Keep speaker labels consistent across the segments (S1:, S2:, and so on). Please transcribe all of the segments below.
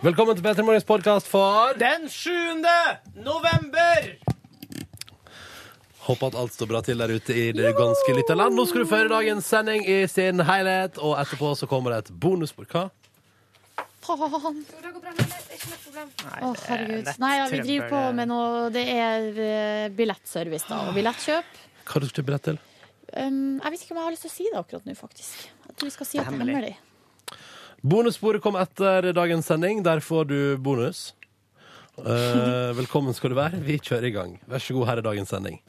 S1: Velkommen til Petter Morgens podkast for
S2: Den 7. november!
S1: Håper at alt står bra til der ute i det ganske lille land. Nå skal du føre dagens sending i sin helhet, og etterpå så kommer det et bonusbord. Hva?
S3: Faen.
S4: Det går bra med det. Det er ikke noe problem.
S3: Å, herregud. Nei, ja, vi driver på med noe Det er eh, billettservice, da. Og billettkjøp.
S1: Hva du skal kjøpe billett til?
S3: Um, jeg vet ikke om jeg har lyst til å si det akkurat nå, faktisk. Jeg tror vi skal si at det er
S2: Hemmelig.
S3: hemmelig.
S1: Bonussporet kom etter dagens sending. Der får du bonus. Eh, velkommen skal du være. Vi kjører i gang. Vær så god, her er dagens sending.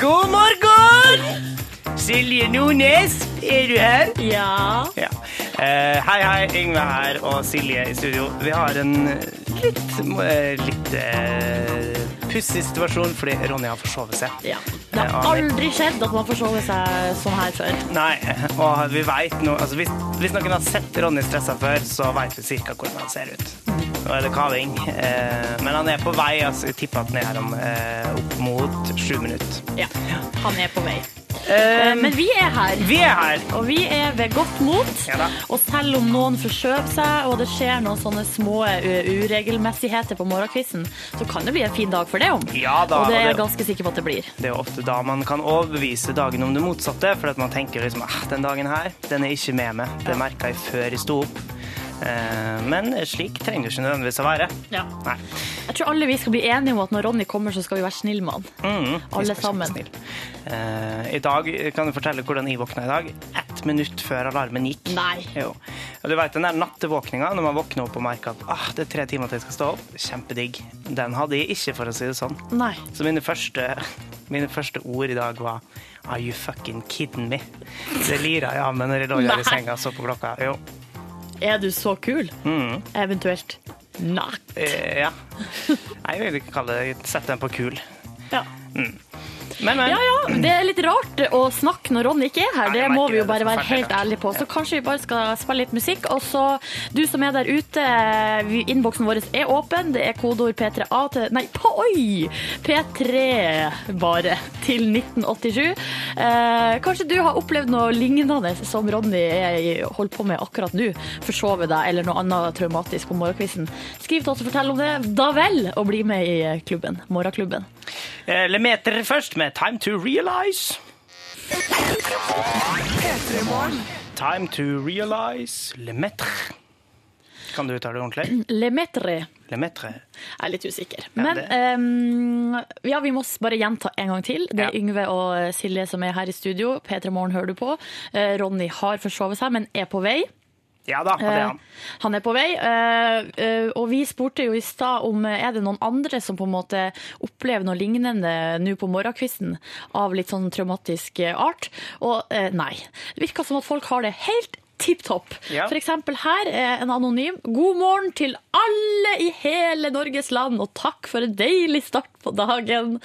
S2: God morgen! Silje Nordnes, er du her?
S3: Ja.
S2: Ja. Eh, hei, hei. Yngve her og Silje i studio. Vi har en litt, eh, litt eh, pussig situasjon fordi Ronny har forsovet seg. Eh,
S3: ja. Det har aldri skjedd at man forsover seg sånn her før.
S2: Nei, og vi vet nå altså hvis, hvis noen har sett Ronny stressa før, så vet vi cirka hvordan han ser ut. Nå er det kaving. Eh, men han er på vei. altså Jeg tipper at han er her om eh, opp mot sju minutter.
S3: Ja. Han er på vei.
S2: Eh,
S3: Men vi er her.
S2: vi er her.
S3: Og vi er ved godt mot.
S2: Ja da.
S3: og selv om noen forskjøver seg, og det skjer noen sånne små eh, uregelmessigheter på morgenkvisten, så kan det bli en fin dag for det om.
S2: Ja da.
S3: og det er
S2: og
S3: jeg
S2: det-
S3: ganske sikker på at det blir.
S2: Det er jo ofte da man kan overbevise dagen om det motsatte, for at man tenker liksom ah, den dagen her, den er ikke med meg. Det merka jeg før jeg sto opp. Eh, men slik trenger det ikke nødvendigvis å være.
S3: Ja.
S2: Nei.
S3: Jeg tror alle vi skal bli enige om at når Ronny kommer, så skal vi være snill med han.
S2: Mm, vi
S3: Alle
S2: skal være
S3: sammen.
S2: snill. Eh, I dag kan du fortelle hvordan jeg våkna i dag. Ett minutt før alarmen gikk.
S3: Nei.
S2: Jo. Og du vet, den der nattevåkninga når man våkner opp og merker at ah, det er tre timer til jeg skal stå opp, kjempedigg. Den hadde jeg ikke, for å si det sånn.
S3: Nei.
S2: Så mine første, mine første ord i dag var Are you fucking kidding me? Det lira jeg av meg når jeg lå der
S3: Nei.
S2: i senga og så på klokka. Jo.
S3: Er du så kul? Eventuelt not.
S2: Eh, ja. Jeg vil ikke kalle det Sette den på kul. Mm.
S3: Ja.
S2: Men, men.
S3: ja ja, det er litt rart å snakke når Ronny ikke er her.
S2: Ja,
S3: Det
S2: jeg
S3: må
S2: merker
S3: vi jo
S2: det.
S3: bare
S2: Det er
S3: være helt
S2: forferdelig rart.
S3: ærlige på. Så
S2: Ja.
S3: kanskje vi bare skal spille litt musikk. Og så, du som er der ute, eh, vi- innboksen vår er åpen. Det er kodeord P3A til Nei, på, oi! P3 bare til 1987. Eh, kanskje du har opplevd noe lignende som Ronny er i- holder på med akkurat nå. Forsove deg eller noe annet traumatisk på morgenkvisten. Skriv til oss og fortell om det. Da vel, og bli med i klubben. Morgenklubben.
S2: Eh, Lemeter først med Time to Realize. Time to Realize Lemeter. Kan du uttale det ordentlig?
S3: Le maître.
S2: Lemetre.
S3: Jeg er litt usikker.
S2: Ja,
S3: Men
S2: det-
S3: ehm, ja, vi må s- bare gjenta en gang til. Det er
S2: Ja.
S3: Yngve og eh, Silje som er her i studio. P3 Morgen hører du på. Eh, Ronny har forsovet seg, men er på vei.
S2: Ja da, og det er han.
S3: Eh, han er på vei. Eh, eh, og vi spurte jo i stad om eh, er det noen andre som på en måte opplever noe lignende nå på morgenkvisten av litt sånn traumatisk eh, art. Og eh, nei. Det virker som at folk har det helt tipp topp.
S2: Ja.
S3: For eksempel her er en anonym. God morgen til alle i hele Norges land, og takk for en deilig start på dagen.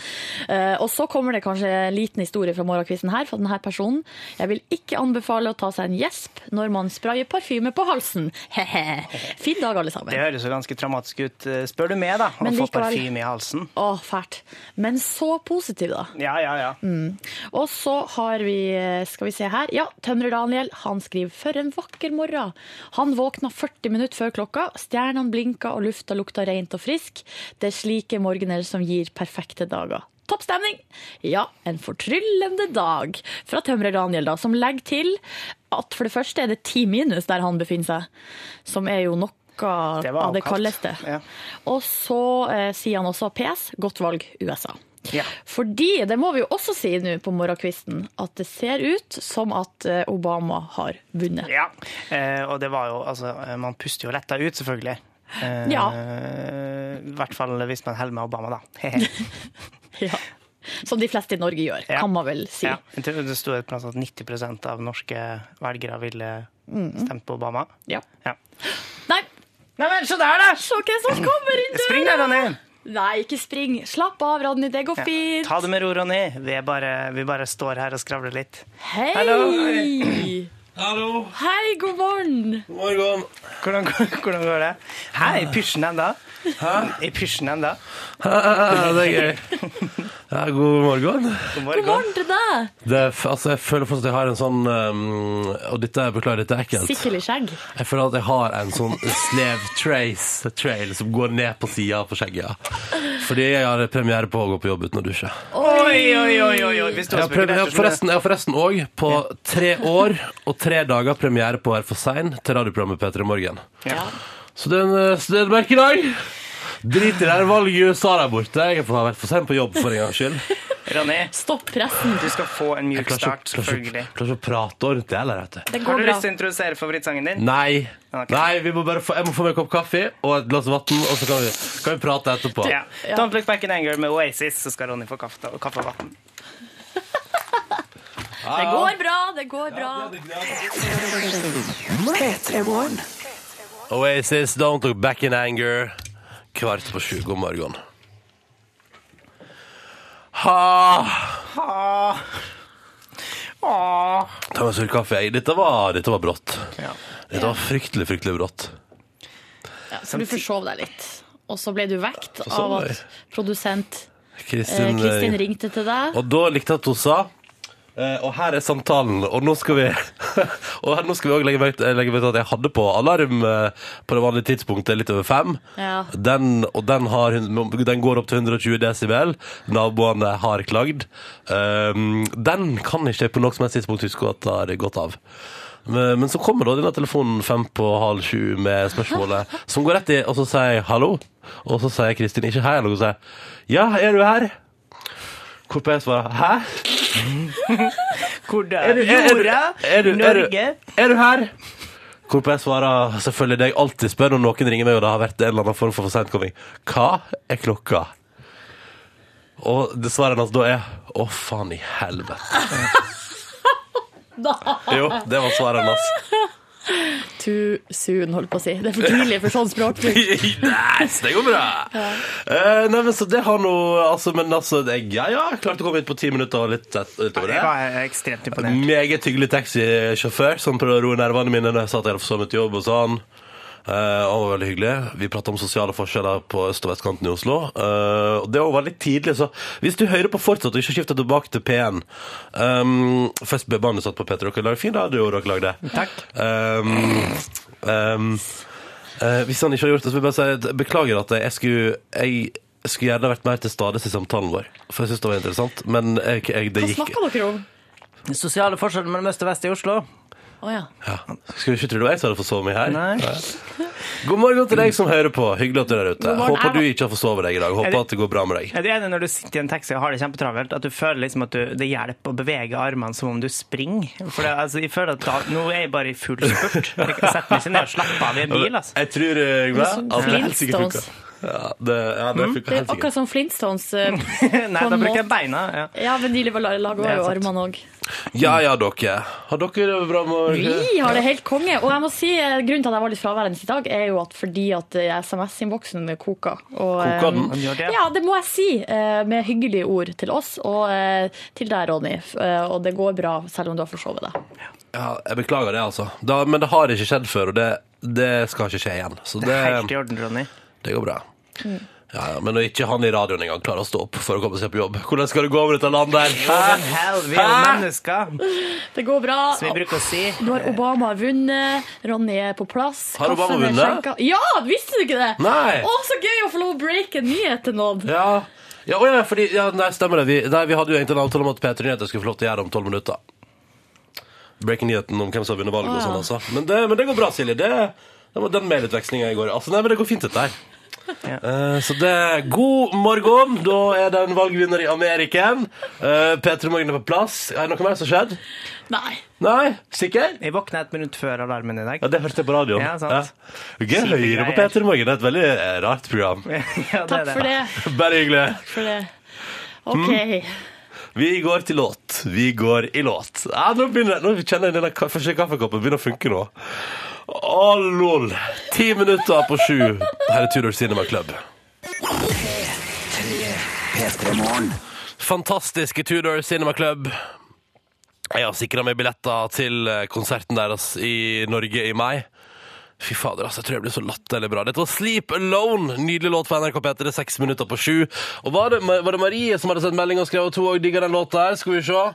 S3: Eh, og så kommer det kanskje en liten historie fra morgenkvisten her, fra denne personen. Jeg vil ikke anbefale å ta seg en gjesp når man sprayer parfyme på halsen. Hehe. Fin dag, alle sammen.
S2: Det høres jo ganske traumatisk ut. Eh, Spør du meg, da, å
S3: Men
S2: få
S3: likevel.
S2: parfyme i halsen?
S3: Å, fælt. Men så positiv, da.
S2: Ja, ja, ja.
S3: Mm, Og så har vi, skal vi se her, ja, Tømrer Daniel, han skriver «For en vakker morgen!» Han våkna 40 minutter før klokka, stjernene blinka og lufta lukta rent og frisk. Det er slike morgener som gir perfekte dager. Topp stemning! Ja, en fortryllende dag fra Tømrer Daniel, da, som legger til at for det første er det ti minus der han befinner seg, som er jo noe
S2: Det var
S3: av det
S2: kaldt.
S3: kaldeste.
S2: Ja.
S3: Og så eh, sier han også PS, godt valg USA.
S2: Ja.
S3: Fordi, det må vi jo også si nå på morgenkvisten, at det ser ut som at eh, Obama har vunnet.
S2: ja. Eh, og det var jo Altså, eh, man puster jo letta ut, selvfølgelig. Eh,
S3: Ja.
S2: I hvert fall hvis man holder med Obama, da.
S3: Ja. Som de fleste i Norge gjør,
S2: Ja.
S3: kan man vel si.
S2: ja. Jeg tror Det sto et plass at 90 av norske velgere ville stemt på Obama.
S3: Mm. Ja.
S2: Ja.
S3: Nei,
S2: Nei vel, så der, da!
S3: se hvem som kommer inn
S2: Spring der, Ronny!
S3: Nei, ikke spring. Slapp av, Ronny, det går
S2: Ja.
S3: fint.
S2: Ta det med ro, Ronny. Vi, er bare, vi bare står her og skravler litt.
S3: Hei!
S2: Hallo.
S1: Hallo.
S3: Hei, god morgen.
S1: God morgen.
S2: Hvordan, går- hvordan går det?
S1: Ah. ah,
S2: Hæ, i pysjen enda? I pysjen enda?
S1: det er gøy. Ja, god morgen.
S2: God
S3: God
S2: morgen.
S3: morgen til deg!
S1: Det, er f- altså, jeg føler fortsatt at jeg har en sånn um, Og dette, beklager, dette er ekkelt.
S3: Sikkelig skjegg.
S1: Jeg føler at jeg har en sånn slev trace trail som går ned på sida på skjegget. ja. Fordi jeg har premiere på å gå på jobb uten å dusje.
S2: Oi, oi, oi, oi, oi. Hvis du
S1: Jeg
S2: har
S1: har, prøvd, jeg har
S2: spekulert, så skjønner jeg.
S1: forresten- jeg har forresten òg på tre år og tre dager premiere på Vær for sein til radioprogrammet P3 Morgen.
S2: Ja.
S1: Så det er en eh, studentmerk i dag. Drit i det her valget i USA der borte. Jeg har vært for sein på jobb for en gangs skyld.
S2: Ronny,
S3: Stopp pressen.
S2: du skal få en mjuk
S1: Klarer ikke,
S2: start,
S1: klarer ikke,
S2: selvfølgelig.
S1: klarer ikke å prate ordentlig heller, vet du.
S3: Det
S2: Har
S3: går
S2: du
S3: bra.
S2: lyst til å introdusere favorittsangen din?
S1: Nei.
S2: Ok.
S1: Nei, vi må bare få, jeg må få meg en kopp kaffe og et glass vann, og så kan vi, kan vi prate etterpå.
S2: Ja. Don't Look Back in Anger med Oasis, så skal Ronny få kaffe, kaffe og vann.
S3: Det går bra, det går bra.
S1: Oasis, Don't Look Back in Anger. Kvart på sju. God morgen. Ha!
S2: Åh.
S1: Ta meg en sur kaffe. jeg. Dette var, dette var brått.
S2: Ja.
S1: Dette var fryktelig, fryktelig brått.
S3: Ja, så du forsov deg litt. Og så ble du vekt av
S1: Forsov meg.
S3: at produsent eh,
S1: Kristin,
S3: Kristin
S1: eh,
S3: ringte til deg.
S1: Og da likte jeg at hun sa eh, og her er samtalen, og nå skal vi Og her, nå skal vi også legge merke legge merke til at jeg hadde på alarm eh, på det vanlige tidspunktet litt over fem.
S3: Ja.
S1: Den, og den, har, hun- den går opp til 120 desibel. Naboene har klagd. Um, den kan ikke jeg på noe som helst tidspunkt huske at har gått av. Men, men så kommer da denne telefonen fem på halv sju med spørsmålet som går rett i, og så sier jeg hallo. Og så sier Kristin ikke hei, eller hun sier ja, er du her? Hvorpå jeg svarer hæ?
S2: Hvor da?
S1: Er du- er- er du- er du- er du- Er du her? Hvorpå jeg svarer selvfølgelig det jeg alltid spør når noen ringer meg og det har vært en eller annen form for for sentkomming. Hva er klokka? Og det svaret hans da er å, faen i helvete. Jo, det var svaret hans.
S3: Too soon, holdt på å si. Det er for tidlig for sånn språkbruk.
S1: Nei, så det går bra. Eh, nei, men så det har nå altså, Men altså, det, ja, ja, klarte å komme hit på ti minutter og litt et- utover
S2: Jeg
S1: det.
S2: var ekstremt imponert.
S1: Meget hyggelig taxisjåfør som prøvde å roe nervene mine når jeg sa at jeg hadde forsømt jobb og sånn. Eh, han var veldig hyggelig. Vi prata om sosiale forskjeller på øst- og vestkanten i Oslo. Eh, og det var litt tidlig, så hvis du hører på fortsatt og ikke skifter tilbake til P1 um, Først ble bandet satt på P3. Dere lager fin radio, dere lagde.
S2: Takk.
S1: Um, um, eh, hvis han ikke har gjort det, så vil jeg bare si at beklager at jeg skulle jeg, skulle gjerne vært mer til stades i samtalen vår, for jeg syns det var interessant. Men jeg, jeg, det
S3: Hva
S1: gikk
S3: snakka dere om?
S2: Sosiale forskjeller mellom øst og vest i Oslo.
S3: Å ja.
S1: Ja. Skulle ikke tro det var jeg som hadde forsovet meg her.
S2: Nei.
S1: God morgen til deg som hører på. Hyggelig at du er der ute.
S3: God morgen,
S1: Håper du
S3: Erna.
S1: ikke har forsovet deg i dag.
S2: Er det-
S1: Håper at det går bra med deg.
S2: Er du enig når du sitter i en taxi og har det kjempetravelt, at du føler liksom at du, det hjelper å bevege armene som om du springer? For det, altså, jeg føler at da, nå er jeg bare i full spurt. Jeg setter meg ikke ned og slapper av i en bil, altså.
S1: Jeg tror eh, Yngve,
S3: sånn
S1: at det helt sikkert
S3: Flintstones.
S1: funker. Ja, det, ja, det funker
S3: Mm, Det er
S1: helt sikkert.
S3: akkurat som Flintstones. eh,
S2: Nei,
S3: På en
S2: da bruker
S3: måte.
S2: jeg beina. Ja.
S3: Ja, men de lager
S2: Det er
S3: jo
S2: sant.
S3: armene òg.
S1: Ja ja, dere. Har dere det bra med
S3: Vi har det helt konge. Og jeg må si, eh, grunnen til at jeg var litt fraværende i dag, er jo at fordi at eh, SMS-innboksen koker. Og, eh,
S1: Koker den?
S2: Han gjør det.
S3: Ja, det må jeg si, eh, med hyggelige ord til oss og eh, til deg, Ronny. F- eh, Og det går bra, selv om du har forsovet deg.
S1: Ja, jeg beklager det, altså. Da, men det har ikke skjedd før, og det, det skal ikke skje igjen. Så
S2: Det
S1: det,
S2: er helt i orden, Ronny.
S1: det går bra. Ja, ja, men når ikke han i radioen engang klarer å stå opp for å komme seg på jobb, hvordan skal det gå med dette landet her?
S2: Men hell, vi er jo
S1: Hæ?
S2: mennesker,
S3: Det går bra.
S2: som vi bruker å si.
S3: Nå har Obama vunnet, Ronny er på plass.
S1: Har Obama
S3: kaffen er
S1: vunnet?
S3: skjenka. Ja, visste du ikke det?
S1: Nei.
S3: Å, så gøy å få lov å breake en nyhet til noen.
S1: Ja, ja, å ja fordi ja, Nei, stemmer det. Vi, nei, vi hadde jo egentlig en avtale om at P3 Nyheter skulle få lov til å gjøre det om tolv minutter. Breaking-nyheten om hvem som har vunnet valget
S3: Å,
S1: og
S3: ja.
S1: sånn, altså. Men det, men det går bra, Silje. Det, det var den mailutvekslinga i går. Altså, nei, men det går fint, dette her.
S2: Ja.
S1: Eh, så det er god morgen. Da er det en valgvinner i Ameriken. Uh, P3 Morgen er på plass. Er det noe mer som har skjedd?
S3: Nei.
S1: Nei? Sikker?
S2: Jeg våkna et minutt før alarmen i dag.
S1: Ja, det hørte jeg på radioen.
S2: Ja, sant.
S1: Gøy å høre på
S2: Kjipe
S1: P3 Morgen. Det er et veldig eh, rart program.
S2: Ja, det er
S3: Takk for det.
S1: Bare hyggelig.
S3: Takk for det.
S1: Mm.
S3: OK.
S1: Vi går til låt. Vi går i låt. Ja, nå, begynner, nå kjenner jeg denne ka- første kaffekoppen begynner å funke nå. Å, lol. Ti minutter på sju. Her er Tudor Cinema Club. Fantastiske Tudor Cinema Club. Jeg har sikra meg billetter til konserten deres i Norge i mai. Fy fader, altså, jeg tror jeg blir så latterlig bra. Dette var Sleep Alone, nydelig låt på NRK P3, seks minutter på sju. Og var det, var det Marie som hadde sendt melding og skrevet at hun òg digger den låta her? Skal vi se.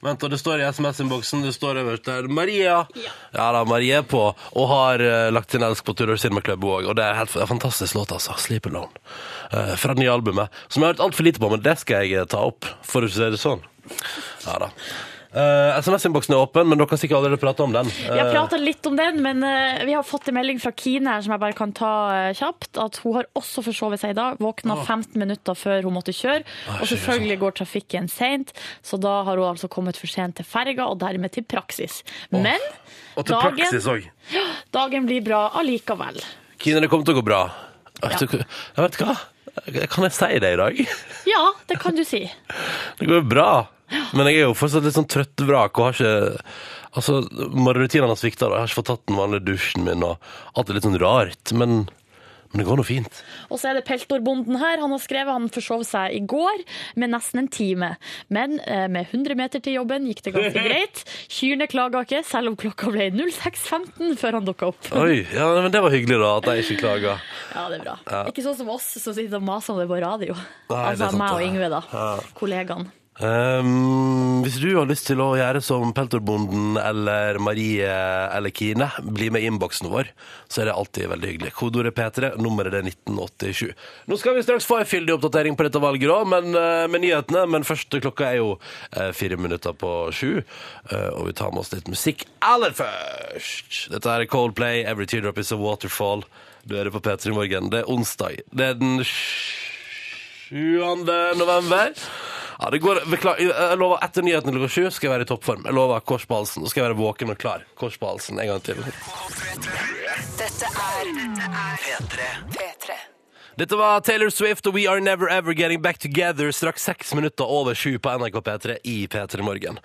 S1: Vent, og det står i SMS-innboksen, det står øverst der Maria. Ja. da, Marie er på, og har eh, lagt sin elsk på Tudor Cinema Club òg. Og det er helt det er en fantastisk låt, altså. Sleep Alone. Eh, fra det nye albumet, som jeg har hørt altfor lite på, men det skal jeg eh, ta opp, for å si det sånn. Ja da. Eh, SMS-innboksen er åpen, men dere har sikkert allerede prata om den.
S3: Jeg
S1: Eh,
S3: prata litt om den, men eh, vi har fått en melding fra Kine her som jeg bare kan ta eh, kjapt. At hun har også forsovet seg i dag. Våkna 15 minutter før hun måtte kjøre. Og
S1: shit, altså.
S3: selvfølgelig går trafikken seint, så da har hun altså kommet for sent til ferga, og dermed til praksis. Men
S1: Eh, og til
S3: dagen-
S1: praksis òg.
S3: dagen blir bra allikevel.
S1: Kine, det kommer til å gå bra. Jeg vet, jeg vet hva. Kan jeg si det i dag?
S3: Ja, det kan du si.
S1: Det går jo bra. Men jeg er jo fortsatt litt sånn trøtt vrak og har ikke Altså, morgenrutinene har svikta. og Jeg har ikke fått tatt den vanlige dusjen min, og alt er litt sånn rart. Men, men det går nå fint.
S3: Og så er det peltorbonden her. Han har skrevet han forsov seg i går med nesten en time. Men eh, med 100 meter til jobben gikk det ganske greit. Kyrne klaga ikke, selv om klokka ble 06.15 før han dukka opp.
S1: Oi, ja, men det var hyggelig, da, at jeg ikke klaga.
S3: Ja, det er bra. Ikke sånn som oss som sitter og maser om det på radio.
S1: Nei, det er
S3: altså
S1: sant,
S3: meg og
S1: det.
S3: Yngve, da. Kollegaene.
S1: Ehm, hvis du har lyst til å gjøre som Peltorbonden eller Marie eller Kine, bli med i innboksen vår, så er det alltid veldig hyggelig. Kodeordet P3, nummeret er 1987. Nå skal vi straks få en fyldig oppdatering på dette valget, da, men, eh, med nyhetene. Men første klokka er jo eh, fire minutter på sju, eh, og vi tar med oss litt musikk aller først. Dette er Coldplay, 'Every Teardrop Is A Waterfall'. Du er det på P3 i morgen. Det er onsdag. Det er den 7. november. Ja, det går, beklager, jeg lover etter nyhetene klokka sju skal jeg være i toppform. Jeg lover kors på halsen. Nå skal jeg være våken og klar. Kors på halsen en gang til.
S5: Dette er P3. P3.
S1: Dette var Taylor Swift og We Are Never Ever Getting Back Together straks seks minutter over sju på NRK P3 i P3 Morgen.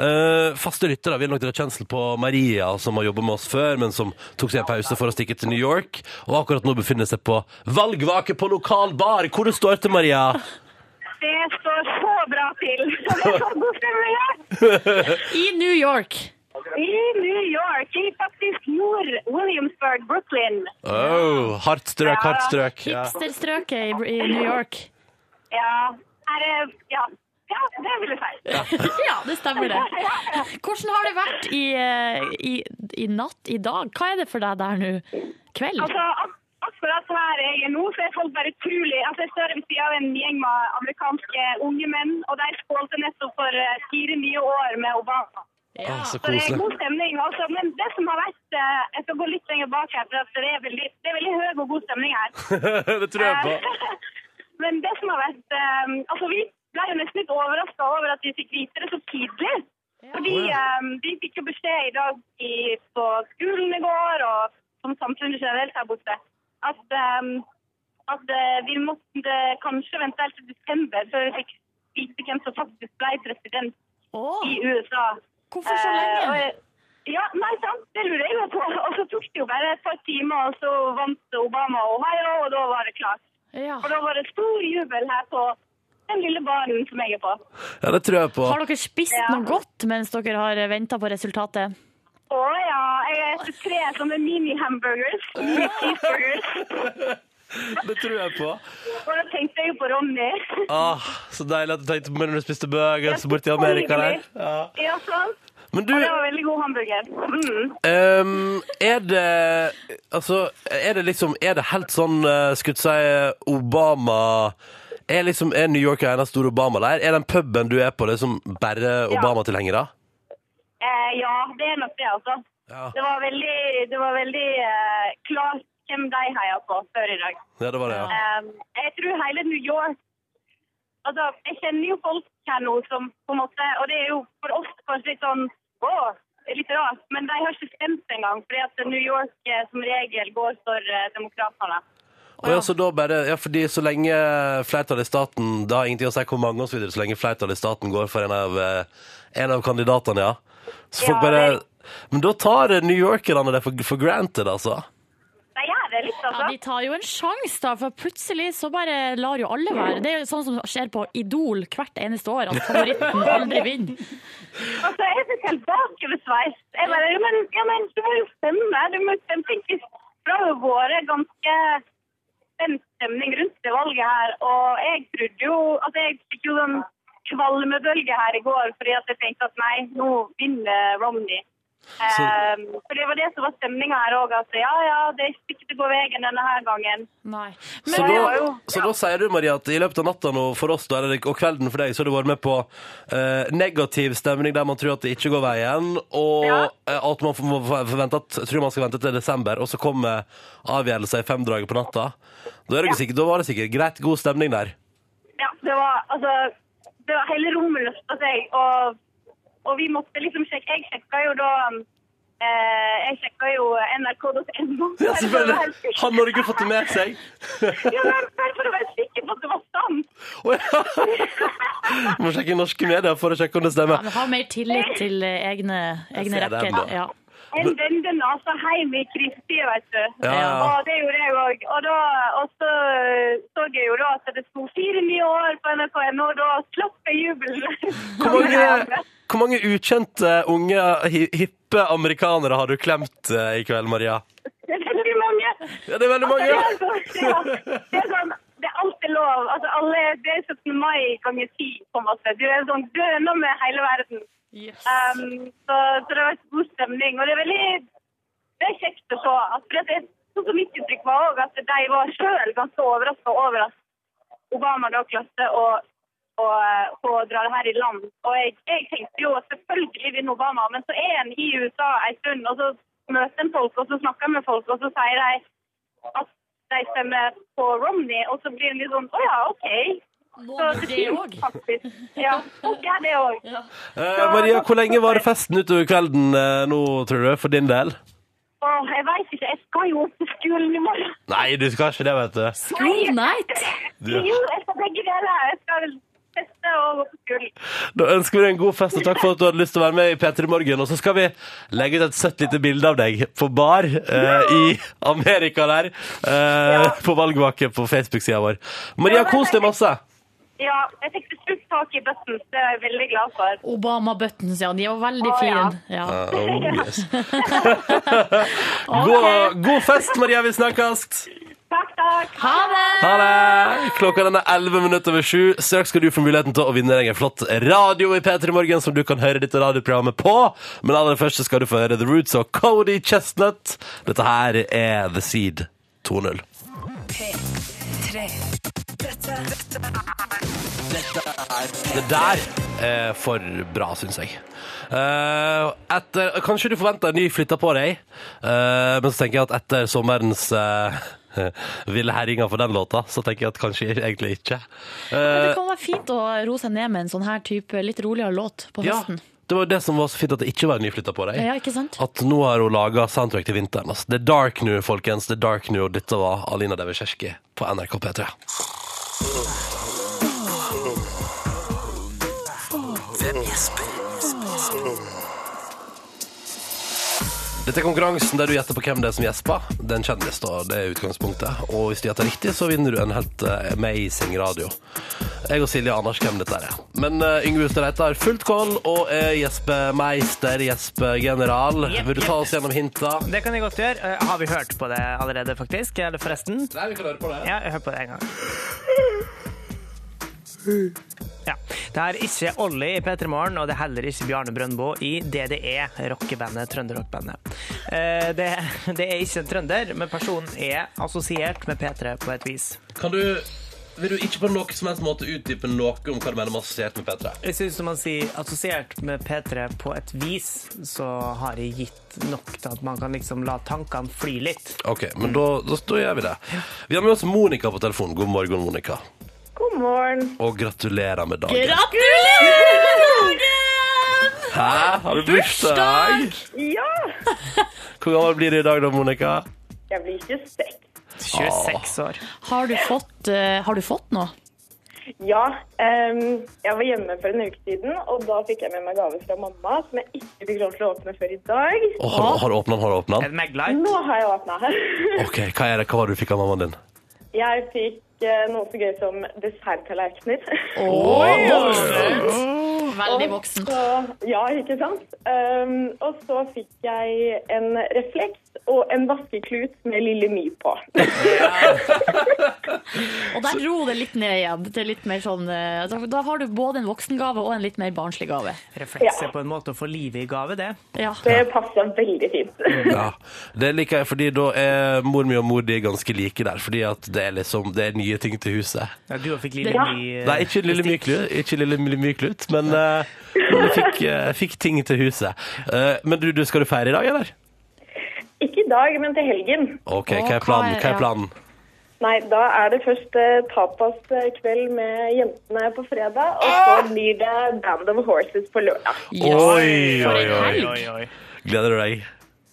S1: Eh, faste lyttere vil nok dra kjensel på Maria, som har jobba med oss før, men som tok seg en pause for å stikke til New York, og akkurat nå befinner seg på valgvake på lokal bar. Hvor det står til, Maria?
S6: Det står så bra til. Og det er så god stemning her.
S3: I New York.
S6: I New York, i faktisk nord Williamsburg, Brooklyn.
S1: Oh, hardt strøk, hardt strøk. Ja.
S3: Hipsterstrøket i, i New York.
S6: Ja, er det Ja, ja det vil jeg si.
S3: Ja, det stemmer det. Hvordan har det vært i, eh, i, i natt, i dag? Hva er det for deg der nå? Kveld?
S6: Altså, ak akkurat her jeg er nå, så er folk bare utrolig Altså, jeg står ved siden av en gjeng med amerikanske unge menn, og de skålte nettopp for eh, fire nye år med Obama.
S1: Ah, så
S6: Så det er
S1: koselig.
S6: god stemning, altså. Men det som har vært eh, Jeg skal gå litt lenger bak her, for at det er veldig, det er veldig høy og god stemning her. Eh,
S1: det tror jeg på.
S6: Men det som har vært eh, Altså, vi ble jo nesten litt overraska over at vi fikk vite det så tidlig. Fordi eh, vi fikk jo beskjed i dag i, på skolen i går, og som samfunnet generelt her borte, at, eh, at eh, vi måtte kanskje vente helt til desember før vi fikk vite hvem som faktisk ble president
S3: Åh,
S6: i USA.
S3: hvorfor så
S6: Eh, og
S3: lenge?
S6: jeg- ja, nei, sant, det lurer jeg jo på. Og så tok det jo bare et par timer, og så vant Obama Ohio, og da var det klart.
S3: Ja.
S6: Og da var det stor jubel her på den lille baren som jeg er på.
S1: Ja, det tror jeg på.
S3: Har dere spist
S6: Ja.
S3: noe godt mens dere har venta på resultatet?
S6: Å ja, jeg har spist tre sånne mini-hamburgers. Mini-cheeseburgers.
S1: Det tror jeg på.
S6: Og da tenkte jeg jo på Ronny.
S1: Ah, så deilig at du tenkte på meg når du spiste burgers borti Amerika der. Ja.
S6: Ja, sant.
S1: Men du,
S6: Og det var veldig god hamburger. Mm.
S1: ehm, er det Altså, er det liksom Er det helt sånn, eh, skulle jeg si, Obama Er liksom, er New York en eneste stor Obama-leir? Er den puben du er på, det som bare Obama-tilhengere?
S6: Eh, ja, det er nok det, altså.
S1: Ja.
S6: Det var veldig, det var veldig eh, klart hvem de heia på før i dag.
S1: ja, det var det, ja.
S6: Um, jeg tror hele New York Altså, jeg kjenner jo folk her nå som på en måte Og det er jo for oss kanskje litt sånn Å, litt rart. Men de har ikke stemt engang, fordi at New York eh, som regel går for uh, demokratene.
S1: Og ja, så da bare, ja, fordi så lenge flertallet i staten Det har ingenting å si hvor mange og så videre, så lenge flertallet i staten går for en av, eh, en av kandidatene, ja. Så folk
S6: Ja,
S1: bare Men da tar eh, New Yorkerne det for, for granted, altså.
S6: De gjør det litt,
S3: Ja,
S6: altså.
S3: De tar jo en sjanse, da, for plutselig så bare lar jo alle være. Det er jo sånn som skjer på Idol hvert eneste år, at favoritten aldri vinner.
S6: Altså, jeg fikk helt bakoversveis. Jeg bare ja, men, ja, men du må jo stemme. Du må jo stemme. Tenk hvis For det har jo vært ganske spent stemning rundt det valget her. Og jeg trodde jo at jeg fikk jo en kvalmebølge her i går fordi at jeg tenkte at nei, nå vinner Romney. Ehm, for det var det som var stemninga her òg. At ja, ja, det er ikke sikkert det går veien denne her gangen.
S3: Nei.
S1: Så
S3: Men,
S1: da, så da sier du, Maria, at i løpet av natta nå for oss, da, eller, og kvelden for deg, så har du vært med på eh, negativ stemning der man tror at det ikke går veien, og
S6: Ja.
S1: eh, at man må forvente at, tror man skal vente til desember, og så kommer avgjørelser i femdraget på natta. Da, er det ikke sikkert, da var det sikkert greit god stemning der.
S6: Ja, det var altså det var Hele rommet løfta seg, og, og vi måtte liksom sjekke Jeg sjekka jo da eh, Jeg sjekka jo nrk.no.
S1: Ja, selvfølgelig. Har Norge fått det med seg?
S6: Ja, men bare for å være sikker på at det var sant.
S1: Å, ja. Må sjekke norske medier for å sjekke om det stemmer.
S3: men ha mer tillit til eh, egne, egne
S1: ser den,
S3: rekker.
S1: da.
S3: Ja.
S6: En vende nesa hjem i kristid, vet du.
S1: Ja, ja.
S6: Og det gjorde jeg òg. Og, da, og så så jeg jo da at det sto fire nye år på nrk.no, og da slapp jeg jubelen.
S1: Hvor mange, hvor mange ukjente unge, hi- hippe amerikanere har du klemt eh, i kveld, Maria?
S6: Det er veldig mange.
S1: Ja, det er veldig mange.
S6: Det er, sånn, det er sånn, det er alltid lov. Altså, alle, det er 17. mai ganger 10, på en måte. Du er sånn døende med hele verden.
S3: Yes.
S6: Um, så, så det har vært god stemning. Og det er veldig det er kjekt å se. At, for det er sånn som mitt inntrykk var òg, at de var sjøl ganske overraska over at Obama da klarte å, å, å dra det her i land. Og jeg, jeg tenkte jo at selvfølgelig vinner Obama, men så er en i USA en stund, og så møter en folk, og så snakker en med folk, og så sier de at de stemmer på Romney, og så blir en litt sånn Å ja, OK. Så
S3: Må
S6: det
S3: det
S6: finnes
S3: òg.
S6: faktisk. Ja, ja det òg.
S1: Eh, Maria, hvor lenge var det festen utover kvelden eh, nå, tror du, for din del?
S6: Åh, jeg veit ikke. Jeg skal jo opp til skolen i morgen.
S1: Nei, du skal ikke det, vet du.
S3: School night!
S1: Du-
S6: Jo, jeg skal begge deler. Jeg skal feste og gå på skolen.
S1: Da ønsker vi deg en god fest, og takk for at du hadde lyst til å være med i P3 Morgen. Og så skal vi legge ut et søtt lite bilde av deg på bar eh, i Amerika der. Eh, på valgvake på Facebook-sida vår. Maria, kos deg masse.
S6: Ja, jeg fikk til slutt tak i buttons. Det er jeg veldig glad for.
S3: Obama Buttons, ja. De var
S6: Å,
S3: veldig
S6: ja.
S3: fine. Ja.
S1: Eh, oh, yes. god, god fest, Maria. Vi snakkes.
S6: Takk, takk.
S3: Ha det!
S1: Ha det! Klokka den er 11 minutter over sju. Straks skal du få muligheten til å vinne deg en flott radio i P3 Morgen som du kan høre dette radioprogrammet på. Men aller først så skal du få høre The Roots og Cody Chestnut. Dette her er The Seed 2.0.
S5: P3. Dette, dette er
S1: Det der er for bra, syns jeg. Eh, etter, kanskje du forventer en ny flytta på deg, eh, men så tenker jeg at etter sommerens eh, ville herjinger for den låta, så tenker jeg at kanskje egentlig ikke.
S3: Men
S1: Eh,
S3: Det kan være fint å roe seg ned med en sånn her type litt roligere låt på
S1: Ja,
S3: høsten.
S1: det var det som var så fint at det ikke var en nyflytta på deg.
S3: Ja, ikke sant?
S1: At nå har hun laga soundtrack til vinteren. Altså. Det er dark nå, folkens. Det er dark nå, og dette var Alina Deversjerski på NRK P3. Dette er konkurransen der du gjetter på hvem det er som gjesper. Det er en kjendis, da. Det er utgangspunktet. Og hvis du gjetter riktig, så vinner du en helt eh, amazing radio. Jeg og Silje aner ikke hvem dette er. Men uh, Yngve Hustad Reite har fullt koll og er gjespemeister, gjespegeneral.
S2: Jepp,
S1: Vil du ta
S2: jepp.
S1: oss gjennom hinta?
S2: Det kan jeg godt gjøre. Eh, Har vi hørt på det allerede, faktisk? Eller forresten?
S1: Nei, vi kan høre på det.
S2: Ja, hør på det en gang. Ja. Det er ikke Olli i P3 Morgen, og det er heller ikke Bjarne Brøndbo i DDE, rockebandet, trønderrockbandet. Eh, Det, det er ikke en trønder, men personen er assosiert med P3 på et vis.
S1: Kan du Vil du ikke på noen som helst måte utdype noe om hva du mener med assosiert med P3?
S2: Jeg synes når man sier assosiert med P3 på et vis, så har jeg gitt nok til at man kan liksom la tankene fly litt.
S1: OK, men da, da, da gjør vi det. Vi har med oss Monica på telefonen. God morgen, Monica.
S6: God morgen.
S1: Og gratulerer med dagen.
S3: Gratulerer med dagen!
S1: Hæ? Har du bursdag?
S6: Ja!
S1: Hvor gammel blir du i dag da, Monica?
S6: Jeg blir ikke stekt.
S2: 26 år.
S3: Har du fått, eh, har du fått noe?
S6: Ja, ehm, jeg var hjemme for en uke siden, og da fikk jeg med meg gave fra mamma, som jeg ikke fikk lov til å åpne før i dag.
S1: Å, har, har du åpna den? Har du åpna den?
S2: En megler.
S6: Nå har jeg åpna her.
S1: OK, hva er det? Hva var det du fikk av mammaen din?
S6: Jeg fikk eh, noe så gøy som desserttallerkener.
S3: Veldig voksen.
S6: Så, ja, ikke sant? Um, og så fikk jeg en refleks
S7: og en vaskeklut med lille Mi på.
S3: Og der ro det litt ned igjen. Til litt mer sånn, eh, da- da har du både en voksengave og en litt mer barnslig gave.
S2: Refleks er på en måte å få livet i gave, det.
S3: Ja.
S7: Det passer veldig fint.
S1: Ja, det liker jeg, fordi da er mor mi og mor di ganske like der, fordi at det er liksom, det er nye ting til huset.
S2: Ja, du fikk lille
S3: Ja.
S2: ny eh,
S1: Nei, ikke lille myklut, ikke lille myklut men eh, men jeg fikk, eh, jeg fikk ting til huset. Eh, men du, du, skal du feire i dag, eller?
S7: Ikke i dag, men til helgen.
S1: Ok,
S3: Å,
S1: hva er planen?
S3: hva er-
S1: Hva
S3: ja.
S1: er planen?
S7: Nei, da er det først eh, tapaskveld med jentene på fredag, og
S3: Ah!
S7: så blir det Band of Horses på lørdag.
S3: Yes.
S1: Oi,
S3: For
S1: oi,
S3: en
S1: oi.
S3: helg.
S2: Oi, oi.
S1: Gleder du deg?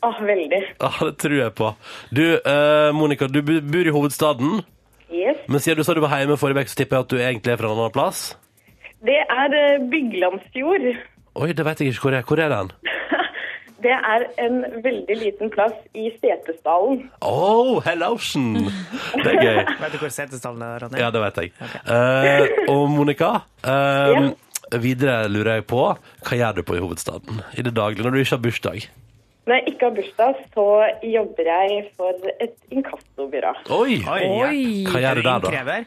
S7: Åh, veldig.
S1: Ja, det tror jeg på. Du, eh, Monica, du bu- bor i hovedstaden,
S7: Yes.
S1: men siden du sa du var hjemme forrige vekk, så tipper jeg at du egentlig er fra en annen plass.
S7: Det er eh, Byglandsfjord.
S1: Oi, det vet jeg ikke hvor er. Hvor er den?
S7: Det er en veldig liten plass i Setesdalen.
S1: Oh, Hellausen! Det er gøy.
S2: Vet du hvor setestallen er, Ronny?
S1: Ja, det vet jeg. Eh, og Monica, eh, videre lurer jeg på, hva gjør du på i hovedstaden i det daglige når du ikke har bursdag?
S7: Når jeg ikke har bursdag, så jobber jeg for et inkassobyrå.
S1: Oi!
S3: Oi.
S1: Hva gjør du der, da?
S2: Innkrever.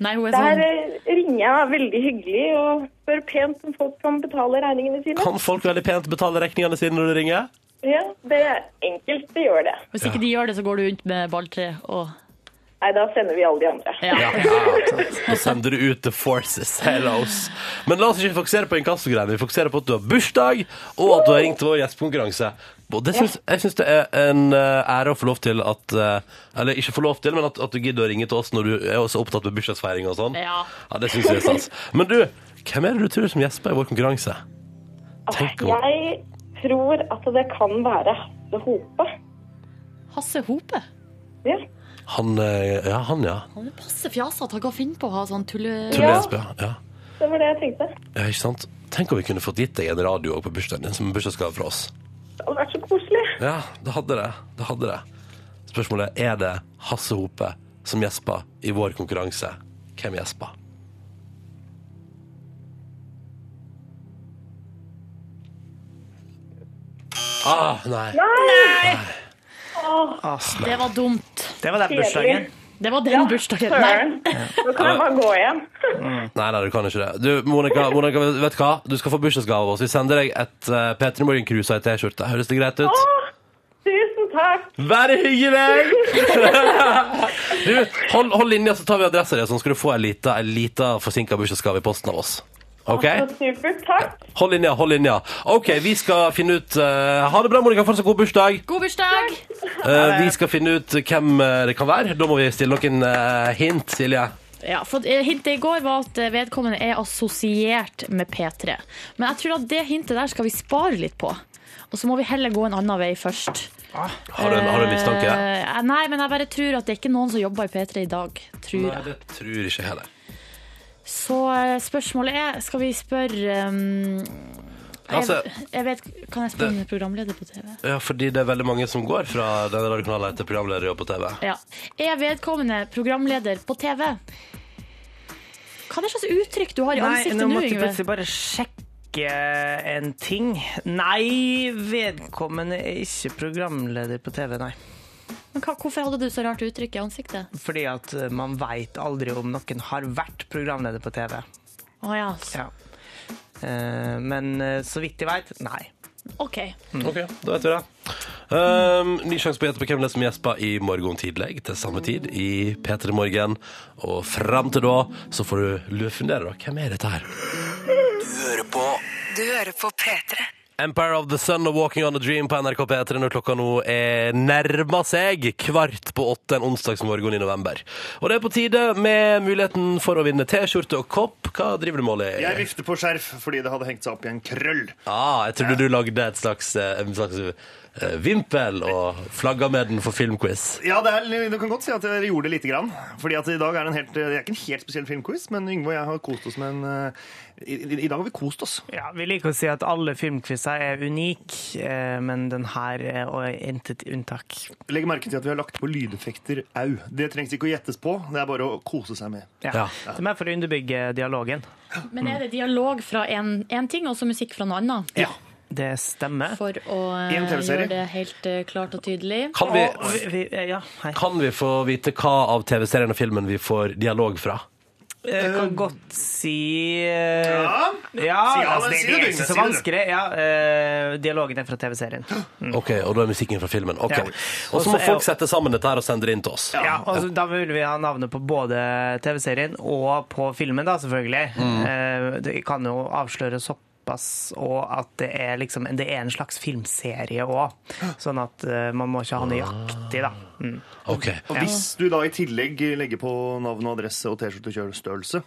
S3: Nei, hun er
S7: Der
S3: sånn
S7: eh, ringer jeg veldig hyggelig og spør pent om folk kan betale regningene sine.
S1: Kan folk veldig pent betale regningene sine når du ringer?
S7: Ja, det er enkelt, det gjør det.
S3: Hvis ikke de gjør det, så går du rundt med balltre og
S7: Nei, da sender vi alle de andre.
S3: ja.
S1: Da sender du ut the forces. Hellos. Men la oss ikke fokusere på inkassogreiene. Vi fokuserer på at du har bursdag, og at du har ringt til vår gjestekonkurranse. Og det syns- jeg syns det er en eh, ære å få lov til at eh, Eller ikke få lov til, men at, at du gidder å ringe til oss når du er så opptatt med bursdagsfeiring og sånn.
S3: Ja.
S1: Ja, det syns jeg er stas. Men du, hvem er det du tror som gjesper i vår konkurranse? Tenk om
S7: Jeg tror at det kan være Hasse Hope.
S3: Hasse Hope.
S7: Ja.
S1: Han, eh, ja, han, ja.
S3: Han er passe fjasete. Han kan finne på å ha sånn tulle...
S1: Tror
S7: Ja.
S1: det er Espen, ja.
S7: Det var det jeg tenkte.
S1: ja, ikke sant? Tenk om vi kunne fått gitt deg en radio også på bursdagen din som en bursdagsgave fra oss.
S7: Det hadde vært så koselig.
S1: Ja, det hadde det. Det hadde det. Spørsmålet er det Hasse Hope som gjesper i vår konkurranse. Hvem gjesper? Ah, nei.
S3: Det var dumt.
S2: Det var den bursdagen.
S3: Det var den bursdagen. Nei.
S7: Søren. Nå kan jeg bare gå hjem.
S1: nei, nei, du kan ikke det. Du, Monica, Monica vet du hva? Du skal få bursdagsgave av oss. Vi sender deg et uh, P3 Morgen Cruise og ei T-skjorte. Høres det greit ut?
S7: Tusen takk.
S1: Vær hyggelig! du, hold, hold linja, så tar vi adressa di, sånn skal du få ei lita, ei lita forsinka bursdagsgave i posten av oss. OK?
S7: Så supert. Takk.
S1: Hold linja, hold linja. OK, vi skal finne ut eh, Ha det bra, Monica. Fortsatt god bursdag.
S3: God bursdag!
S1: Eh, vi skal finne ut hvem eh, det kan være. Da må vi stille noen eh, hint, Silje.
S3: Ja, for eh, Hintet i går var at eh, vedkommende er assosiert med P3. Men jeg tror at det hintet der skal vi spare litt på. Og så må vi heller gå en annen vei først.
S1: Ah, Har du en, har du en mistanke?
S3: Eh, nei, men jeg bare tror at det er ikke noen som jobber i P3 i dag. Tror
S1: Nei,
S3: jeg.
S1: det tror ikke jeg heller.
S3: Så eh, spørsmålet er Skal vi spørre um,
S1: Altså-
S3: jeg, jeg vet, Kan jeg spørre om programleder på TV?
S1: Ja, fordi det er veldig mange som går fra denne radiokanalen til programlederjobb på TV.
S3: Ja. Er vedkommende programleder på TV? Hva er det slags uttrykk du har i
S2: Nei,
S3: ansiktet
S2: nå
S3: nå,
S2: måtte jeg
S3: Yngve?
S2: plutselig bare sjekke en ting. Nei, vedkommende er ikke programleder på TV, nei.
S3: Men hva, hvorfor hadde du så rart uttrykk i ansiktet?
S2: Fordi at eh, man veit aldri om noen har vært programleder på TV.
S3: Å ja.
S2: Ja. Eh, Men eh, så vidt jeg veit, nei. Mm.
S3: OK.
S1: Ok, da vet vi det. Um, ny sjanse på å gjette på hvem det er som gjesper i morgen tidlig til samme tid i P3 Morgen. Og fram til da så får du lurfundere, da. Hvem er dette her?
S5: Du hører på P3.
S1: Empire of the Sun og Walking on a Dream på NRK P3 når klokka nå er nærmer seg kvart på åtte en onsdagsmorgen i november. Og det er på tide med muligheten for å vinne T-skjorte og kopp. Hva driver du med, Olli?
S8: Jeg vifter på skjerf fordi det hadde hengt seg opp i en krøll.
S1: Ah, jeg trodde du lagde et slags, eh, en slags eh, vimpel og flagga med den for filmquiz.
S8: Ja, det er, Du kan godt si at dere gjorde det lite grann. Fordi at i dag er det en helt, det er ikke en helt spesiell filmquiz, men Yngve og jeg har kost oss med en eh, i, i, I dag har vi kost oss.
S2: Ja, Vi liker å si at alle filmquizer er unike, eh, men den her er og er intet unntak.
S8: Legg merke til at vi har lagt på lydeffekter au. Det trengs ikke å gjettes på, det er bare å kose seg med.
S2: Ja.
S1: Ja.
S2: Det er mer for å underbygge dialogen.
S3: Men er det dialog fra en en ting og så musikk fra noe annet?
S8: Ja.
S2: Det stemmer.
S3: For å eh,
S8: I en TV-serie.
S3: gjøre det helt eh, klart og tydelig.
S1: Kan vi,
S2: Og vi, vi, ja, hei.
S1: kan vi få vite hva av TV-serien og filmen vi får dialog fra?
S2: Eh, Jeg kan godt si eh,
S8: Ja.
S2: Ja,
S8: Si ja,
S2: altså,
S8: men
S2: det,
S8: si
S2: det
S8: det,
S2: er ikke
S8: Bryne,
S2: så
S8: si det.
S2: vanskelig. Ja, eh, dialogen er fra TV-serien.
S1: Ok, Og da er musikken fra filmen. Ok.
S2: Mm. Ja.
S1: Og så må
S2: Også er-
S1: folk sette sammen dette her og sende det inn til oss.
S2: Ja, og så- Da vil vi ha navnet på både TV-serien og på filmen, da, selvfølgelig. Eh, det kan jo avsløre såpass og at det er, liksom, det er en slags filmserie òg. Sånn at eh, man må ikke ha nøyaktig, da. Mm.
S1: Ok.
S8: Og hvis du da i tillegg legger på navn og adresse og T-skjortestørrelse,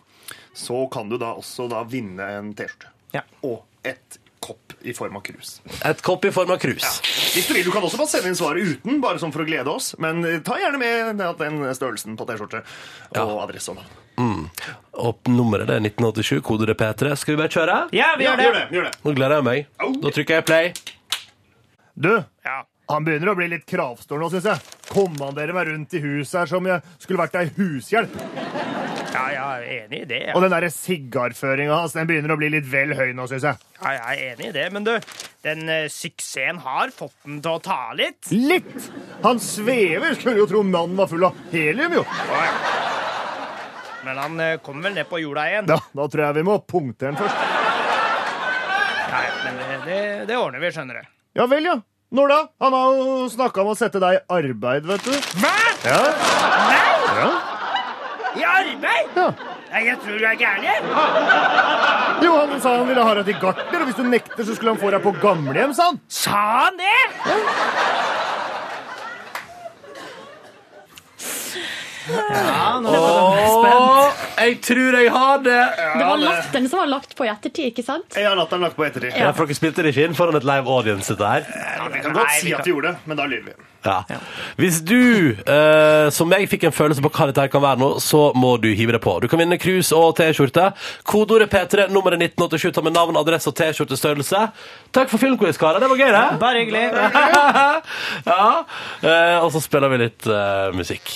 S8: så kan du da også da vinne en T-skjorte.
S2: Ja.
S8: Og et kopp i form av krus.
S1: Et kopp i form av krus.
S8: Hvis du vil, du kan også bare sende inn svaret uten, bare sånn for å glede oss. Men eh, ta gjerne med det at den størrelsen på T-skjorte og adresse og navn.
S1: Og Mm. nummeret det er 1987, kodet er P3. Skal vi bare kjøre?
S2: Ja, vi
S8: Ja,
S2: gjør det!
S8: gjør det, gjør det.
S1: Nå gleder jeg meg. Da trykker jeg play.
S9: Du, han begynner å bli litt kravstor nå, syns jeg. Kommanderer meg rundt i huset her som jeg skulle vært ei hushjelp.
S2: Ja, ja, jeg er enig i det.
S9: Og den derre sigarføringa hans den begynner å bli litt vel høy nå, syns jeg.
S2: Ja, jeg er enig i det, men du, den eh, suksessen har fått den til å ta litt.
S9: Litt! Han svever! Skulle jo tro mannen var full av helium, jo.
S2: Men han eh, kommer vel ned på jorda igjen.
S9: Da, da tror jeg vi må punktere den først.
S2: Nei, men det, det, det ordner vi, skjønner du.
S9: Ja vel, ja. Når da? Han har jo snakka om å sette deg i arbeid, vet du.
S2: Hva?
S9: Ja,
S2: Nei!
S9: ja.
S2: I arbeid?
S9: Ja.
S2: Nei, jeg tror du er gæren.
S9: Jo, han sa han ville ha deg til gartner, og hvis du nekter, så skulle han få deg på gamlehjem, sa han.
S2: Sa han det?
S1: Åh, jeg tror jeg har det!
S3: Det var latteren som var lagt på i ettertid, ikke sant?
S8: Jeg har latt den lagt på ettertid.
S1: Ja, for dere spilte det ikke inn foran et live audience, dette her.
S8: Vi kan godt
S2: Nei, vi
S8: si at vi gjorde det, men da lyver vi.
S1: Ja. Hvis du, eh, som jeg, fikk en følelse på hva dette her kan være nå, så må du hive deg på. Du kan vinne krus og T-skjorte. Kodeordet P3, nummeret 1987, ta med navn, adresse og T-skjortestørrelse. Takk for filmquiz, karer. Det var gøy, det.
S2: Bare hyggelig.
S1: ja. Eh, og så spiller vi litt eh, musikk.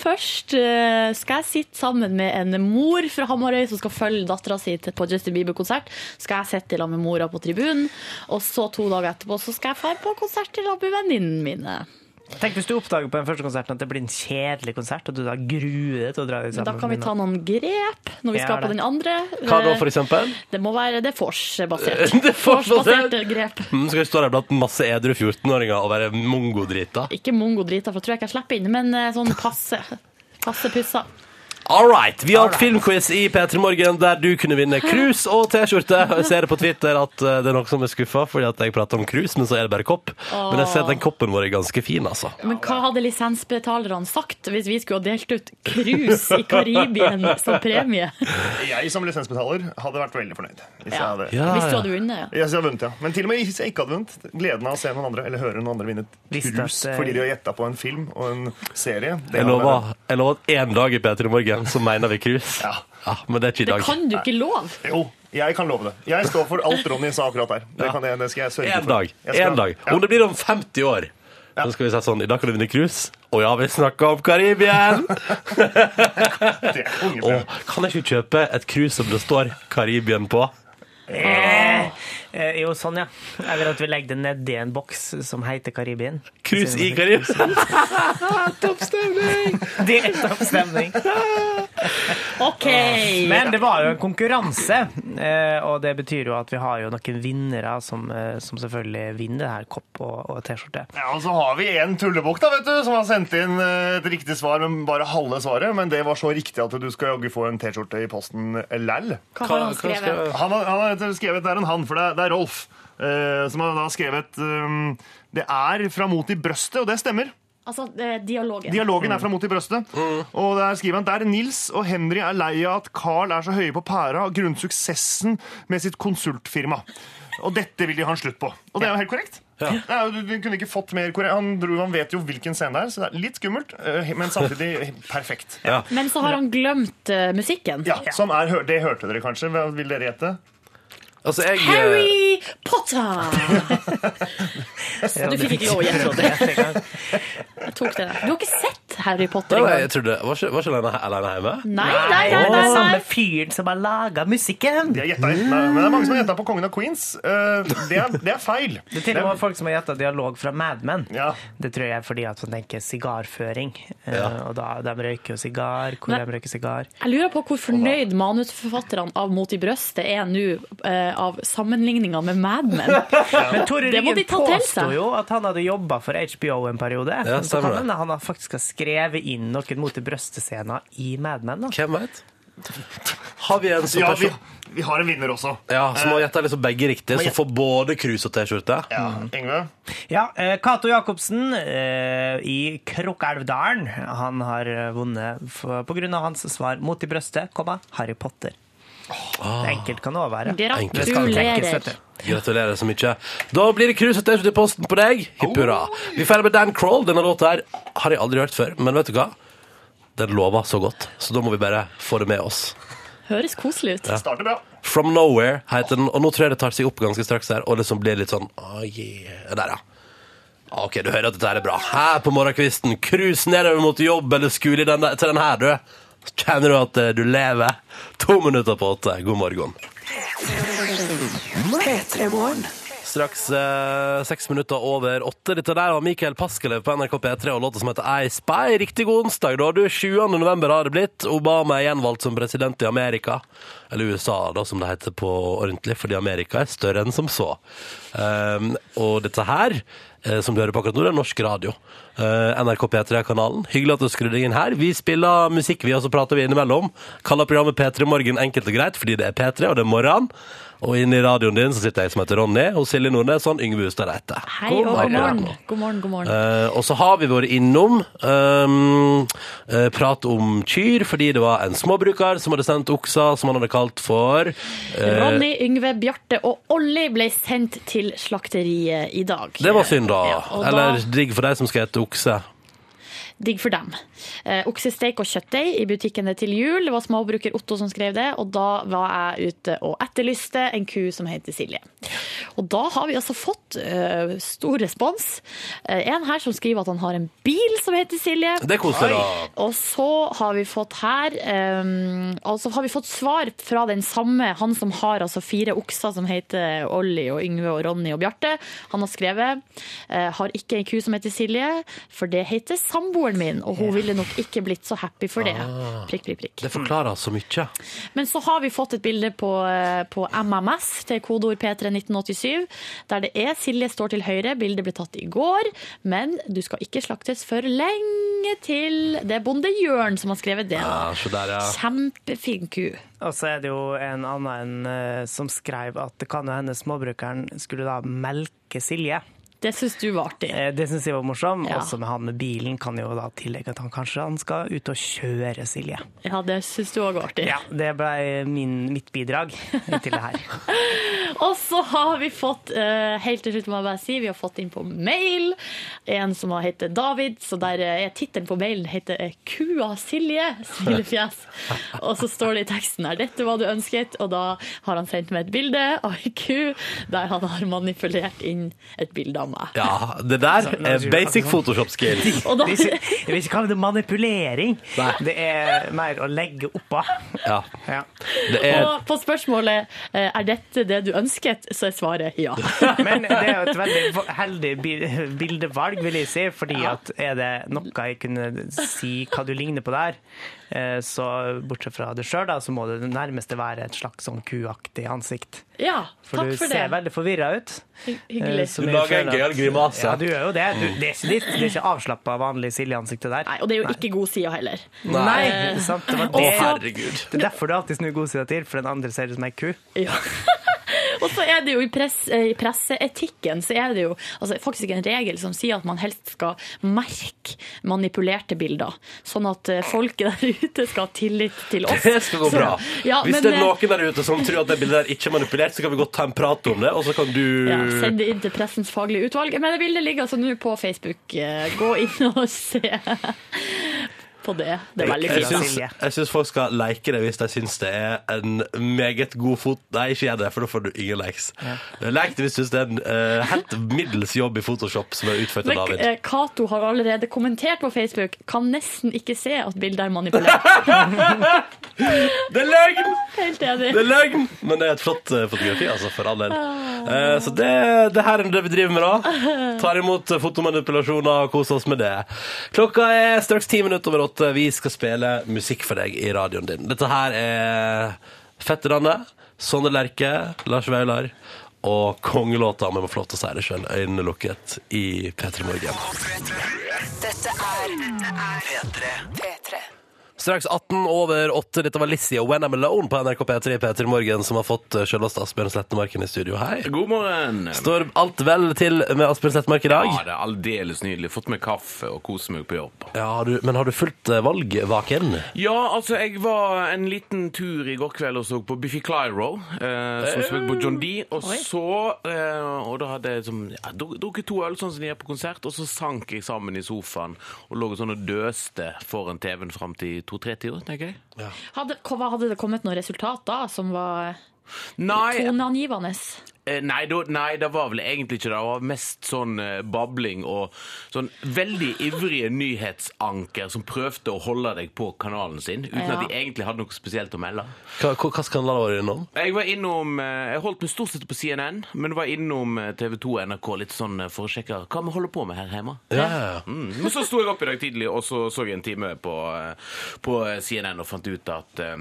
S3: Først eh, skal jeg sitte sammen med en mor fra Hamarøy som skal følge dattera si til- på Justin Bieber-konsert. Skal jeg sitte sammen med mora på tribunen. Og så to dager etterpå så skal jeg dra på konsert til sammen med venninnene mine.
S2: Tenk hvis du oppdager på den første konserten at det blir en kjedelig konsert, og du da gruer deg til å dra deg sammen.
S3: Da kan vi
S2: med
S3: ta
S2: noen.
S3: noen grep når vi
S2: Ja,
S3: skal
S2: det.
S3: på den andre.
S1: Hva da,
S3: Eh,
S1: for eksempel?
S3: Det må være det er
S1: Det
S3: vorsbasert.
S1: er vorsbasert.
S3: Vorsbaserte grep.
S1: Mm, skal vi stå der blant masse edru 14-åringer og være mongodrita?
S3: Ikke mongo drita, for jeg tror jeg ikke jeg slipper inn, men eh, sånn passe. Passe pussa.
S1: All right, Vi har hatt filmquiz i P3 Morgen der du kunne vinne krus og T-skjorte. Og Jeg ser det på Twitter at eh, det er noen som er skuffa fordi at jeg prater om krus, men så er det bare kopp. Men jeg ser at den koppen vår er ganske fin, altså.
S3: Men hva hadde lisensbetalerne sagt hvis vi skulle ha delt ut krus i Karibien som premie?
S8: Jeg som lisensbetaler hadde vært veldig fornøyd. Hvis jeg
S3: Ja.
S8: hadde...
S1: Ja,
S3: Hvis du
S1: ja.
S3: hadde vunnet, ja.
S8: Jeg hadde vunnet, ja. Men til og med hvis jeg ikke hadde vunnet, gleden av å se noen andre eller høre noen andre vinne et
S2: Visste
S8: krus
S2: at, eh,
S8: fordi de har gjetta på en film og en serie det
S1: Jeg
S8: hadde vært-
S1: lover, jeg lover at én dag i P3 Morgen så mener vi krus.
S8: Ja.
S1: Ja, men det er ikke i
S3: Det
S1: dag.
S3: kan du ikke lov.
S8: Jo, jeg kan love det. Jeg står for alt Ronny sa akkurat der. Det, kan jeg, det skal jeg sørge
S1: En
S8: for.
S1: dag.
S8: Jeg skal-
S1: En dag.
S8: Ja.
S1: Om det blir om 50 år, så skal vi si sånn I dag kan du vinne krus. Å ja, vi snakker om Karibien!
S8: Det er unge
S1: Å,
S8: prøver.
S1: kan jeg ikke kjøpe et krus som det står Karibien på?
S2: Eh, jo, sånn, ja. Eller at vi legger det nedi en boks som heter Karibien.
S1: Krus i Karibien!
S2: Det er topp stemning.
S3: OK!
S2: Men det var jo en konkurranse, eh, og det betyr jo at vi har jo noen vinnere som, eh, som selvfølgelig vinner her kopp og, og T-skjorte.
S8: Ja, og så har vi en tullebukk da, vet du, som har sendt inn eh, et riktig svar, men bare halve svaret. Men det var så riktig at du skal jaggu få en T-skjorte i posten læll.
S3: Hva har han skrevet?
S8: Han har, han har skrevet, det er en han, for det er, det er Rolf, eh, som har da skrevet eh, Det er fra mot i brøstet, og det stemmer.
S3: Altså, eh, dialogen.
S8: Dialogen er fra mot i brøstet.
S1: Mm.
S8: Og der skriver han der Nils og Henry er lei av at Carl er så høye på pæra grunnet suksessen med sitt konsultfirma.
S9: Og dette vil de ha en slutt på. Og det er jo helt korrekt.
S1: Ja.
S9: Det er jo, du, du kunne ikke fått mer korrekt. Han, dro, han vet jo hvilken scene det er, så det er litt skummelt, eh, men samtidig perfekt.
S1: Ja.
S3: Men så har han glemt eh, musikken.
S9: Ja, som er, hø- Det hørte dere kanskje? Hva vil dere gjette?
S1: Altså, jeg eh,
S3: Harry Potter! Du fikk ikke lov å gjette det. Jeg tok det. der. Du har ikke sett Harry Potter
S1: Nei, nei, jeg
S3: engang?
S1: trodde Var ikke, var ikke alene, alene hjemme?
S3: Nei, nei, nei.
S2: Det
S3: nei,
S2: er samme
S3: nei.
S2: fyren som har laga musikken.
S9: De har gjettet, helt- nei, men det er mange som har gjetta på Kongen av Queens. Eh, det, er, det er feil.
S2: Det er til og med folk som har gjetta dialog fra Mad Men.
S9: Ja.
S2: Det tror jeg er fordi at man tenker sigarføring. Eh,
S1: Ja.
S2: Og da, de røyker jo sigar. Hvor
S3: Men-
S2: de røyker sigar.
S3: Jeg lurer på hvor fornøyd manusforfatterne av Mot i brøstet er nå eh, av sammenligninga med Mad Men.
S2: Men Tore
S3: Det må
S2: Ryggen
S3: de ta til
S2: påsto
S3: seg.
S2: jo at han hadde jobba for HBO en periode.
S1: Ja,
S2: så
S1: stemmer
S2: kan
S1: det.
S2: hende han har faktisk har skrevet inn noen mot i brøstescener i Mad Men. Da.
S1: Hvem vet? Har vi en som
S9: Ja, vi,
S1: person
S9: vi har en vinner også.
S1: Ja, som har gjetta liksom begge riktig, som får både krus og T-skjorte?
S9: Ja, Yngve?
S2: Ja, eh, Cato Jacobsen eh, i Krokkelvdalen. Han har eh, vunnet f- på grunn av hans svar mot i brøstet, komma, Harry Potter.
S1: Ah.
S2: Det enkelt kan det òg være. Det skal tenkes, vet
S3: Gratulerer.
S2: du.
S1: Gratulerer så mye. Da blir det krus og T-skjorte i posten på deg. Hipp hurra. Vi feirer med Dan Crawl. Denne låta her har jeg aldri hørt før, men vet du hva? Den lover så godt, så da må vi bare få det med oss.
S3: Høres koselig ut.
S9: Starter bra.
S1: From Nowhere heter den, og nå tror jeg det tar seg opp ganske straks her, og liksom blir litt sånn oh, yeah. Der, ja. Ah, OK, du hører at dette her er bra. Her på morgenkvisten, cruise nedover mot jobb eller skole i den der- til den her, du. Så Kjenner du at eh, du lever? To minutter på åtte. God morgen. Straks eh, seks minutter over åtte. Dette der var Mikael Paskelev på NRK P3 og låta som heter I Spy. Riktig god onsdag, da. Du, 7. november har det blitt. Obama er gjenvalgt som president i Amerika. Eller USA, da, som det heter på ordentlig, fordi Amerika er større enn som så. Um, og dette her, eh, som du hører på akkurat nå, det er norsk radio. Eh, NRK P3-kanalen. Hyggelig at du skrudde deg inn her. Vi spiller musikk, vi, og så prater vi innimellom. Kaller programmet P3 Morgen enkelt og greit, fordi det er P3, og det er morgen. Og inne i radioen din så sitter jeg som heter Ronny, og Silje Nordnes og han Yngve Hustad Reite.
S3: Hei og god morgen. God morgen, god morgen.
S1: Eh, og så har vi vært innom ehm, eh, prat om kyr, fordi det var en småbruker som hadde sendt okser som han hadde kalt for eh,
S3: Ronny, Yngve, Bjarte og Olli ble sendt til slakteriet i dag.
S1: Det var synd, da.
S3: Ja, og
S1: Eller
S3: da
S1: digg for de som skal ete okse.
S3: Digg for dem. Eh, oksesteik og kjøttdeig i butikkene til jul. Det var småbruker Otto som skrev det, og da var jeg ute og etterlyste en ku som heter Silje. Og da har vi altså fått eh, stor respons. Eh, en her som skriver at han har en bil som heter Silje.
S1: Det er koselig, da.
S3: Og så har vi fått her um, Altså har vi fått svar fra den samme Han som har altså fire okser som heter Olli og Yngve og Ronny og Bjarte Han har skrevet eh, Har ikke en ku som heter Silje For det heter samboeren min Og hun ville nok ikke blitt så happy for det Prikk, prikk, prikk
S1: Det forklarer så mye.
S3: men så har vi fått et bilde på, eh, på MMS til kodeord P31987, der det er Silje står til høyre. Bildet ble tatt i går, men du skal ikke slaktes for lenge til. Det er bonde Jørn som har skrevet det.
S1: Ja,
S3: da.
S1: så der, ja.
S3: Kjempefin ku.
S2: Og så er det jo en annen eh, som skrev at det kan jo hende småbrukeren skulle da melke Silje.
S3: Det syns du var artig.
S2: Eh, Det syns jeg var morsom.
S3: Ja.
S2: Også med han med bilen kan jo da tillegge at han kanskje han skal ut og kjøre Silje.
S3: Ja, det syns du òg var artig.
S2: Ja, Det ble min, mitt bidrag til det her.
S3: Og så har vi fått eh, helt til slutt må jeg bare si, vi har fått inn på mail en som har heter David, så der eh, er tittelen på mailen heter eh, Kua Silje, smilefjes. Og så står det i teksten her, dette var du ønsket, og da har han sendt meg et bilde av en ku der han har manipulert inn et bilde av meg.
S1: Ja, det der er basic Photoshop skills.
S3: Sånn, Og da,
S2: Det er ikke- Jeg vil ikke kalle det manipulering.
S1: Nei.
S2: Det er mer å legge oppå.
S1: Ja,
S2: Ja.
S1: det er
S3: og på spørsmålet eh, er dette det du ønsket, så er svaret ja.
S2: Men det er jo et veldig heldig bi- bildevalg, vil jeg si. Fordi at er det noe jeg kunne si hva du ligner på der, eh, så bortsett fra det sjøl, så må det det nærmeste være et slags sånn kuaktig ansikt.
S3: Ja,
S2: For
S3: takk
S2: du
S3: for
S2: ser
S3: det.
S2: veldig forvirra ut.
S3: Hy-
S2: eh,
S3: Hyggelig.
S2: som
S1: Du
S2: jeg
S1: lager en
S2: føler at-
S1: gøyal grimase.
S2: Ja, du gjør jo det. Du, det er ikke, litt- det er ikke avslappa, vanlig Silje-ansiktet der.
S3: Nei, og det er jo ikke god sida heller.
S2: Nei,
S3: Eh,
S2: sant? Det var
S1: Å,
S2: det.
S1: herregud.
S2: Det er derfor du alltid snur godsida til, for den andre ser ut som ei ku.
S3: Ja. Og så er det jo i, press, eh, i presseetikken så er det jo altså, faktisk en regel som sier at man helst skal merke manipulerte bilder, sånn at eh, folket der ute skal ha tillit til oss.
S1: Det skal gå
S3: Så-
S1: bra.
S3: Ja,
S1: Hvis
S3: men,
S1: det er
S3: eh,
S1: noen der ute som tror at det bildet der ikke er manipulert, så kan vi godt ta en prat om det, og så kan du
S3: Ja, send det inn til Pressens faglige utvalg. Men det bildet ligger altså nå på Facebook. Eh, Gå inn og se på det. Det er veldig
S1: Jeg
S3: fint.
S1: syns,
S3: da.
S1: jeg syns folk skal like det hvis de syns det er en meget god fot... Nei, ikke gjør det, for da får du ingen likes. Like det hvis du syns det er en eh, helt middels jobb i Photoshop som er utført av
S3: Men
S1: David.
S3: eh, Cato har allerede kommentert på Facebook. Kan nesten ikke se at bildet er manipulert.
S1: Det er løgn!
S3: Helt
S1: Det er
S3: enig.
S1: løgn! Men det er et flott eh, fotografi, altså, for all del. Eh, så det, det her er det vi driver med, da. Tar imot eh, fotomanipulasjoner og koser oss med det. Klokka er straks ti minutter over åtte. Vi skal spille musikk for deg i radioen din. Dette her er Fetterne, Sondre Lerche, Lars Vaular og kongelåta, om jeg må få lov til å si det sjøl, øynene lukket, i P3 Morgen.
S5: Dette er P3. P3.
S1: Straks 18 over 8. Dette var Lizzie og When I'm Alone på NRK P3 P3 Morgen, som har fått eh, sjølveste Asbjørn Slettemarken i studio. Hei.
S10: God morgen.
S1: Står alt vel til med Asbjørn Slettemark i dag?
S10: Ja, det er aldeles nydelig. Fått meg kaffe og koser meg på jobb.
S1: Ja, har du, men har du fulgt eh, valgvaken?
S10: Ja, altså, jeg var en liten tur i går kveld og så på Biffy Clyro, eh, som spilte på John D. Og så eh, Og da hadde jeg som, ja, druk- drukket to øl, sånn som de gjør på konsert, og så sank jeg sammen i sofaen og lå sånn og døste foran TV-en fram til to-tre-tida, tenker jeg.
S3: Hadde, hva hadde det kommet noen resultat da som var
S10: Nei,
S3: toneangivende?
S10: Eh, Nei, da, nei, det var vel egentlig ikke det. Det var mest sånn eh, babling og sånn veldig ivrige nyhetsanker som prøvde å holde deg på kanalen sin, uten
S3: Ja.
S10: at de egentlig hadde noe spesielt å melde.
S1: Hva, hva, hva skal han la det være innom?
S10: Jeg var innom, eh, jeg holdt meg stort sett på CNN, men var innom eh, TV 2 og NRK litt sånn eh, for å sjekke hva vi holder på med her hjemme.
S1: Ja, ja, ja.
S10: Mm. Men så sto jeg opp i dag tidlig og så, så jeg en time på, eh, på CNN og fant ut at eh,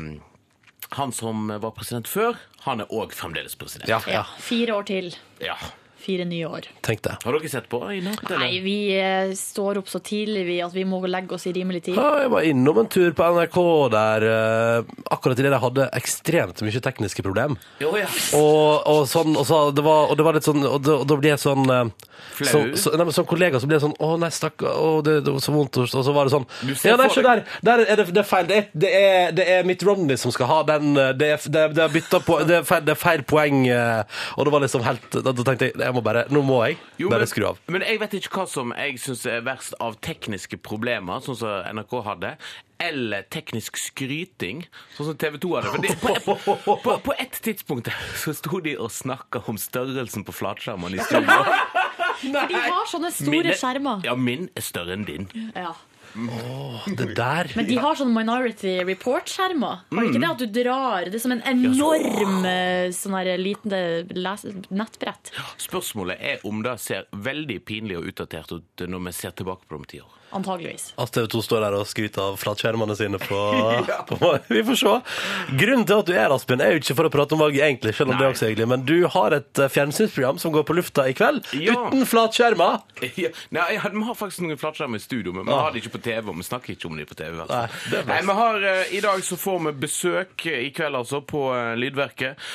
S10: han som var president før, han er òg fremdeles president.
S1: Ja,
S3: Ja, fire år til.
S10: Ja.
S3: Fire nye år.
S1: Tenk det.
S10: Har dere sett på i natt? eller?
S3: Nei, vi eh, står opp så tidlig vi at vi må legge oss i rimelig tid.
S1: Ja, jeg var innom en tur på NRK der eh, akkurat idet de hadde ekstremt mye tekniske problem.
S10: Jo, ja.
S1: Og, og sånn, og, så, det var, og det var litt sånn Og da, og da ble jeg sånn eh,
S10: Flau?
S1: som- så, nei, men Som kollega så ble jeg sånn Å nei, stakkar, å, det, det var så vondt. Og så- og så var det sånn
S10: Du ser
S1: Ja, nei,
S10: for
S1: se der! Der er det, det er feil. Det er, det, er, det er Mitt Romney som skal ha den eh, Det er, det er, det er bytta på det er, feil, det er feil poeng. eh, Og det var liksom helt Da, da tenkte jeg jeg må bare Nå må jeg
S10: Jo,
S1: bare
S10: men-
S1: skru av.
S10: Men jeg vet ikke hva som jeg syns er verst av tekniske problemer, sånn som NRK hadde. Eller teknisk skryting, sånn som TV 2 hadde. For de, på, på, på, på et tidspunkt så sto de og snakka om størrelsen på flatskjermene i studio.
S3: For de har sånne store
S10: Mine-
S3: skjermer.
S10: Ja, min er større enn din.
S3: Ja.
S1: Det der
S3: Men de har sånn Minority Report-skjermer. Har
S10: Mm.
S3: ikke det at du drar Det er som en enorm eh, sånn her liten eh, les nettbrett.
S10: Spørsmålet er om det ser veldig pinlig og utdatert ut når vi ser tilbake på det om ti år.
S3: Antageligvis.
S1: At TV 2 står der og skryter av flatskjermene sine på, på Vi får se. Grunnen til at du er Aspen, er jo ikke for å prate om valget, egentlig, selv om
S10: Nei.
S1: det også er hyggelig, men du har et eh, fjernsynsprogram som går på lufta i kveld,
S10: Ja.
S1: uten flatskjermer.
S10: Ja, nei, jeg hadde- vi har faktisk noen flatskjermer i studio, men vi har det ikke på TV. Og vi snakker ikke om de på TV. i hvert fall.
S1: Ah. Nei, det er bra.
S10: Nei, vi har, eh, I dag så får vi besøk eh, i kveld altså på eh, Lydverket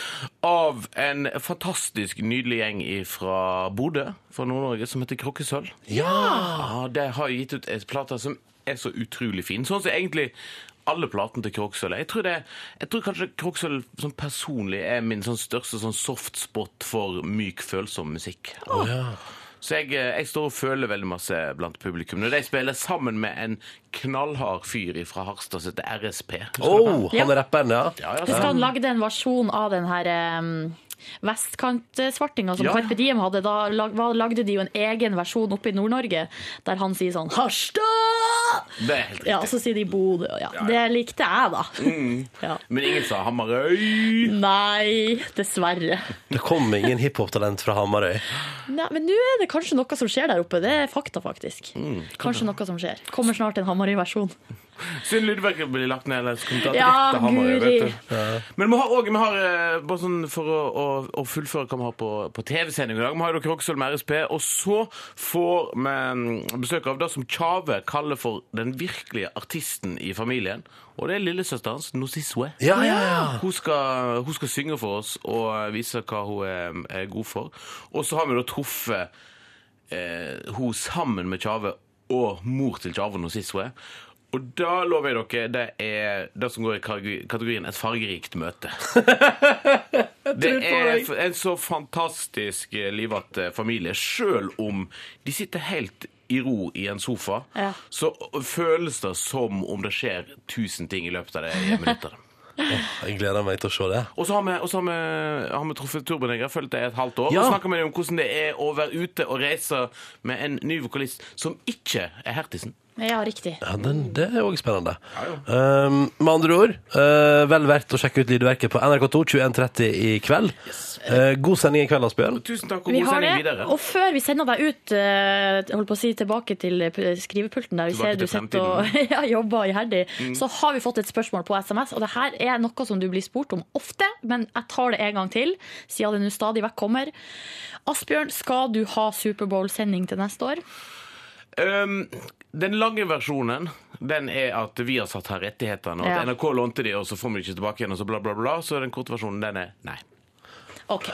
S10: av en fantastisk nydelig gjeng fra Bodø, fra Nord-Norge, som heter Krokkesølv. Ja, De har gitt ut en plate som er så utrolig fin. Sånn som egentlig alle platene til Kroksøl. Jeg tror, det, jeg tror kanskje Kroksøl sånn personlig er min sånn største sånn soft spot for myk, følsom musikk. Så jeg, eh, jeg står og føler veldig masse blant publikum. Når de spiller sammen med en knallhard fyr fra Harstad som heter RSP.
S1: Å, oh, han er rapperen, ja.
S10: Ja, ja,
S3: Husker
S10: så-
S3: han lagde en versjon av den her em, Vestkantsvartinga som
S10: Ja.
S3: Carpe Diem hadde. Da lag- hva- lagde de jo en egen versjon oppe i Nord-Norge der han sier sånn Harstad!
S10: det er helt riktig.
S3: Ja, og så sier de Bodø. Ja. Det likte jeg, da. Ja.
S10: Mm. Men ingen sa Hamarøy.
S3: Nei, dessverre.
S1: Det kom ingen hiphop-talent fra Hamarøy.
S3: Nei, men nå er det
S10: Mm.
S3: kanskje noe som skjer der oppe. Det er fakta, faktisk. kanskje noe som skjer. Kommer snart en Hamarøy-versjon.
S10: Synd Lydverket blir lagt ned. Ellers kunne tatt
S3: Ja,
S10: rett til Hamarøy, vet
S3: guri.
S10: du. Men vi har òg Bare sånn for å, å, å fullføre hva vi har på, på TV-sending i dag. Vi har jo dere også med RSP. Og så får vi mm, besøk av det som Tjave kaller for den virkelige artisten i familien. Og det er lillesøsteren hans, Nosiswe.
S1: Ja, ja, ja.
S10: Hun, skal, hun skal synge for oss og eh, vise hva hun er, er god for. Og så har vi da truffet eh, hun sammen med Tjave og mor til Tjave nå sist hun er. Og da lover jeg dere, det er det som går i karg- kategorien et fargerikt møte. Det er f- en så fantastisk eh, livat eh, familie, sjøl om de sitter helt i ro i en sofa,
S3: Ja.
S10: så føles det som om det skjer tusen ting i løpet av det ene minuttet.
S1: Jeg gleder meg til å se det.
S10: Og så har vi, og så har vi, har vi truffet Turbonegger, fulgt det i et halvt år.
S1: Ja.
S10: Og snakka med dem om hvordan det er å være ute og reise med en ny vokalist som ikke er Hertisen.
S3: Ja, riktig.
S1: Ja, den, det er òg spennende. Um, med andre ord, eh, vel verdt å sjekke ut lydverket på NRK2 21.30 i kveld. Eh, god sending i kveld, Asbjørn.
S10: Tusen takk,
S3: Vi har det. Og før vi sender deg ut, eh, holdt på å si tilbake til eh, skrivepulten der vi
S10: Tilbake
S3: ser du
S10: til Mm.
S3: sitter og ja, jobber iherdig, så har vi fått et spørsmål på SMS. Og det her er noe som du blir spurt om ofte, men jeg tar det en gang til, siden det nå stadig vekk kommer. Asbjørn, skal du ha Superbowl-sending til neste år?
S10: Um, den lange versjonen den er at vi har satt her rettighetene, og at
S3: Ja.
S10: NRK lånte de, og så får vi ikke tilbake igjen, og så bla, bla, bla. Så den korte versjonen, den er nei.
S3: OK.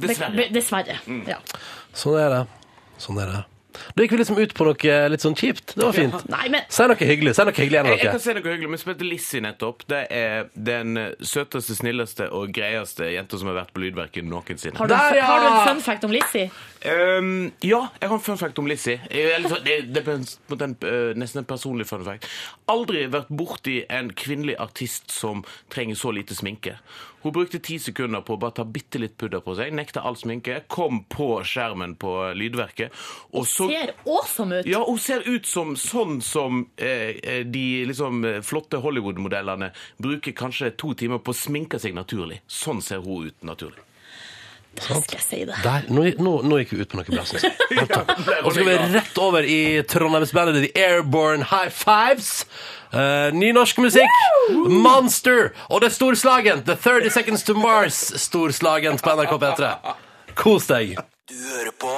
S10: Dessverre. Mm.
S3: Be- be- Dessverre. Ja.
S1: Sånn er det. Sånn er det. Da gikk vi liksom ut på noe litt sånn kjipt. Det var fint.
S3: Nei, men
S1: Si noe hyggelig. Si noe hyggelig igjen,
S10: Jeg, jeg
S1: dere.
S10: kan si noe hyggelig. Vi spilte Lizzie nettopp. Det er den søteste, snilleste og greieste jenta som har vært på Lydverket noensinne.
S3: har du, en, har du en fun fact om Lizzie?
S10: Ehm, ja, jeg har en fun fact om Lizzie. Eh, eller så- Det, det er på en, på den, eh, nesten en personlig fun fact. Aldri vært borti en kvinnelig artist som trenger så lite sminke. Hun brukte ti sekunder på å bare ta bitte litt pudder på seg, nekta all sminke, kom på skjermen på eh, Lydverket, og så
S3: Ser awesome ut!
S10: ja, hun ser ut som sånn som eh, eh, de liksom eh, flotte Hollywood-modellene bruker kanskje to timer på å sminke seg naturlig. Sånn ser hun ut naturlig.
S3: Da skal jeg si det.
S1: Der, nå, nå, nå gikk vi ut på noe bra, syns jeg. Helt topp. Og så skal vi rett over i Trondheimsbandet The Airborne High Fives. Eh, ny norsk musikk. Monster. Og det er storslagent. The 30 Seconds to Mars. Storslagent på NRK P3. Kos deg.
S5: Du hører på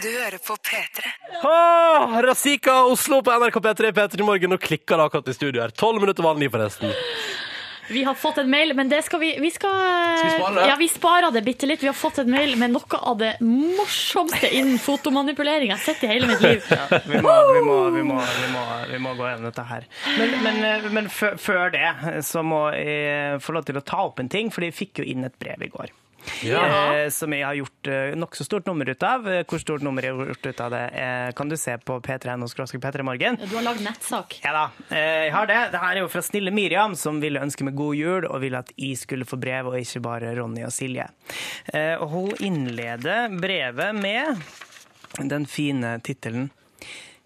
S5: Du hører på P3.
S1: Ah, Razika Oslo på NRK P3 P3 i morgen. Nå klikker det akkurat i studio her. Tolv minutter vanlig, forresten.
S3: Vi har fått en mail, men det skal vi Vi, skal,
S1: vi spare det?
S3: Ja, vi sparer det bitte litt. Vi har fått en mail med noe av det morsomste innen fotomanipulering jeg har sett i hele mitt liv.
S2: Vi må, vi må, vi må, vi må, vi må gå gjennom dette her. Men, men, eh, men fø- før det så må jeg få lov til å ta opp en ting, for jeg fikk jo inn et brev i går. Eh, Som jeg har gjort eh, nokså stort nummer ut av. Eh, Hvor stort nummer jeg har gjort ut av det, eh, kan du se på p3.no p3 morgen.
S3: Du har lagd nettsak.
S2: Ja da, eh, jeg har det. Det her er jo fra snille Miriam, som ville ønske meg god jul, og ville at jeg skulle få brev, og ikke bare Ronny og Silje. Eh, Og hun innleder brevet med den fine tittelen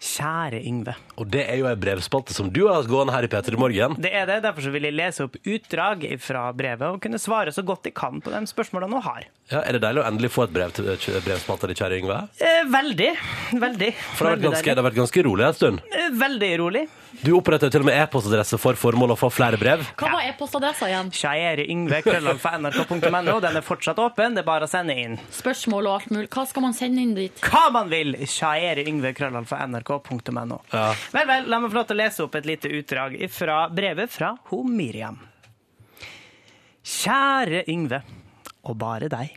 S2: Kjære Yngve.
S1: Og det er jo ei brevspalte som du har hatt gående her i P3 Morgen.
S2: Det er det, derfor så vil jeg lese opp utdrag fra brevet og kunne svare så godt jeg kan på de spørsmålene hun har.
S1: Ja, er det deilig å endelig få et brev til brevspalte, kjære Yngve?
S2: Eh, Veldig. Veldig.
S1: For det har, vært
S2: Veldig
S1: ganske,
S2: deilig.
S1: det har vært ganske rolig en stund.
S2: Eh, Veldig rolig.
S1: Du oppretter til og med e-postadresse for formål å få flere brev.
S3: Hva var e-postadressa igjen?
S2: Kjære Yngve, krøllalf på nrk.no. Den er fortsatt åpen, det er bare å sende inn.
S3: Spørsmål og alt mulig. Hva skal man sende inn dit?
S2: hva man vil. Kjære Yngve Krøllal fra nrk.no.
S1: Ja.
S2: Vel, vel, la meg få lov til å lese opp et lite utdrag fra brevet fra ho Miriam. Kjære Yngve, og bare deg.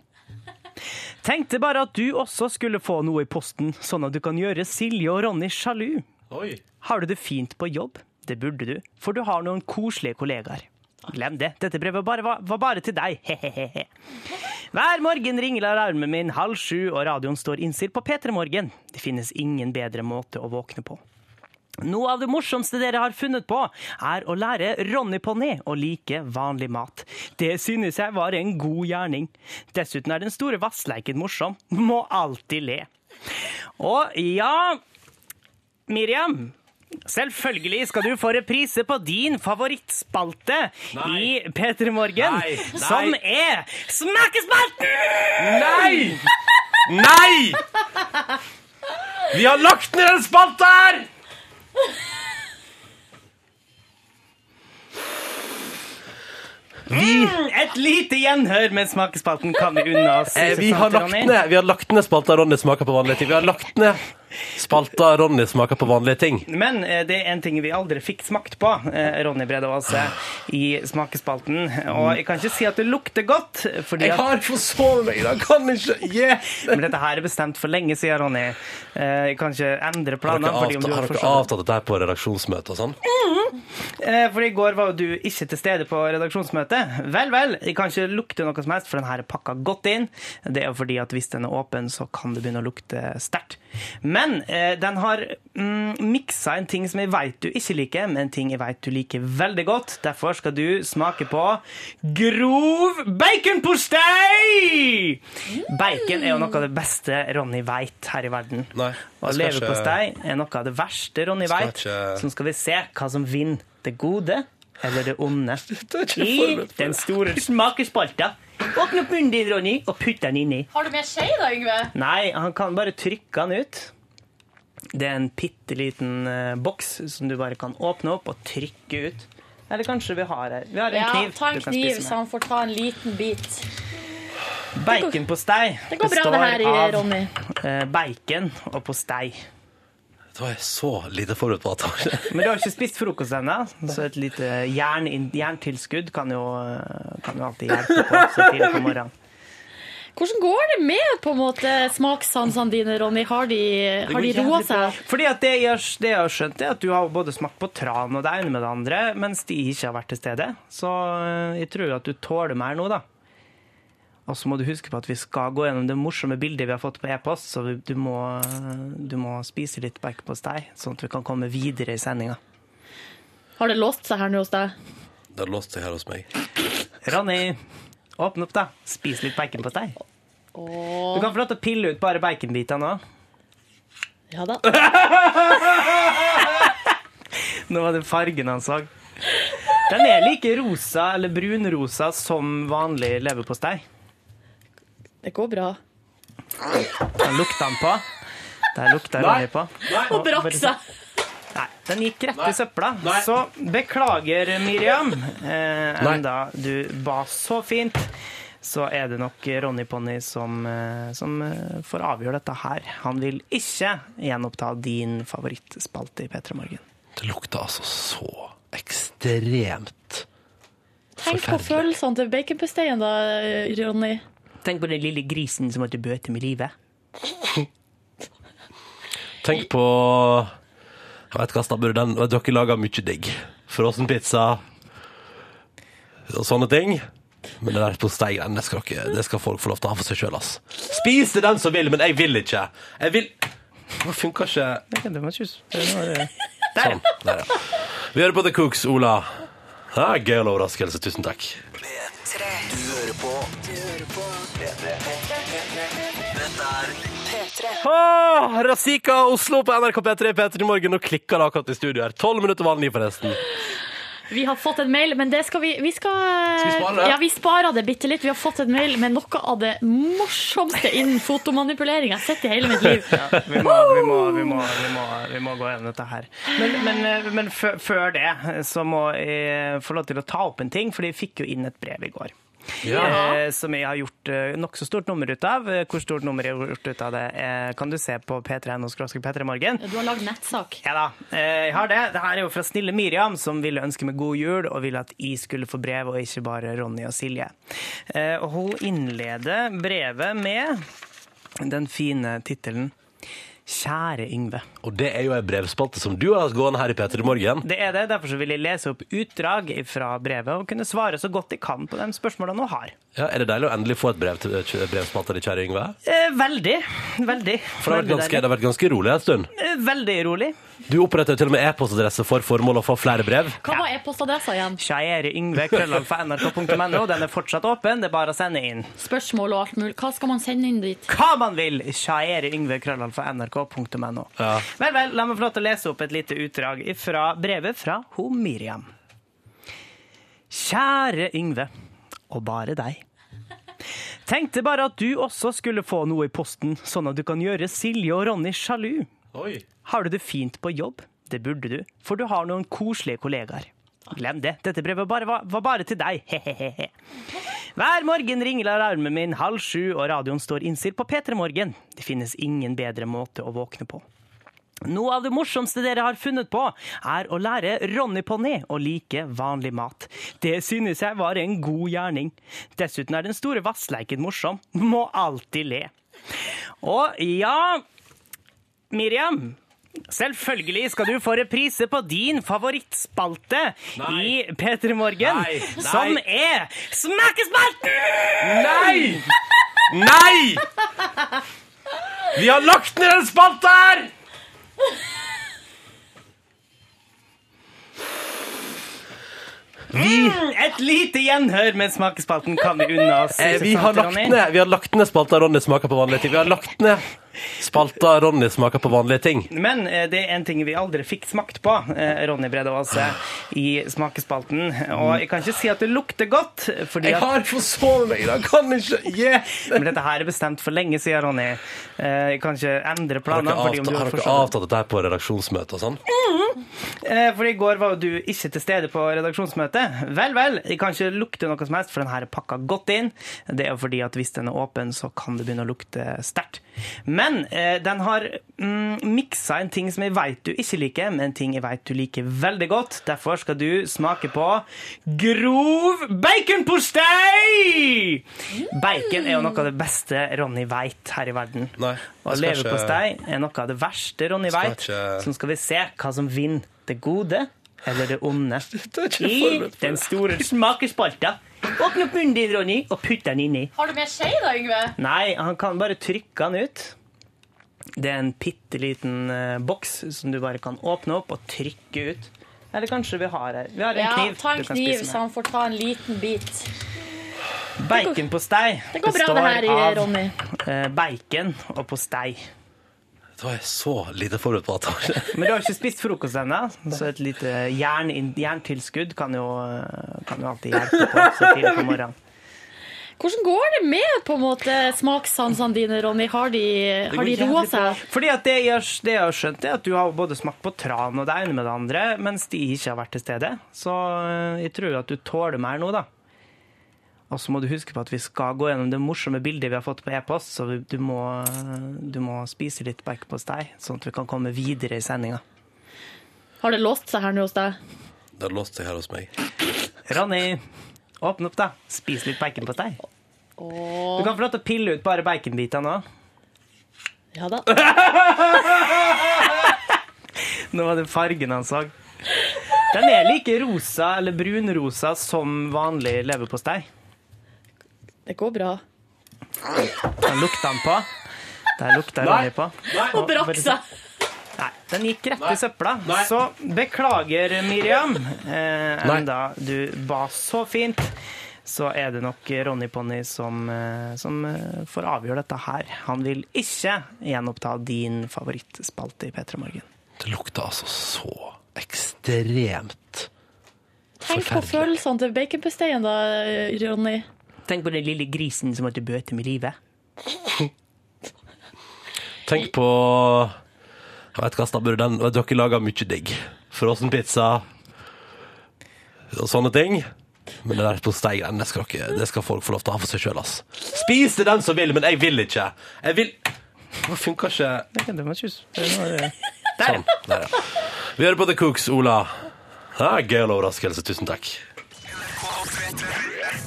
S2: Tenkte bare at du også skulle få noe i posten, sånn at du kan gjøre Silje og Ronny sjalu.
S1: Oi.
S2: Har du det fint på jobb? Det burde du, for du har noen koselige kollegaer. Glem det, dette brevet bare var, var bare til deg. Hehehehe. Hver morgen ringer alarmen min halv sju, og radioen står innstilt på P3 Morgen. Det finnes ingen bedre måte å våkne på. Noe av det morsomste dere har funnet på, er å lære Ronny Ponné å like vanlig mat. Det synes jeg var en god gjerning. Dessuten er den store vassleiken morsom. Må alltid le. Og ja, Miriam. Selvfølgelig skal du få reprise på din favorittspalte i P3 Morgen,
S1: Nei, nei.
S2: som er Smakespalten!
S1: Nei! Nei! Vi har lagt ned en spalte her!
S2: Mm, et lite gjenhør med smakespalten kan vi unne oss.
S1: Eh, vi, har lagt
S2: Ronny.
S1: ned, vi har lagt ned spalta Ronny smaker på vanlige ting. Vi har lagt ned spalta Ronny smaker på vanlige ting.
S2: Men eh, det er en ting vi aldri fikk smakt på, eh, Ronny Brede Aase, i smakespalten. Og jeg kan ikke si at det lukter godt, fordi
S1: Jeg
S2: at
S1: har forsovet meg i dag! Kan ikke
S2: Men dette her er bestemt for lenge siden, Ronny. Eh, Jeg kan ikke endre
S1: Har
S2: planene.
S1: dere
S2: fordi
S1: avtalt,
S2: om du
S1: har
S2: har
S1: dere
S2: forsovet-
S1: avtalt dette her på redaksjonsmøte og sånn?
S2: Eh, For i går var jo du ikke til stede på redaksjonsmøtet. Vel, vel, jeg kan ikke lukte noe som helst, for den her er pakka godt inn. Det er jo fordi at hvis den er åpen, så kan det begynne å lukte sterkt. Men eh, den har mm, miksa en ting som jeg veit du ikke liker, med en ting jeg veit du liker veldig godt. Derfor skal du smake på grov baconpostei! Bacon er jo noe av det beste Ronny veit her i verden.
S1: Nei, jeg
S2: Og
S1: skal
S2: leverpostei er noe av det verste Ronny
S1: Skal
S2: veit.
S1: ikke-
S2: Så skal vi se hva som vinner det gode eller det onde
S1: ikke
S2: i
S1: forberedt på
S2: den store smakespalta. Åpne opp munnen din, Ronny, og putt den inni.
S3: Har du med skje da, Yngve?
S2: Nei, han kan bare trykke den ut. Det er en bitte liten eh, boks som du bare kan åpne opp og trykke ut. Eller kanskje vi har her. Vi har en
S3: Ja,
S2: kniv.
S3: ta en
S2: du kan
S3: kniv,
S2: spise
S3: så
S2: med.
S3: han får ta en liten bit.
S2: Baconpostei
S3: Det går bra, det her,
S2: består av
S3: Ronny.
S2: eh, bacon og postei.
S1: Det var jeg så lite forberedt på. at
S2: Men du har ikke spist frokost ennå, så et lite jern, jerntilskudd kan jo, kan jo alltid hjelpe på så tidlig på morgenen.
S3: Hvordan går det med på en måte smakssansene dine, Ronny? Har de, har de roa seg?
S2: Fordi at det jeg, har- det jeg har skjønt, er at du har både smakt på tran og det ene med det andre, mens de ikke har vært til stede. Så eh, jeg tror at du tåler mer nå, da. Og så må du huske på at vi skal gå gjennom det morsomme bildet vi har fått på e-post, så vi- du må, du må spise litt baconpostei, sånn at vi kan komme videre i sendinga.
S3: Har det låst seg her nå hos deg?
S1: Det har låst seg her hos meg.
S2: Ronny, åpne opp, da. Spis litt baconpostei. Du kan få lov til å pille ut bare baconbiter nå.
S3: Ja da.
S2: Nå var det fargen han så. Den er like rosa eller brunrosa som vanlig leverpostei.
S3: Det går bra.
S2: Den lukta han på. Der lukta Ronny på.
S3: Og brakk seg.
S2: Nei, den gikk rett i søpla. Så beklager, Miriam. Eh,
S1: Nei.
S2: enda du ba så fint, så er det nok Ronny Ponni som, eh, som eh, får avgjøre dette her. Han vil ikke gjenoppta din favorittspalte i P3 Morgen.
S1: Det lukta altså så ekstremt
S3: Tenk på følelsene til baconposteien da, Ronny.
S2: Tenk på den lille grisen som måtte bøte med livet.
S1: Tenk på Jeg vet hva, Stabber, den Dere lager mye digg. Frossenpizza og sånne ting. Men det der posteigreiene, det, skal dere- det skal folk få lov til å ha for seg sjøl, ass. Spis det den som vil, men jeg vil ikke. Jeg vil Det funker ikke
S2: Det kan du må kysse. Det var det.
S1: sånn. Der, ja. Vi hører på The Cooks, Ola. Ja, gøy og overraskelse. Tusen takk.
S5: Tre. Du hører på. Du hører på. P3. Dette er P3.
S1: Ah, Razika Oslo på NRK P3 P3 i morgen. Nå klikker det akkurat i studio her. Tolv minutter var den i, forresten.
S3: Vi har fått en mail, men det skal vi Vi skal,
S1: Skal vi spare det?
S3: Ja, vi sparer det bitte litt. Vi har fått en mail med noe av det morsomste innen fotomanipulering jeg har sett i hele mitt liv.
S2: Ja, vi må, vi må, vi må, vi må, vi må gå gjennom dette her. Men, men, eh, men fø- før det eh, så må jeg få lov til å ta opp en ting, for jeg fikk jo inn et brev i går. Eh, som jeg har gjort eh, nokså stort nummer ut av. Eh, Hvor stort nummer jeg har gjort ut av det, eh, kan du se på p3.no p3morgen.
S3: Du har lagd nettsak.
S2: Ja da, eh, jeg har det. Det her er jo fra snille Miriam, som ville ønske meg god jul, og ville at jeg skulle få brev, og ikke bare Ronny og Silje. Eh, Og hun innleder brevet med den fine tittelen Kjære Yngve.
S1: Og det er jo ei brevspalte som du har hatt gående her i P3 Morgen.
S2: Det er det, derfor så vil jeg lese opp utdrag fra brevet og kunne svare så godt jeg kan på de spørsmålene hun har.
S1: Ja, er det deilig å endelig få et brev til et brevspalte av deg, kjære Yngve?
S2: Eh, veldig. Veldig.
S1: For det har, vært
S2: Veldig
S1: ganske, det
S2: deilig.
S1: har vært ganske rolig en stund.
S2: Eh, Veldig rolig.
S1: Du oppretter jo til og med e-postadresse for formål å få flere brev.
S3: Hva var e-postadressa igjen?
S2: Kjære Yngve, krøllalg for nrk.no. Den er fortsatt åpen, det er bare å sende inn.
S3: Spørsmål og alt mulig. Hva skal man sende inn dit?
S2: Hva man vil! Kjære Yngve, krøllalg for nrk.no.
S1: Ja.
S2: Vel, vel, la meg få lov til å lese opp et lite utdrag fra brevet fra ho Miriam. Kjære Yngve, og bare deg. Tenkte bare at du også skulle få noe i posten, sånn at du kan gjøre Silje og Ronny sjalu.
S1: Oi.
S2: Har du det fint på jobb? Det burde du, for du har noen koselige kollegaer. Glem det. Dette brevet bare var, var bare til deg. Hehehe. Hver morgen ringer alarmen min halv sju, og radioen står innstilt på P3 Morgen. Det finnes ingen bedre måte å våkne på. Noe av det morsomste dere har funnet på, er å lære Ronny Ponné å like vanlig mat. Det synes jeg var en god gjerning. Dessuten er den store vassleiken morsom. Må alltid le. Og ja, Miriam. Selvfølgelig skal du få reprise på din favorittspalte i P3 Morgen,
S5: Nei, nei.
S2: som er Smakkespalten!
S5: Nei!
S1: Nei! Vi har lagt ned en spalte her!
S2: Vi, Mm, et lite gjenhør med smakespalten kan vi unne oss.
S1: Eh, vi, har lagt
S2: Ronny.
S1: ned, vi har lagt ned spalta Ronny smaker på vanlige ting. Vi har lagt ned spalta Ronny smaker på vanlige ting.
S2: Men eh, det er en ting vi aldri fikk smakt på, eh, Ronny Brede Aase, i smakespalten. Og jeg kan ikke si at det lukter godt, fordi
S1: Jeg
S2: at
S1: har forsovet meg i dag, kan ikke
S2: Men dette her er bestemt for lenge siden, Ronny. Eh, Jeg kan ikke endre
S1: Har
S2: planene.
S1: dere
S2: fordi om
S1: avtalt,
S2: du
S1: har
S2: har
S1: dere
S2: forstått
S1: avtalt dette her på redaksjonsmøte og sånn?
S2: Eh, For i går var jo du ikke til stede på redaksjonsmøtet. Vel, vel, jeg kan ikke lukte noe som helst, for den her er pakka godt inn. Det er jo fordi at hvis den er åpen, så kan det begynne å lukte sterkt. Men eh, den har mm, miksa en ting som jeg veit du ikke liker, med en ting jeg veit du liker veldig godt. Derfor skal du smake på grov baconpostei! Bacon er jo noe av det beste Ronny veit her i verden. Og
S1: jeg skal
S2: leverpostei er noe av det verste Ronny
S1: Skal
S2: veit.
S1: ikke-
S2: Så nå skal vi se hva som vinner det gode eller det onde
S1: ikke
S2: i
S1: forberedt på
S2: den store smakespalta. Åpne opp munnen din, Ronny, og putt den inni.
S3: Har du med skje da, Yngve?
S2: Nei, han kan bare trykke den ut. Det er en bitte liten eh, boks som du bare kan åpne opp og trykke ut. Eller kanskje vi har her. Vi har en
S3: Ja,
S2: kniv.
S3: ta en
S2: du kan
S3: kniv,
S2: spise
S3: så han får ta en liten bit.
S2: med. Baconpostei
S3: Det går bra, det her,
S2: består av
S3: Ronny.
S2: eh, bacon og postei.
S1: Det var jeg så lite forberedt på. at
S2: Men du har ikke spist frokost ennå, så et lite jern, jerntilskudd kan jo, kan jo alltid hjelpe på så tidlig på morgenen.
S3: Hvordan går det med på en måte smakssansene dine, Ronny? Har de, har de roa seg?
S2: Fordi at det jeg, har- det jeg har skjønt, er at du har både smakt på tran og det ene med det andre, mens de ikke har vært til stede. Så eh, jeg tror at du tåler mer nå, da. Og så må du huske på at vi skal gå gjennom det morsomme bildet vi har fått på e-post, så vi- du må, du må spise litt baconpostei, sånn at vi kan komme videre i sendinga.
S3: Har det låst seg her nå hos deg?
S1: Det har låst seg her hos meg.
S2: Ronny, åpne opp, da. Spis litt baconpostei. Du kan få lov til å pille ut bare baconbiter nå.
S3: Ja da.
S2: Nå var det fargen han så. Den er like rosa eller brunrosa som vanlig leverpostei.
S3: Det går bra.
S2: Den lukta han på. Der lukta Ronny
S3: Nei.
S2: på.
S3: Og brakk seg.
S2: Nei, den gikk rett i søpla. Så beklager, Miriam. Eh, enda du ba så fint, så er det nok Ronny Ponni som, eh, som eh, får avgjøre dette her. Han vil ikke gjenoppta din favorittspalte i P3 Morgen.
S1: Det lukta altså så ekstremt
S3: Tenk på følelsene til baconposteien da, Ronny.
S2: Tenk på den lille grisen som måtte bøte med livet.
S1: Tenk på Jeg vet hva, Stabber, den, vet dere lager mye digg. Frossenpizza og sånne ting. Men det der posteigreiene, det, skal dere- det skal folk få lov til å ha for seg sjøl, ass. Spis det den som vil, men jeg vil ikke. Jeg vil Det funker ikke. Sånn,
S2: Det var eh. ikke Der,
S1: ja. Vi hører på The Cooks, Ola. Ja, Gøyal overraskelse. Tusen takk.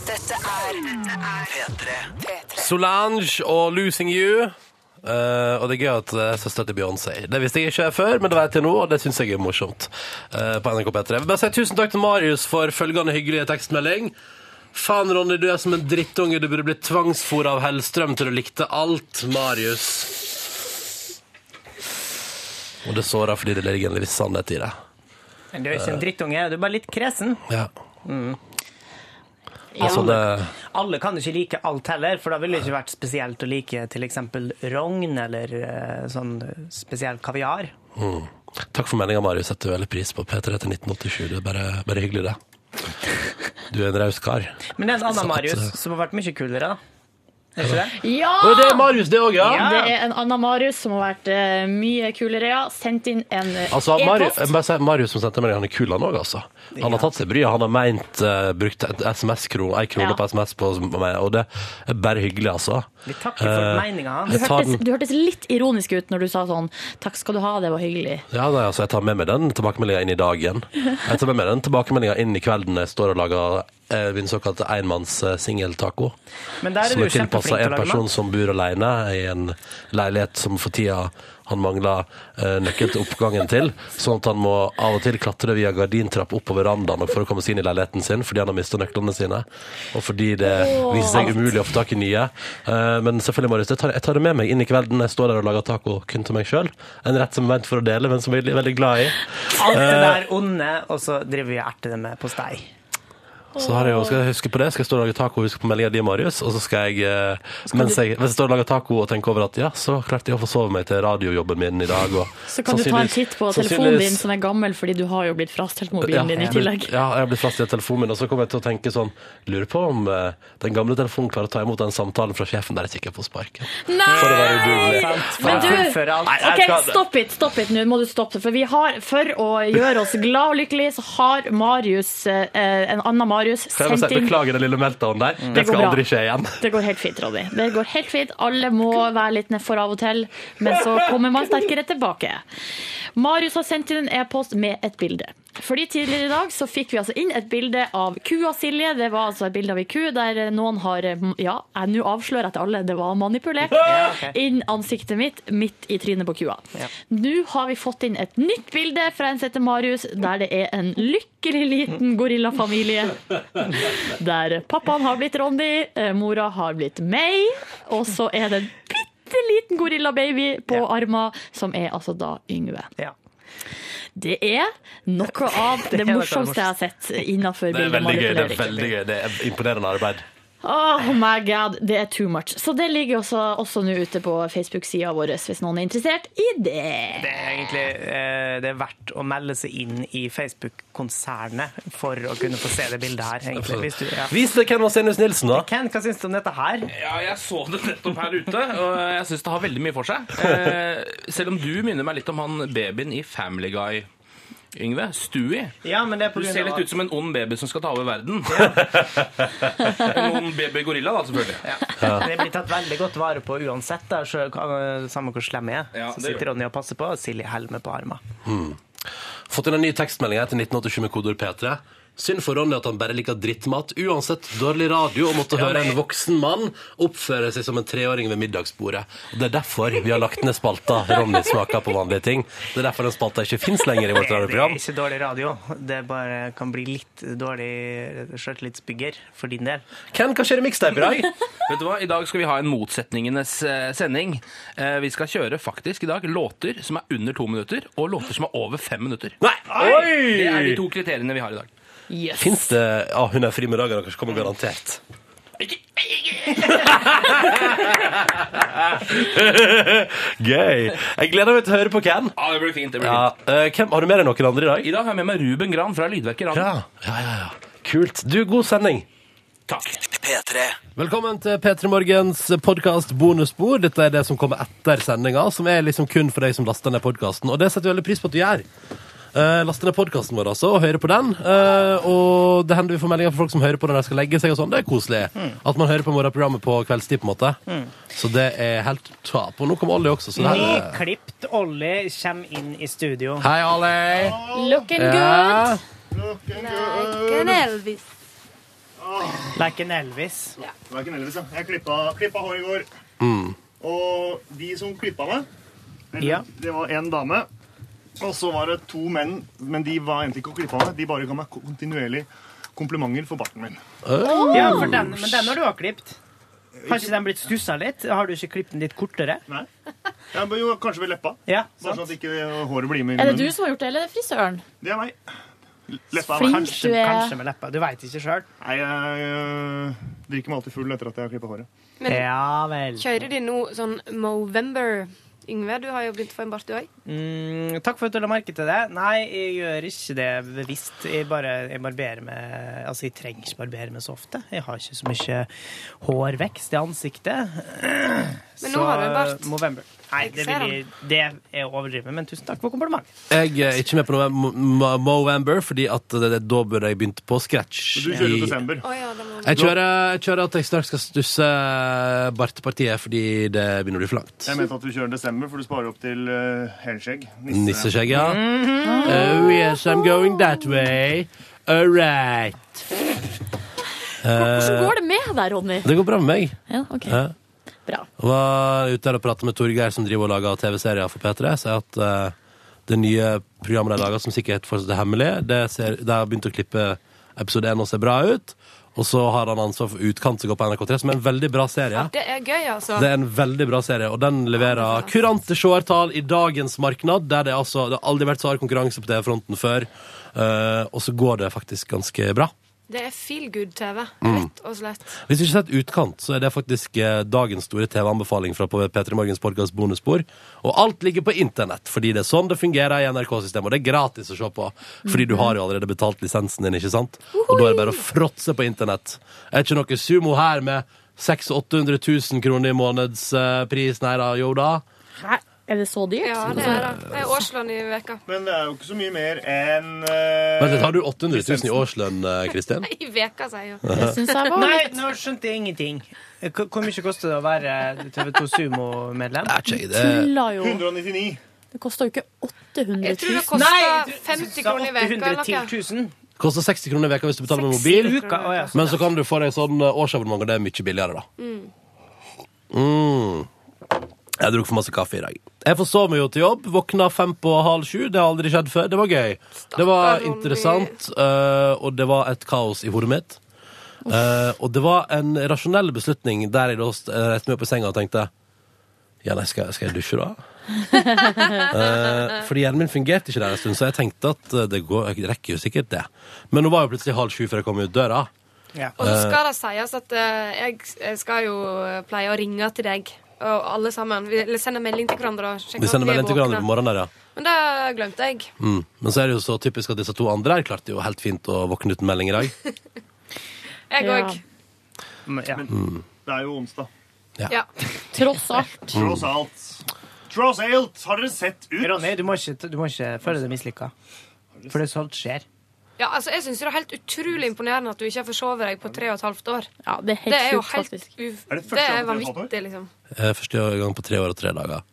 S5: Dette er P3.
S1: Solange og 'Losing You'. Eh, og det er gøy at det er søstera til Beyoncé. Det visste jeg ikke før, men det vet jeg nå, og det syns jeg er morsomt. eh, på NRK P3. Jeg vil bare si tusen takk til Marius for følgende hyggelige tekstmelding. Faen, Ronny, du er som en drittunge. Du burde blitt tvangsfôret av Hellstrøm til du likte alt, Marius. Og det sårer fordi det ligger en viss sannhet i det.
S2: Men Du er ikke en drittunge, du er bare litt kresen.
S1: Ja.
S2: Mm.
S1: Altså, det
S2: Alle kan ikke like alt heller, for da ville det ikke vært spesielt å like f.eks. rogn eller eh, sånn spesiell kaviar.
S1: mm. Takk for meldinga, Marius. Setter veldig pris på P3 til 1987. Det er bare, bare hyggelig, det. Du er en raus kar.
S2: Men det er en
S1: Så at,
S2: annen Marius
S1: eh,
S2: som har vært mye kulere. da. Er ikke det?
S3: Ja!
S1: Og det er Marius, det òg, ja?
S3: Det er en annen Marius som har vært eh, mye kulere, ja. Sendt inn en eh,
S1: Altså, Marius,
S3: e-post.
S1: jeg må bare si, Marius som sendte meg, han er kul, han òg, altså. Han har tatt seg bryet. Han har meint eh, brukt et SMS-kron, ei krone
S3: Ja.
S1: på SMS på meg, og det er bare hyggelig, altså.
S2: Vi takker for meningen hans.
S3: Du
S1: Jeg tar
S3: hørtes,
S1: den.
S3: du hørtes litt ironisk ut når du sa sånn Takk skal du ha, det var hyggelig.
S1: Ja, nei, altså, jeg tar med meg den tilbakemeldinga inn i dagen. Jeg tar med meg den tilbakemeldinga inn i kvelden når jeg står og lager eh, min såkalte eh, enmanns-singeltaco.
S2: Men der er
S1: Som
S2: du
S1: er tilpassa
S2: kjempeflink til
S1: en
S2: å lage
S1: person
S2: mat.
S1: som bor alene i en leilighet som for tida han mangler eh, nøkkel til oppgangen til. Sånn at han må av og til klatre via gardintrapp opp på verandaen for å komme seg inn i leiligheten sin fordi han har mista nøklene sine. Og fordi det
S3: Åh.
S1: viser seg umulig å få tak i nye. Eh, men selvfølgelig, Marius, jeg tar, jeg tar det med meg inn i kvelden når jeg står der og lager taco kun til meg sjøl. En rett som er ment for å dele, men som jeg er veldig glad i.
S2: Alt det
S1: Eh,
S2: der onde, og så driver vi og erter det med postei.
S1: Så har jeg jo, skal jeg huske på det, skal jeg stå og lage taco og huske på meldinga di, Marius. Og så skal jeg, eh, mens
S3: du-
S1: jeg, hvis jeg står og lager taco og tenker over at ja, så klarte jeg å få sove meg til radiojobben min i dag. Og,
S3: Så kan du ta en
S1: sannsynligvis-
S3: titt på telefonen din
S1: sannsynligvis-
S3: som er gammel, fordi du har jo blitt frastelt
S1: ja,
S3: mobilen din i
S1: jeg blir-
S3: tillegg.
S1: Ja, jeg blir fast i telefonen min, og så kommer jeg til å tenke sånn Lurer på om eh, den gamle telefonen klarer å ta imot den samtalen fra sjefen der jeg sikkert får sparken. For å være udugelig.
S3: Men du,
S2: fullføre alt. Nei, jeg
S3: ok,
S2: skal-
S3: stopp it, stopp it nå, må du stoppe det. For vi har, for å gjøre oss glad og lykkelig, så har Marius, eh, en annen Marius,
S1: Kan jeg bare si,
S3: sendt inn... Mm.
S1: beklager den lille meltdown der.
S3: Det
S1: Det
S3: går
S1: skal
S3: bra.
S1: aldri skje igjen.
S3: Det går helt fint, Ronny. Det går helt fint. Alle må være litt nedfor av og til, men så kommer man sterkere tilbake. Marius har sendt inn en e-post med et bilde. Fordi Tidligere i dag så fikk vi altså inn et bilde av kua Silje. Det var altså et bilde av ei ku der noen har Ja, jeg nå avslører jeg til alle, det var manipulert.
S6: Ja, ok.
S3: Inn ansiktet mitt midt i trynet på kua.
S6: Ja.
S3: Nå har vi fått inn et nytt bilde fra en som heter Marius, der det er en lykkelig liten gorillafamilie. Der pappaen har blitt Ronny, eh, mora har blitt meg, og så er det en bitte liten gorillababy på armen, som er altså da Yngve. Det er noe av
S1: Det
S3: det,
S1: er noe av det
S3: morsomste jeg har sett innenfor
S1: Det er veldig gøy. Det er
S3: bildemanipulering.
S1: veldig gøy. Det er imponerende arbeid.
S3: Oh my god, det er too much. Så det ligger også, også nå ute på Facebook-sida vår, hvis noen er interessert i det.
S2: Det er egentlig eh, det er verdt å melde seg inn i Facebook-konsernet for å kunne få se det bildet her. egentlig. Hvis du, ja.
S1: Vis det hvem Vasenius Nilsen, da.
S2: Ken, hva syns du om dette her?
S11: Ja, jeg så det nettopp her ute, og jeg syns det har veldig mye for seg. Eh, selv om du minner meg litt om han babyen i Family Guy. Yngve, Stewie.
S2: Ja, men det er på
S11: Du
S2: grunn
S11: ser
S2: av-
S11: litt ut som en ond baby som skal ta over verden. en ond baby-gorilla, da, selvfølgelig.
S1: Ja.
S2: Det blir tatt veldig godt vare på uansett, da, så, eh, samme hvor slem jeg er. så
S1: det gjør det.
S2: sitter Ronny og passer på, og Silje Helme på armen.
S1: Hmm. Fått inn en ny tekstmelding her til 1987 med kodeord P3. Synd for Ronny at han bare liker drittmat. Uansett dårlig radio å måtte
S2: Ja,
S1: høre
S2: men-
S1: en voksen mann oppføre seg som en treåring ved middagsbordet. Og Det er derfor vi har lagt ned spalta Ronny smaker på vanlige ting. Det er derfor den spalta ikke fins lenger i vårt
S2: Det er
S1: radioprogram.
S2: ikke dårlig radio. Det bare kan bli litt dårlig sjøltillitsbygger for din del.
S1: Ken, hva skjer i mixtape i dag?
S11: Vet du hva, I dag skal vi ha en motsetningenes eh, sending. Eh, Vi skal kjøre faktisk i dag låter som er under to minutter, og låter som er over fem minutter. Nei!
S1: Oi!
S11: Det er de to kriteriene vi har i dag.
S3: Yes.
S1: Fins det Ja, hun er fri med dagen, kanskje kommer garantert. Gøy. Jeg gleder meg til å høre på Ken.
S11: Ja, det blir fint. det blir
S1: Ja, eh, hvem, har du med deg noen andre i dag?
S11: I dag har jeg med meg Ruben Gran fra Lydverket Radio.
S1: Ja, ja, ja, ja. Kult. Du, god sending.
S12: P3.
S1: Velkommen til P3 Morgens podkast bonusspor. Dette er det som kommer etter sendinga, som er liksom kun for deg som laster ned podkasten. Og det setter jeg veldig pris på at du gjør. Uh, laster ned podkasten vår altså, og hører på den. Eh, og det hender vi får meldinger fra folk som hører på når de skal legge seg. og sånn. Det er koselig.
S2: Mm.
S1: At man hører på morgenprogrammet på kveldstid. på en måte.
S2: Mm.
S1: Så det er helt top. Og nå kom Olli også. så det her er-
S2: Nyklipt Olli kommer inn i studio.
S1: Hei, Olli!
S3: Looking
S1: Ja.
S13: Like an Elvis.
S2: Like an Elvis.
S8: Ja. Det var ikke en Elvis, ja. Jeg klippa, klippa hår i går.
S1: Mm.
S8: Og de som klippa meg eller,
S2: Ja.
S8: Det var en dame. Og så var det to menn, men de var egentlig ikke å klippe meg. De bare ga meg kontinuerlig komplimenter for barten min.
S1: Oh.
S2: Ja, for den, men den har du også klippet. Har ikke den blitt stussa litt? Har du ikke klippet den litt kortere?
S8: Nei. Ja, men jo, kanskje ved leppa.
S2: Ja,
S8: Bare sånn at ikke håret blir med i
S3: Er det
S8: munnen.
S3: du som har gjort det, eller er det frisøren?
S8: Det er meg. Leppa
S3: Flink
S8: kanskje-
S3: du er.
S8: kanskje
S2: med leppa. Du veit ikke sjøl.
S8: Nei, jeg øh, drikker meg alltid full etter at jeg har klippa håret.
S13: Men-
S2: Ja vel.
S13: Kjører de nå sånn Movember? Yngve, du har jo begynt å få en bart, du òg.
S2: Mm, takk for at du la merke til det. Nei, jeg gjør ikke det bevisst. Jeg bare jeg barberer meg Altså, jeg trenger ikke barbere meg så ofte. Jeg har ikke så mye hårvekst i ansiktet.
S13: Men nå har du en bart.
S2: November. Nei,
S13: Jeg
S2: det,
S13: ser
S2: vil jeg, det er å overdrive, men tusen takk for komplimentet.
S1: Jeg er ikke med på noe Mo- Mo- Movember, fordi at det, det, da burde jeg begynt på scratch.
S9: Men du kjører jo
S1: i-
S9: desember. Å
S13: ja, da
S1: Jeg kjører, jeg kjører at jeg straks skal stusse bartepartiet fordi det begynner å bli for langt.
S9: Jeg mente at du kjører desember, for du sparer opp til uh,
S8: eh,
S9: helskjegg.
S1: Nisseskjegg, ja.
S3: Mhm.
S1: Oh yes, I'm going that way. All right. Eh,
S3: Hvordan går det med deg, Ronny?
S1: Det går bra med meg.
S3: Ja, ok.
S1: Ja.
S3: Bra.
S1: Var ute her og pratet med Torgeir, som driver og lager TV-serier for P3. Så jeg at eh, det nye programmet de lager, som sikkert fortsatt er hemmelig, det, ser, det har begynt å klippe episode 1 og ser bra ut. Og så har han ansvar for Utkant, som går på NRK3, som er en veldig bra serie.
S13: Det er gøy, altså.
S1: Det er en veldig bra serie, og den leverer kurante seertall i dagens marked. Der det, altså, det har aldri vært så hard konkurranse på TV-fronten før. eh, og så går det faktisk ganske bra.
S13: Det er feel good-TV,
S1: Mm.
S13: rett og slett.
S1: Hvis du ikke har sett Utkant, så er det faktisk eh, dagens store TV-anbefaling fra på P3 Morgens podcast bonusspor. Og alt ligger på internett, fordi det er sånn det fungerer i NRK-systemet. Og det er gratis å se på, fordi du har jo allerede betalt lisensen din, ikke sant? Og da er det bare å fråtse på internett. Er ikke noe sumo her med 600 000-800 000 kroner i månedspris? Nei da, jo da.
S3: Hæ? Er det så dyrt?
S13: Ja, det er det.
S1: Sånn-
S13: Det er årslønn i veka.
S9: Men det er jo ikke så mye mer enn
S8: eh,
S1: Vent litt, har du 800 000 i årslønn, eh, Kristin?
S13: I veka, sier jeg jo.
S1: Det
S3: synes jeg var
S2: Nei,
S3: litt-
S2: nå skjønte jeg ingenting. Hvor hvor mye koster det å være TV2 Sumo-medlem?
S3: Tuller jo.
S9: 199.
S3: Det koster jo ikke 800 000.
S13: Jeg tror det koster 50 kroner i veka eller noe.
S2: 000.
S1: Koster 60 kroner i veka hvis du betaler med
S2: 60
S1: mobil.
S2: uka, å ja, så
S1: Men så kan du få deg sånn eh, årsabonnement, og det er mye billigere, da. Mm. Jeg drakk for masse kaffe i dag. Jeg forsov meg jo til jobb. Våkna fem på halv sju. Det har aldri skjedd før. Det var gøy. Det var interessant, eh, og det var et kaos i hodet mitt. Eh, og det var en rasjonell beslutning der jeg da st- eh, reiste meg opp i senga og tenkte Ja, nei, skal, skal jeg dusje, da? Eh, fordi hjernen min fungerte ikke der en stund, så jeg tenkte at eh, det går, jeg rekker jo sikkert det. Men nå var jo plutselig halv sju før jeg kom ut døra. Eh,
S13: Og så skal det sies at eh, jeg, jeg skal jo eh, pleie å ringe til deg og alle sammen. Vi eller sender melding til hverandre. og sjekker
S1: Vi sender
S13: at er
S1: melding til hverandre på
S13: våkne.
S1: morgenen der, ja.
S13: Men det glemte jeg.
S1: Mm. Men så er det jo så typisk at disse to andre her klarte jo helt fint å våkne uten melding i dag.
S13: Jeg
S9: Ja.
S13: òg.
S3: Mm,
S2: Men,
S1: Mm.
S9: det er jo onsdag.
S13: Ja.
S3: Tross alt.
S9: Tross alt. Tross alt, har dere sett ut?
S2: Ronny, du må ikke, du må ikke føle deg mislykka. For det er sånt skjer.
S13: Ja, altså, jeg syns det er helt utrolig imponerende at du ikke har forsovet deg på tre og et halvt år.
S3: Ja, Det er helt
S13: jo
S3: sjukt,
S13: helt
S3: faktisk.
S13: u-
S3: Er det første
S13: Det
S3: gang
S13: er
S3: på tre og et halvt
S13: vanvittig, liksom.
S1: Eh, Første gang på tre år og tre dager.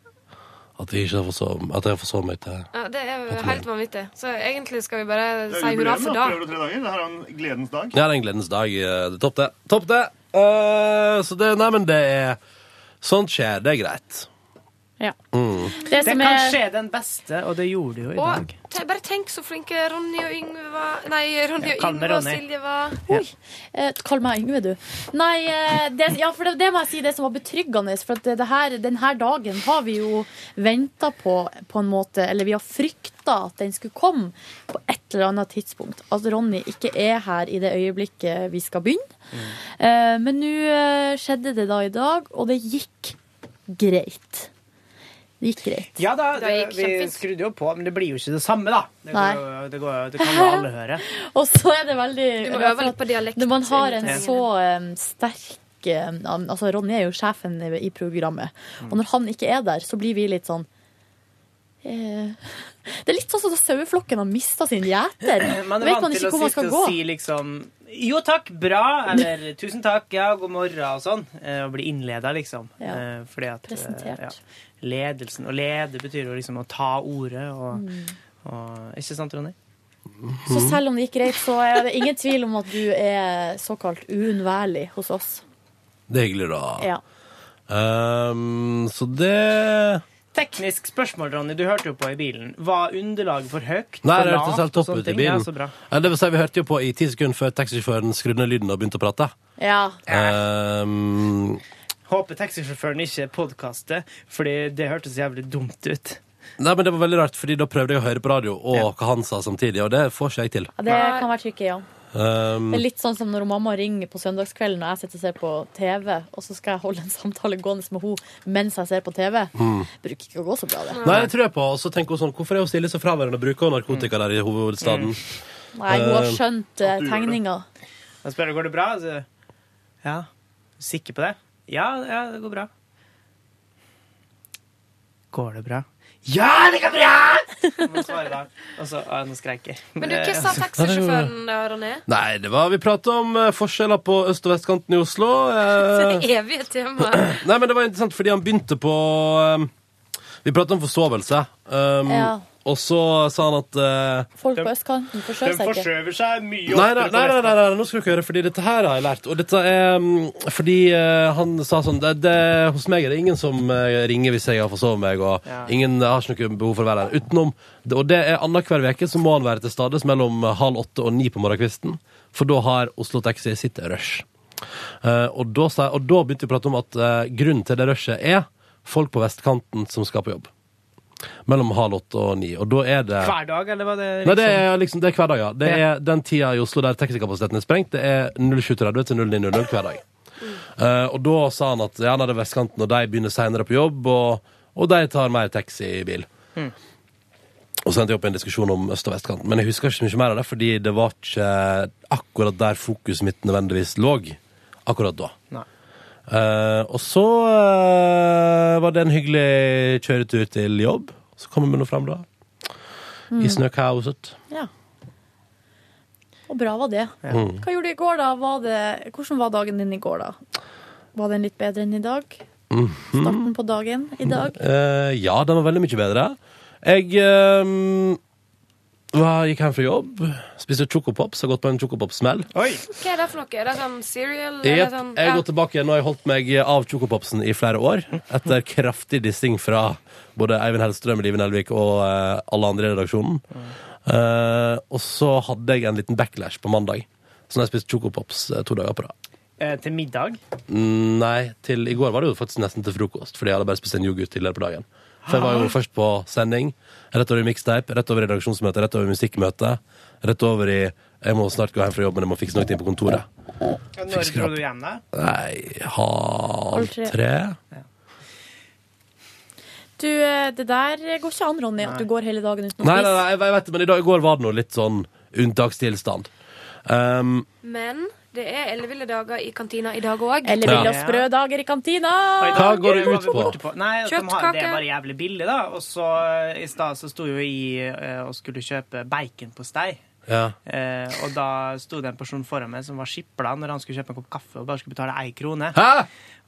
S1: At jeg ikke har forsovet at jeg har forsovet meg til
S13: Ja, det er
S1: Etter
S13: jo helt vanvittig. Så egentlig skal vi bare
S9: Det er
S13: si hurra
S9: jubileum, da.
S13: for da.
S9: Prøver du tre dager? Det her er en gledens dag.
S1: Ja, det er en gledens dag. Eh, Det er topp, det. Topp, det! Eh, så det Nei, men det er Sånt skjer. Det er greit.
S3: Ja.
S1: Mm.
S2: Det,
S3: som
S2: kan
S3: er-
S2: skje den beste, og det gjorde det jo i dag.
S13: Og te, bare tenk så flinke Ronny og Yngve var. Nei, Ronny
S2: Ja,
S13: og
S2: kall meg
S13: Yngve og
S2: Ronny.
S13: Silje var.
S3: Oi. Eh, kall meg Yngve, du. Nei, eh, det, ja, for det, det må jeg si, det som var betryggende. For at det, det her, denne dagen har vi jo venta på, på en måte. Eller vi har frykta at den skulle komme på et eller annet tidspunkt. At Ronny ikke er her i det øyeblikket vi skal begynne. Eh, men nå eh, skjedde det da i dag, og det gikk greit. Det gikk greit.
S2: Ja da,
S3: Det
S2: det,
S3: gikk
S2: vi
S3: kjempefint.
S2: skrudde jo på, men det blir jo ikke det samme, da. Det,
S3: Nei.
S2: går, jo- det, går, jo- det kan jo alle høre.
S3: Og så er det veldig Altså,
S13: Du må øve litt på dialekt.
S3: Når man har en
S13: innimellom.
S3: så em, sterk em, Altså, Ronny er jo sjefen i, i programmet. Og når han ikke er der, så blir vi litt sånn eh, Det er litt sånn som da saueflokken har mista sin gjeter.
S2: Eh, Man er
S3: Vet
S2: vant
S3: man
S2: til
S3: ikke
S2: å
S3: hvor man
S2: sitte
S3: skal
S2: og
S3: gå.
S2: si liksom Jo takk, bra, eller tusen takk, ja, god morgen og sånn. eh, Og bli innleda, liksom.
S3: Ja.
S2: Eh, Fordi at eh,
S3: Presentert.
S2: Ja, ledelsen Å lede betyr jo liksom å ta ordet og,
S3: Mm.
S2: og Ikke sant, Ronny?
S1: Mhm.
S3: Så selv om det gikk greit, så er det ingen tvil om at du er såkalt uunnværlig hos oss.
S1: Det er hyggelig,
S2: Ah.
S1: da.
S3: Ja.
S1: Ehm, så det
S2: Teknisk spørsmål, Ronny. Du hørte jo på i bilen. Var underlaget for høyt?
S1: Nei,
S2: for
S1: det hørtes
S2: lavt
S1: helt
S2: og
S1: topp
S2: sånne
S1: ut i
S2: ting?
S1: bilen.
S2: Ja, så bra.
S1: Ja, det vil si, vi hørte jo på i ti sekunder før taxisjåføren skrudde ned lyden og begynte å prate.
S3: Ja.
S1: Ehm,
S2: Håper taxisjåføren ikke podkaster, Fordi det hørtes jævlig dumt ut.
S1: nei, men det var veldig rart, fordi da prøvde jeg å høre på radio og hva han sa samtidig, og det får ikke jeg til.
S3: Ja, Det kan være trykket, ja.
S1: Um,
S3: Det er litt sånn som når mamma ringer på søndagskvelden og jeg sitter og ser på TV, og så skal jeg holde en samtale gående med henne mens jeg ser på TV.
S1: Mm.
S3: Bruker ikke å gå så bra, det.
S1: Nei, det tror jeg på. Og så tenker hun sånn, hvorfor er hun stille så fraværende og bruker hun narkotika der i hovedstaden?
S3: Mm. Nei, hun har
S1: Eh,
S3: skjønt eh,
S2: At du gjør det.
S3: tegninga.
S2: Jeg spør går det bra. Så, ja. Sikker på det? Ja, ja, det går bra. Går det bra? Ja, det går bra! Må svare da. Og så å, Nå skreik jeg.
S13: Men du, hva
S1: Ja,
S13: sa
S1: det gjorde jeg.
S13: taxisjåføren da, Ronny?
S1: Nei, det var Vi prata om eh, forskjeller på øst- og vestkanten i Oslo. eh,
S13: Det evige tema.
S1: Nei, men det var interessant fordi han begynte på um, Vi pratet om forsovelse. Um,
S3: Ja.
S1: Og så sa han at uh,
S3: Folk på
S8: De
S3: østkanten forskjøv seg ikke.
S8: forskjøver seg mye
S1: Nei, nei,
S8: oftere
S1: nei,
S8: på
S1: nei, nei, nei, nå skal dere høre, fordi dette her har jeg lært. Og dette er mm, fordi eh, han sa sånn det, det, Hos meg er det ingen som eh, ringer hvis jeg har forsovet meg, og
S11: Ja.
S1: ingen har ikke noe behov for å være der. Utenom det- Og det er annenhver uke så må han være til stades mellom eh, halv åtte og ni på morgenkvisten, for da har Oslo Taxi sitt rush. Eh, og, da sa, jeg- og da begynte vi å prate om at eh, grunnen til det rushet er folk på vestkanten som skal på jobb. Mellom halv åtte og ni. Og da er det
S2: Hver dag, eller var det
S1: Nei, det er, liksom, det er hverdag, ja. Det er den tida i Oslo der taxikapasiteten er sprengt. Det er 07.30 til 09.00 hver dag. Eh, og da sa han at ja, han er vestkanten, og de begynner seinere på jobb, og, og de tar mer taxibil.
S5: Mm.
S1: Og så endte jeg opp i en diskusjon om øst- og vestkanten. Men jeg husker ikke så mye mer av det, fordi det var ikke akkurat der fokuset mitt nødvendigvis lå akkurat da.
S2: Nei.
S1: Eh, og så eh, var det en hyggelig kjøretur til jobb. Så kommer vi nå fram, da. I snøkaoset.
S3: Ja. Og bra var det.
S1: Ja. Mm.
S3: Hva gjorde du i går, da? Var det, hvordan var dagen din i går, da? Var den litt bedre enn i dag?
S1: Mhm.
S3: Starten på dagen i dag?
S1: Eh, ja, den var veldig mye bedre. Jeg eh, var, gikk hjem fra jobb, spiste chocopops, har gått på en chocopop-smell.
S13: Hva er det for noe? Er det sånn cereal?
S1: Jeg,
S13: Eller
S1: jeg
S13: sånn,
S1: har gått tilbake igjen, og jeg holdt meg av chocopopsen i flere år. Etter kraftig dissing fra både Eivind Hellstrøm, Live Nelvik og eh, alle andre i redaksjonen. Eh, og så hadde jeg en liten backlash på mandag. Så når jeg spiste chocopops eh, to dager på rad.
S2: Eh, til middag?
S1: Mm, Nei, til i går var det jo faktisk nesten til frokost, fordi jeg hadde bare spist en yoghurt tidligere på dagen. For jeg var jo først på sending, rett over i mixtape, rett over i redaksjonsmøte, rett over i musikkmøte, rett over i jeg må snart gå hjem fra jobb, men jeg må fikse noe ting på kontoret.
S2: Når dro du hjem, da?
S1: Nei, halv
S3: Halv tre.
S1: tre?
S3: Du, eh, det der går ikke an, Ronny, at du går hele dagen uten å
S1: Nei, nei,
S3: spise.
S1: nei, jeg vet det, men i, dag, i går var det noe litt sånn unntakstilstand. Um,
S13: Men det er elleville dager i kantina i dag òg.
S1: Elleville Ja. og
S3: Sprø dager i kantina!
S1: Hva går det ut på?
S2: Nei, at de har, Det
S13: Kjøttkake.
S2: er bare jævlig billig, da. Og så eh, i stad så sto jo jeg eh, og skulle kjøpe baconpostei.
S1: ja.
S2: Eh, og da sto det en person foran meg som var skipla når han skulle kjøpe en kopp kaffe og bare skulle betale ei krone.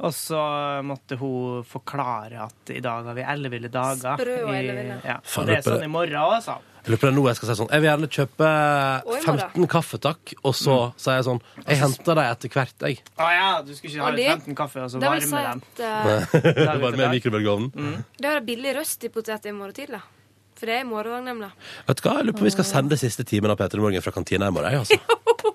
S2: Og så måtte hun forklare at i dag har vi elleville dager.
S13: Sprø og
S2: i-
S13: elleville.
S2: Ja.
S1: Faen,
S2: Og det er
S1: Ruppe.
S2: sånn i morgen òg, sa han.
S1: Jeg lurer på det nå jeg skal si sånn Jeg vil gjerne kjøpe
S2: Og i morgen.
S1: 15 kaffe, takk. Og så sier jeg sånn Jeg henter dem etter hvert, jeg.
S2: Å ja, du skulle ikke ha
S13: Og
S2: litt 15
S13: det-
S2: kaffe
S9: Altså,
S2: og så
S13: det vil
S2: varme
S13: si
S2: dem.
S13: at, eh,
S1: Bare med mikrobølgeovnen.
S13: Da er det billig røst i potet i morgen tidlig. For det er i morgen òg, nemlig.
S1: Vet du hva, jeg lurer på om vi skal sende siste timen av Peter i Morgen fra kantina i morgen. jeg, Altså.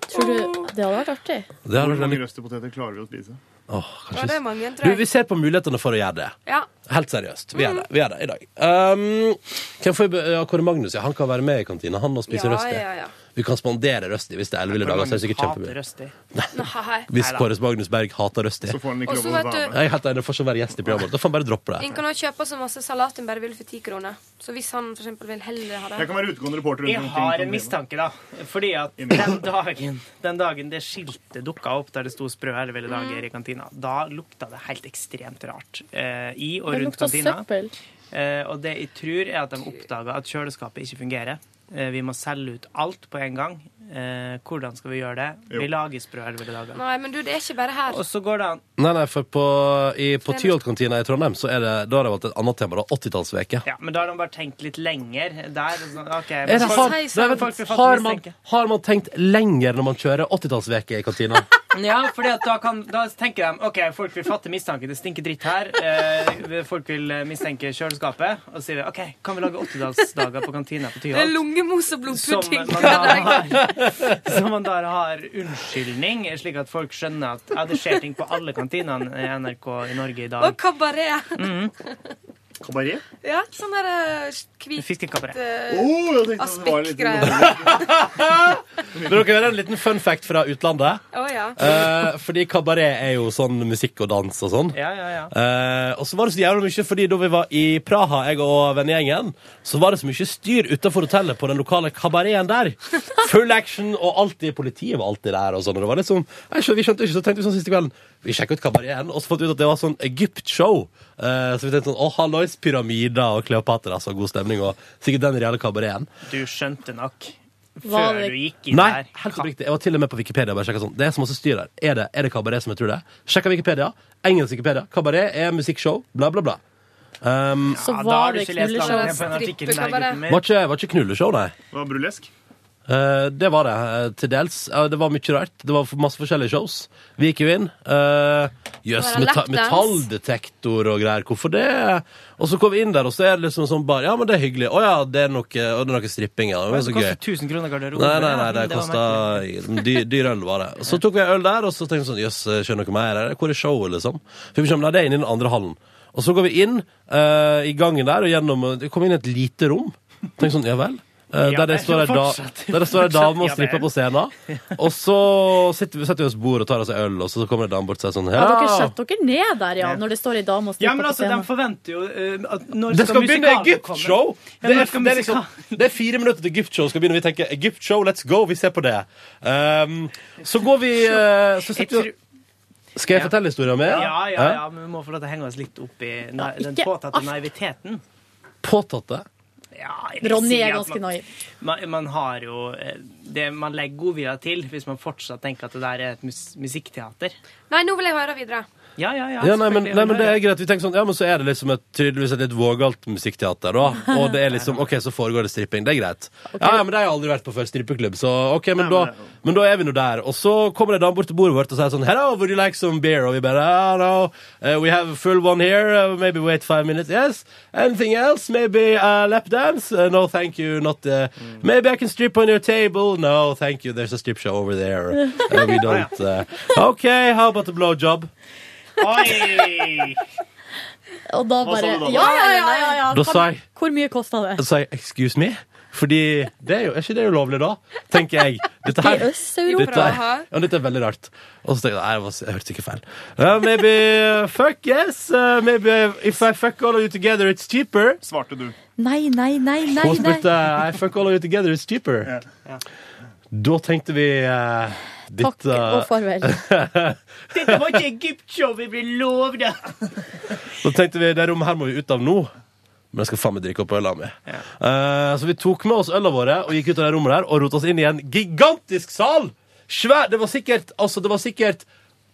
S3: Tror du det hadde vært artig?
S1: Det har
S9: Hvor
S1: vært
S9: mange
S1: veldig-
S9: røstepoteter klarer vi å spise?
S1: Åh, kanskje-
S13: Ja, det er mange, tror
S1: du,
S13: jeg.
S1: vi ser på mulighetene for å gjøre det.
S13: Ja. Mm.
S1: Helt seriøst. Vi gjør det, vi gjør det i dag. Um, hvem får vi be- ja, Kåre Magnus ja, han kan være med i kantina. Han og spise
S13: Ja,
S1: røsti.
S13: ja, ja.
S1: Vi kan spandere røsti hvis det er elleville dager. Så er det sikkert
S2: Hater
S1: kjempemye.
S2: røst i.
S13: Nei.
S1: Hvis Kåre Magnus Berg hater røsti. Så
S9: får han
S13: ikke Og så lov å vet være du- med.
S1: Jeg er helt enig, det får ikke være gjest i programmet. Da får han bare droppe det.
S13: En kan også kjøpe så masse salat en bare vil for ti kroner. Så hvis han for eksempel vil heller ha det
S9: Jeg kan være utegående reporter rundt
S2: Jeg
S9: omkring.
S2: har en mistanke, da. Fordi at den dagen, den dagen det skiltet dukka opp der det sto 'sprø elleville
S1: Mm.
S2: dager' i kantina, da lukta det helt ekstremt rart eh, i og
S3: Det
S2: rundt
S3: lukta
S2: kantina.
S3: søppel.
S2: Eh, og det jeg tror, er at de oppdaga at kjøleskapet ikke fungerer. Eh, vi må selge ut alt på en gang. Eh, hvordan skal vi gjøre det? Vi lager sprø elleville dager.
S13: Nei, men du, det er ikke bare her.
S2: Og så går det an
S1: Nei, nei, for på, i- på Tyholt-kantina i Trondheim så er det, da har de valgt et annet tema. da, 80-tallsveke.
S2: Ja, men da har de bare tenkt litt lenger der. og sånn, ok,
S1: Er
S2: men
S1: det,
S2: folk-
S1: har,
S2: folk
S1: nei,
S2: blir
S1: vent,
S2: fattig
S1: har, man,
S2: mistenke.
S1: har man tenkt lenger når man kjører 80-tallsveke i kantina?
S2: Ja, fordi at da, kan, da tenker de ok, folk vil fatte mistanke. Det stinker dritt her. Eh, folk vil eh, mistenke kjøleskapet. Og så sier vi OK, kan vi lage åttedagsdager på kantina på
S13: Det er
S2: Tyholt?
S13: lungemos og
S2: Som
S13: blodpudding.
S2: man, da har, som man da har unnskyldning, slik at folk skjønner at ja, det skjer ting på alle kantinene i NRK i Norge i dag.
S13: Og kabaret.
S2: Mhm.
S8: Kabaret?
S13: Ja, sånn der eh, hvit
S2: Fiskekabaret.
S13: eh,
S8: Å, jeg tenkte det var litt
S13: aspektgreier.
S1: Men dere vil ha en liten fun fact fra utlandet.
S13: Å, ja.
S1: Eh, fordi kabaret er jo sånn musikk og dans og sånn.
S2: Ja, ja, ja.
S1: Eh, og så var det så jævlig mye, fordi da vi var i Praha, jeg og vennegjengen, så var det så mye styr utenfor hotellet på den lokale kabareten der. Full action, og alltid politiet var alltid der og sånn. Og det var liksom, jeg skjønte, vi skjønte ikke, så tenkte vi sånn siste kvelden, vi sjekket ut kabareten, og så fant vi ut at det var sånn Egypt-show. Eh, så vi tenkte sånn, å, hallois, pyramider og Kleopatra, så god stemning, og sikkert den reelle kabareten.
S2: Du skjønte nok
S1: Var
S2: før
S1: det-
S2: du gikk inn
S1: Nei,
S2: der.
S1: helt oppriktig. Jeg var til og med på Wikipedia. og Bare sjekket sånn. Det er så masse styr der. Er det, er det kabaret som jeg tror det er? Sjekka Wikipedia. Engelsk Wikipedia. Kabaret er musikkshow. Bla, bla, bla. Um,
S3: Så
S2: Ja, da har
S3: var
S2: du
S3: det
S2: ikke lest
S3: knulleshow.
S2: alle på den artikkelen der, gutten min.
S1: var ikke, var ikke knulleshow, nei.
S8: Det var brulesk.
S1: Eh, det var det, eh, til dels. Eh, det var mye rart. Det var masse forskjellige shows. Vi gikk jo inn. Eh, Jøss,
S11: Var det
S1: meta
S11: lapdance?
S1: metalldetektor og greier. Hvorfor det? Og så kom vi inn der, og så er det liksom sånn bare Ja, men det er hyggelig. Å ja, det er noe, og det er noe stripping, ja. Det var
S2: Det
S1: så gøy.
S2: koster 1000 kroner garderobe.
S1: Nei, nei, nei,
S2: Ja,
S1: det
S2: var
S1: kosta dyr, dyr øl, var det. Så tok vi øl der, og så tenkte vi sånn Jøss, skjønner dere mer? Hvor er showet, liksom? For vi kommer, nei, det er inne i den andre hallen. Og så går vi inn eh, i gangen der, og gjennom Vi kom inn i et lite rom. Tenkte sånn, ja vel. Eh,
S11: Ja
S1: der det
S11: vel,
S1: står ei da,
S11: fortsatt.
S1: der det står ei dame og
S11: Ja
S1: stripper
S11: vel.
S1: på scenen. Og så sitter vi, setter vi oss bord og tar oss en øl, og så kommer ei dame bort og sier sånn
S3: Ja, dere
S1: Ja,
S3: setter dere ned der, ja, når det står ei dame og
S2: Ja,
S3: stripper
S2: men
S3: på
S2: altså, de
S3: scenen.
S2: forventer jo eh, at når
S1: det skal begynne
S2: musikalen
S1: Egypt-show!
S2: komme- Ja,
S1: Det,
S2: når
S1: er-
S2: skal
S1: det, er
S2: musikalen-
S1: liksom, det er fire minutter til Egypt-show skal begynne. Vi tenker Egypt-show, let's go! Vi ser på det. Um, så går vi eh, så
S2: Jeg
S1: setter vi Skal jeg fortelle historien Eh, min?
S2: Ja, ja, ja, men vi må få lov til å henge oss litt opp i nei, den påtatte naiviteten.
S1: Påtatte?
S2: Ja, jeg vil
S3: Ronny
S2: si
S3: er
S2: at
S3: ganske
S2: man-
S3: naiv.
S2: Man, man har jo eh, det Man legger godvilja til hvis man fortsatt tenker at det der er et mus musikkteater.
S13: Nei, nå vil jeg høre videre.
S2: Ja, ja, ja.
S1: Ja, nei, men,
S2: selvfølgelig,
S1: nei, men det
S2: jeg
S1: er greit. Vi tenker sånn, ja, men så er det liksom et, tydeligvis et litt vågalt musikkteater, da. Og det er liksom, ok, så foregår det stripping. Det er greit. Ja, ja, men det har jeg aldri vært på før, strippeklubb, så ok, men da, men da er vi nå der. Og så kommer det en dame bort til bordet vårt og sier sånn, hello, would you like some beer? Og vi bare, ah, no, eh, we have a full one here, eh, maybe wait five minutes, yes. Anything else? Maybe a lap dance? Eh, no, thank you, not, eh, maybe I can strip on your table? No, thank you, there's a strip show over there. Eh, we don't, eh, okay, how about a blowjob?
S2: Oi!
S3: Og da
S1: Hva
S3: bare
S1: sa du da?
S3: Ja, ja, ja. ja, ja.
S1: Da sa jeg-
S3: Hvor mye kosta det?
S1: Så sa jeg 'excuse me'? Fordi det er jo, er ikke det ulovlig, da? Tenker jeg. Dette her,
S3: I Øst-Europa.
S1: dette, er- ja, dette er veldig rart. Og så tenkte jeg nei, jeg var- jeg hørte sikkert feil. Uh, maybe uh, fuck yes. Uh, maybe if I fuck all of you together, it's cheaper. Svarte du.
S3: Nei, nei, nei, nei.
S1: Hun spurte
S3: nei.
S1: I fuck all of you together, it's cheaper. Da tenkte vi uh,
S3: Takk og farvel.
S2: Dette var ikke Egypt-show vi ble lovd!
S1: Da tenkte vi det rommet her må vi ut av nå. Men jeg skal faen meg drikke opp øla mi. Eh, så vi tok med oss øla våre og gikk ut av det rommet der og rota oss inn i en gigantisk sal! Svær, det var sikkert altså det var sikkert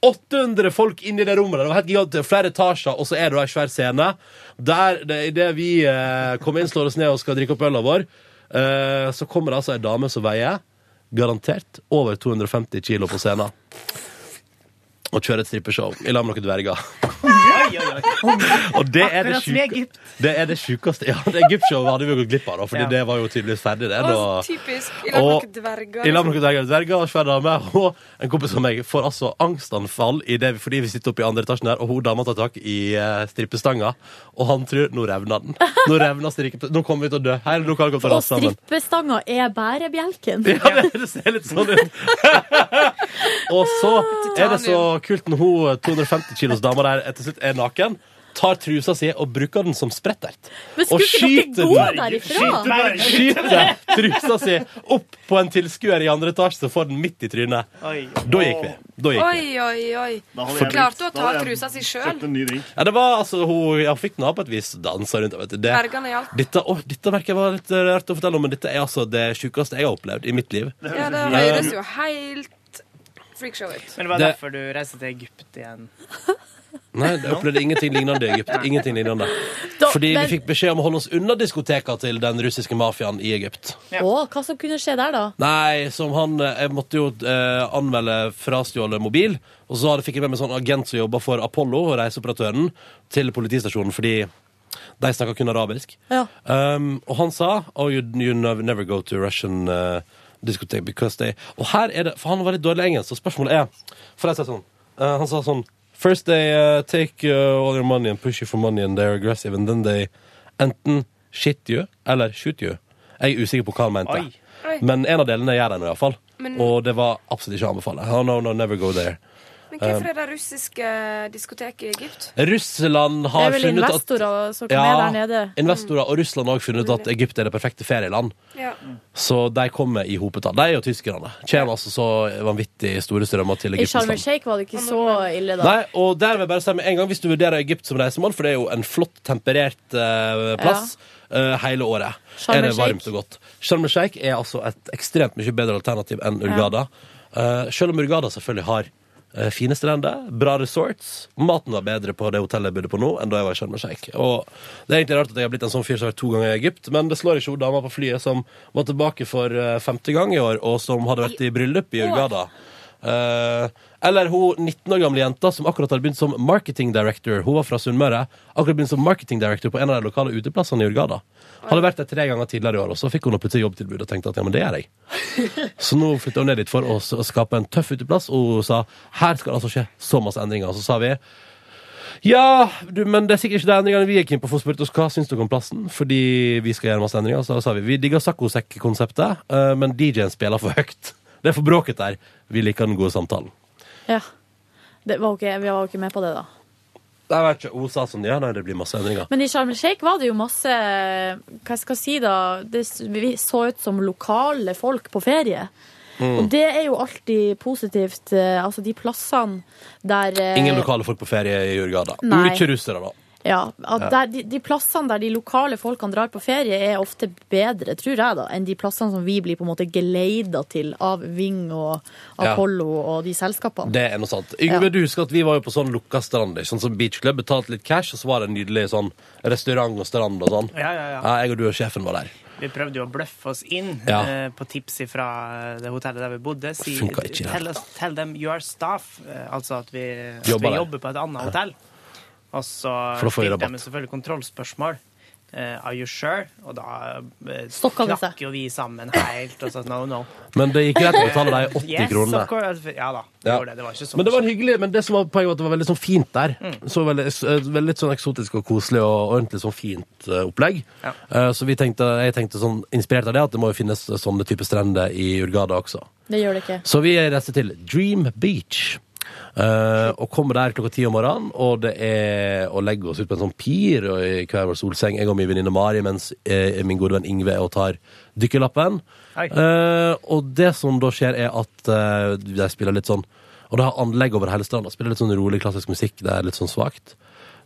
S1: 800 folk inni det rommet. der. Det var helt gigantisk, Flere etasjer, og så er det da en svær scene. Der, det- Idet vi eh, kommer inn, slår oss ned og skal drikke opp øla vår, eh, så kommer det altså ei dame som veier garantert over 250 kilo på scenen. Og kjører et strippeshow i lag med noen dverger. Og det er det
S2: Akkurat som i
S1: sjuke-
S2: Egypt.
S1: det er det sjukeste Ja, det Egypt-showet hadde vi jo gått glipp av, da, fordi
S2: Ja.
S1: det var jo tydeligvis ferdig, det.
S13: Å,
S1: Da.
S13: typisk. I lag med
S1: Og-
S13: noen dverger.
S1: I lag med noen dverger, dverger og svær dame. Og en kompis av meg får altså angstanfall i det, fordi vi sitter oppe i andre etasjen der, og hun dama tar tak i eh, strippestanga, og han tror nå revner den. Nå revner strikke... Nå kommer vi til å dø. Hele lokalet kommer til å
S3: Og
S1: rase sammen.
S3: strippestanga er bærebjelken.
S1: Ja, det, det ser litt sånn ut. Og så er det så kult når hun eh, 250 kilos dama der etter slutt er naken. Tar trusa si og bruker den som sprettert.
S3: Men
S1: og
S3: skulle ikke dere gå derifra?
S1: Skyter, skyter trusa si opp på en tilskuer i andre etasje, så får den midt i trynet. Da gikk vi. Da gikk vi.
S13: Oi, oi, oi.
S1: Da hadde jeg
S13: Klarte
S1: blitt-
S13: å
S1: da
S13: ta
S1: hadde jeg
S13: trusa si sjøl.
S1: Ja, det var altså Hun ja, fikk den av på et vis. Dansa rundt. Vet du. Det,
S13: Bergene hjalp.
S1: dette, å, dette merker jeg var litt eh, rart å fortelle om, men dette er altså det sjukeste jeg har opplevd i mitt liv.
S13: Ja, det
S1: Eh,
S13: høres jo helt freakshow ut.
S2: Men det var
S1: Det-
S2: derfor du reiste til Egypt igjen.
S1: Nei, jeg opplevde ingenting lignende i Egypt. Ingenting lignende.
S3: Da-
S1: Fordi
S3: men-
S1: vi fikk beskjed om å holde oss unna diskoteka til den russiske mafiaen i Egypt.
S3: Å, hva som kunne skje der, da?
S1: Nei, som han eh, Jeg måtte jo eh, anmelde frastjålet mobil. Og så hadde- fikk jeg med meg en sånn agent som jobba for Apollo, reiseoperatøren, til politistasjonen fordi de snakka kun arabisk. Um, og han sa Oh, you, you nev- never go to Russian uh, discotheque because they Og her er det For han var litt dårlig i engelsk, så spørsmålet er For jeg sier sånn eh, Han sa sånn First they uh, take uh, all your money and push you for money and they're aggressive and then they enten shit you eller shoot you. Jeg er usikker på hva han mente.
S5: Oi. Oi.
S1: Men en av delene gjør de nå iallfall.
S13: Men-
S1: Og det var absolutt ikke å anbefale. Oh, no, no, never go there. Um,
S13: Men hvorfor er det russiske diskoteket i Egypt?
S1: Eh, Russland har
S13: Det er vel
S1: funnet at
S3: investorer som er der nede.
S1: Investorer og Russland har også funnet ut at Egypt er det perfekte ferieland.
S13: Ja.
S1: Så de kommer i hopetall. De og tyskerne. Kommer altså så vanvittig store strømmer til
S11: I Sharm el
S1: Egyptens land.
S11: Sheikh var det ikke så ille, da.
S1: Nei, og der vil jeg bare si med en gang Hvis du vurderer Egypt som reisemål, for det er jo en flott temperert eh, plass eh, hele året,
S11: Sharm
S1: er
S11: el
S1: det
S11: Sheikh.
S1: varmt og godt. Sharm el Sheikh er altså et ekstremt mye bedre alternativ enn Urgada. Eh, selv om Urgada selvfølgelig har eh, fine strender, bra resorts Maten var bedre på det hotellet jeg bodde på nå, enn da jeg var i Sharm el Sheikh. Og det er egentlig rart at jeg har blitt en sånn fyr som har vært to ganger i Egypt, men det slår ikke hun dama på flyet som var tilbake for eh, femte gang i år, og som hadde vært i bryllup i Urgada. Eh, eller hun 19 år gamle jenta som akkurat hadde begynt som marketing director. Hun var fra Sunnmøre. Akkurat begynt som marketing director på en av de lokale uteplassene i Urgada. Hadde vært der tre ganger tidligere i år, og så fikk hun plutselig jobbtilbud og tenkte at ja, men det gjør jeg. Så nå flytta hun ned dit for å s- skape en tøff uteplass, og hun sa her skal det altså skje så masse endringer. Og så sa vi ja, du, men det er sikkert ikke de endringene vi er keen på. For hun spurte oss hva syns dere om plassen, fordi vi skal gjøre masse endringer. Så da sa vi vi digger saccosekk-konseptet, eh, men DJ-en spiller for høyt. Det er for bråket der. Vi liker den gode samtalen.
S11: Ja. Det var ikke, vi var jo ikke med på det, da.
S1: Jeg vet ikke, Hun sa sånn ja, nei, det blir masse endringer.
S11: Men i Sharm el Sheikh var det jo masse Hva skal jeg si, da? Det vi så ut som lokale folk på ferie.
S1: Mm.
S11: Og det er jo alltid positivt. eh, Altså de plassene der eh,
S1: Ingen lokale folk på ferie i Jurgada.
S11: Nei.
S1: Mye russere, da.
S11: Ja, at
S1: Ja.
S11: der, de, de plassene der de lokale folkene drar på ferie, er ofte bedre, tror jeg, da, enn de plassene som vi blir på en måte geleida til av Ving og
S1: Ja.
S11: Apollo og de selskapene.
S1: Det er noe sant. Yngve, du husker at vi var jo på sånn lukka strand, ikke sånn som beachclub. Betalte litt cash, og så var det en nydelig sånn restaurant og strand og sånn.
S2: Ja, ja, ja.
S1: jeg og du og sjefen var der.
S2: Vi prøvde jo å bløffe oss inn
S1: Ja.
S2: eh, på tips fra det hotellet der vi bodde. Si,
S1: Funka ikke i det
S2: tell, oss, tell them your staff, eh, altså at vi, at
S1: Jobber
S2: vi
S1: der.
S2: jobber på et annet hotell. Og så
S1: For da får vi
S2: stilte
S1: rabatt.
S2: de selvfølgelig kontrollspørsmål. Eh, are you sure? Og da eh,
S11: Stokka det seg.
S2: knakk jo vi sammen helt og sa no, no.
S1: Men det gikk greit å betale deg 80
S2: yes,
S1: kroner.
S2: of course. Ja da.
S1: Ja.
S2: Gjorde det. det var ikke så Mm.
S1: Men det var hyggelig, men det som var poenget var at det var veldig sånn fint der. Så veldig, s- eh, veldig sånn eksotisk og koselig og ordentlig sånn fint eh, opplegg. Eh, Så vi tenkte, jeg tenkte sånn, inspirert av det, at det må jo finnes eh, sånne type strender i Urgada også.
S11: Det gjør det ikke.
S1: Så vi reiser til Dream Beach. eh, og kommer der klokka ti om morgenen, og det er å legge oss ut på en sånn pir og i hver vår solseng. Jeg og min venninne Mari, mens eh, min gode venn Ingve er og tar dykkerlappen.
S2: Hei.
S1: Eh, og det som da skjer, er at eh, de spiller litt sånn Og det har anlegg over hele stranda. Spiller litt sånn rolig klassisk musikk. Det er litt sånn svakt.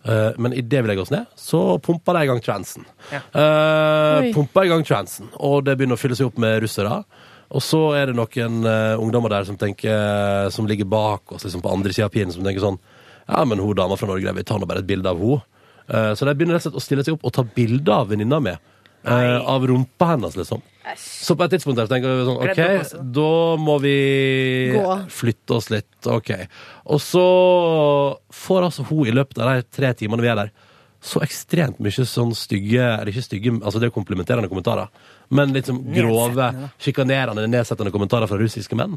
S1: Eh, men idet vi legger oss ned, så pumper de i gang transen. Eh,
S5: Oi.
S1: pumper i gang transen, og det begynner å fylle seg opp med russere. Og så er det noen eh, ungdommer der som tenker eh, Som ligger bak oss liksom på andre sida av piren, som tenker sånn Ja, men hun dama fra Norge, vi tar nå bare et bilde av henne. så de begynner rett og slett å stille seg opp og ta bilde av venninna mi. eh, av rumpa hennes, liksom. Så på et tidspunkt der så tenker vi sånn
S5: Kledd opp
S1: OK,
S5: også.
S1: da må vi
S5: Gå.
S1: flytte oss litt. OK. Og så får altså hun i løpet av de tre timene vi er der, så ekstremt mye sånn stygge Eller ikke stygge, altså det er jo komplimenterende kommentarer, men liksom grove, sjikanerende, nedsettende kommentarer fra russiske menn.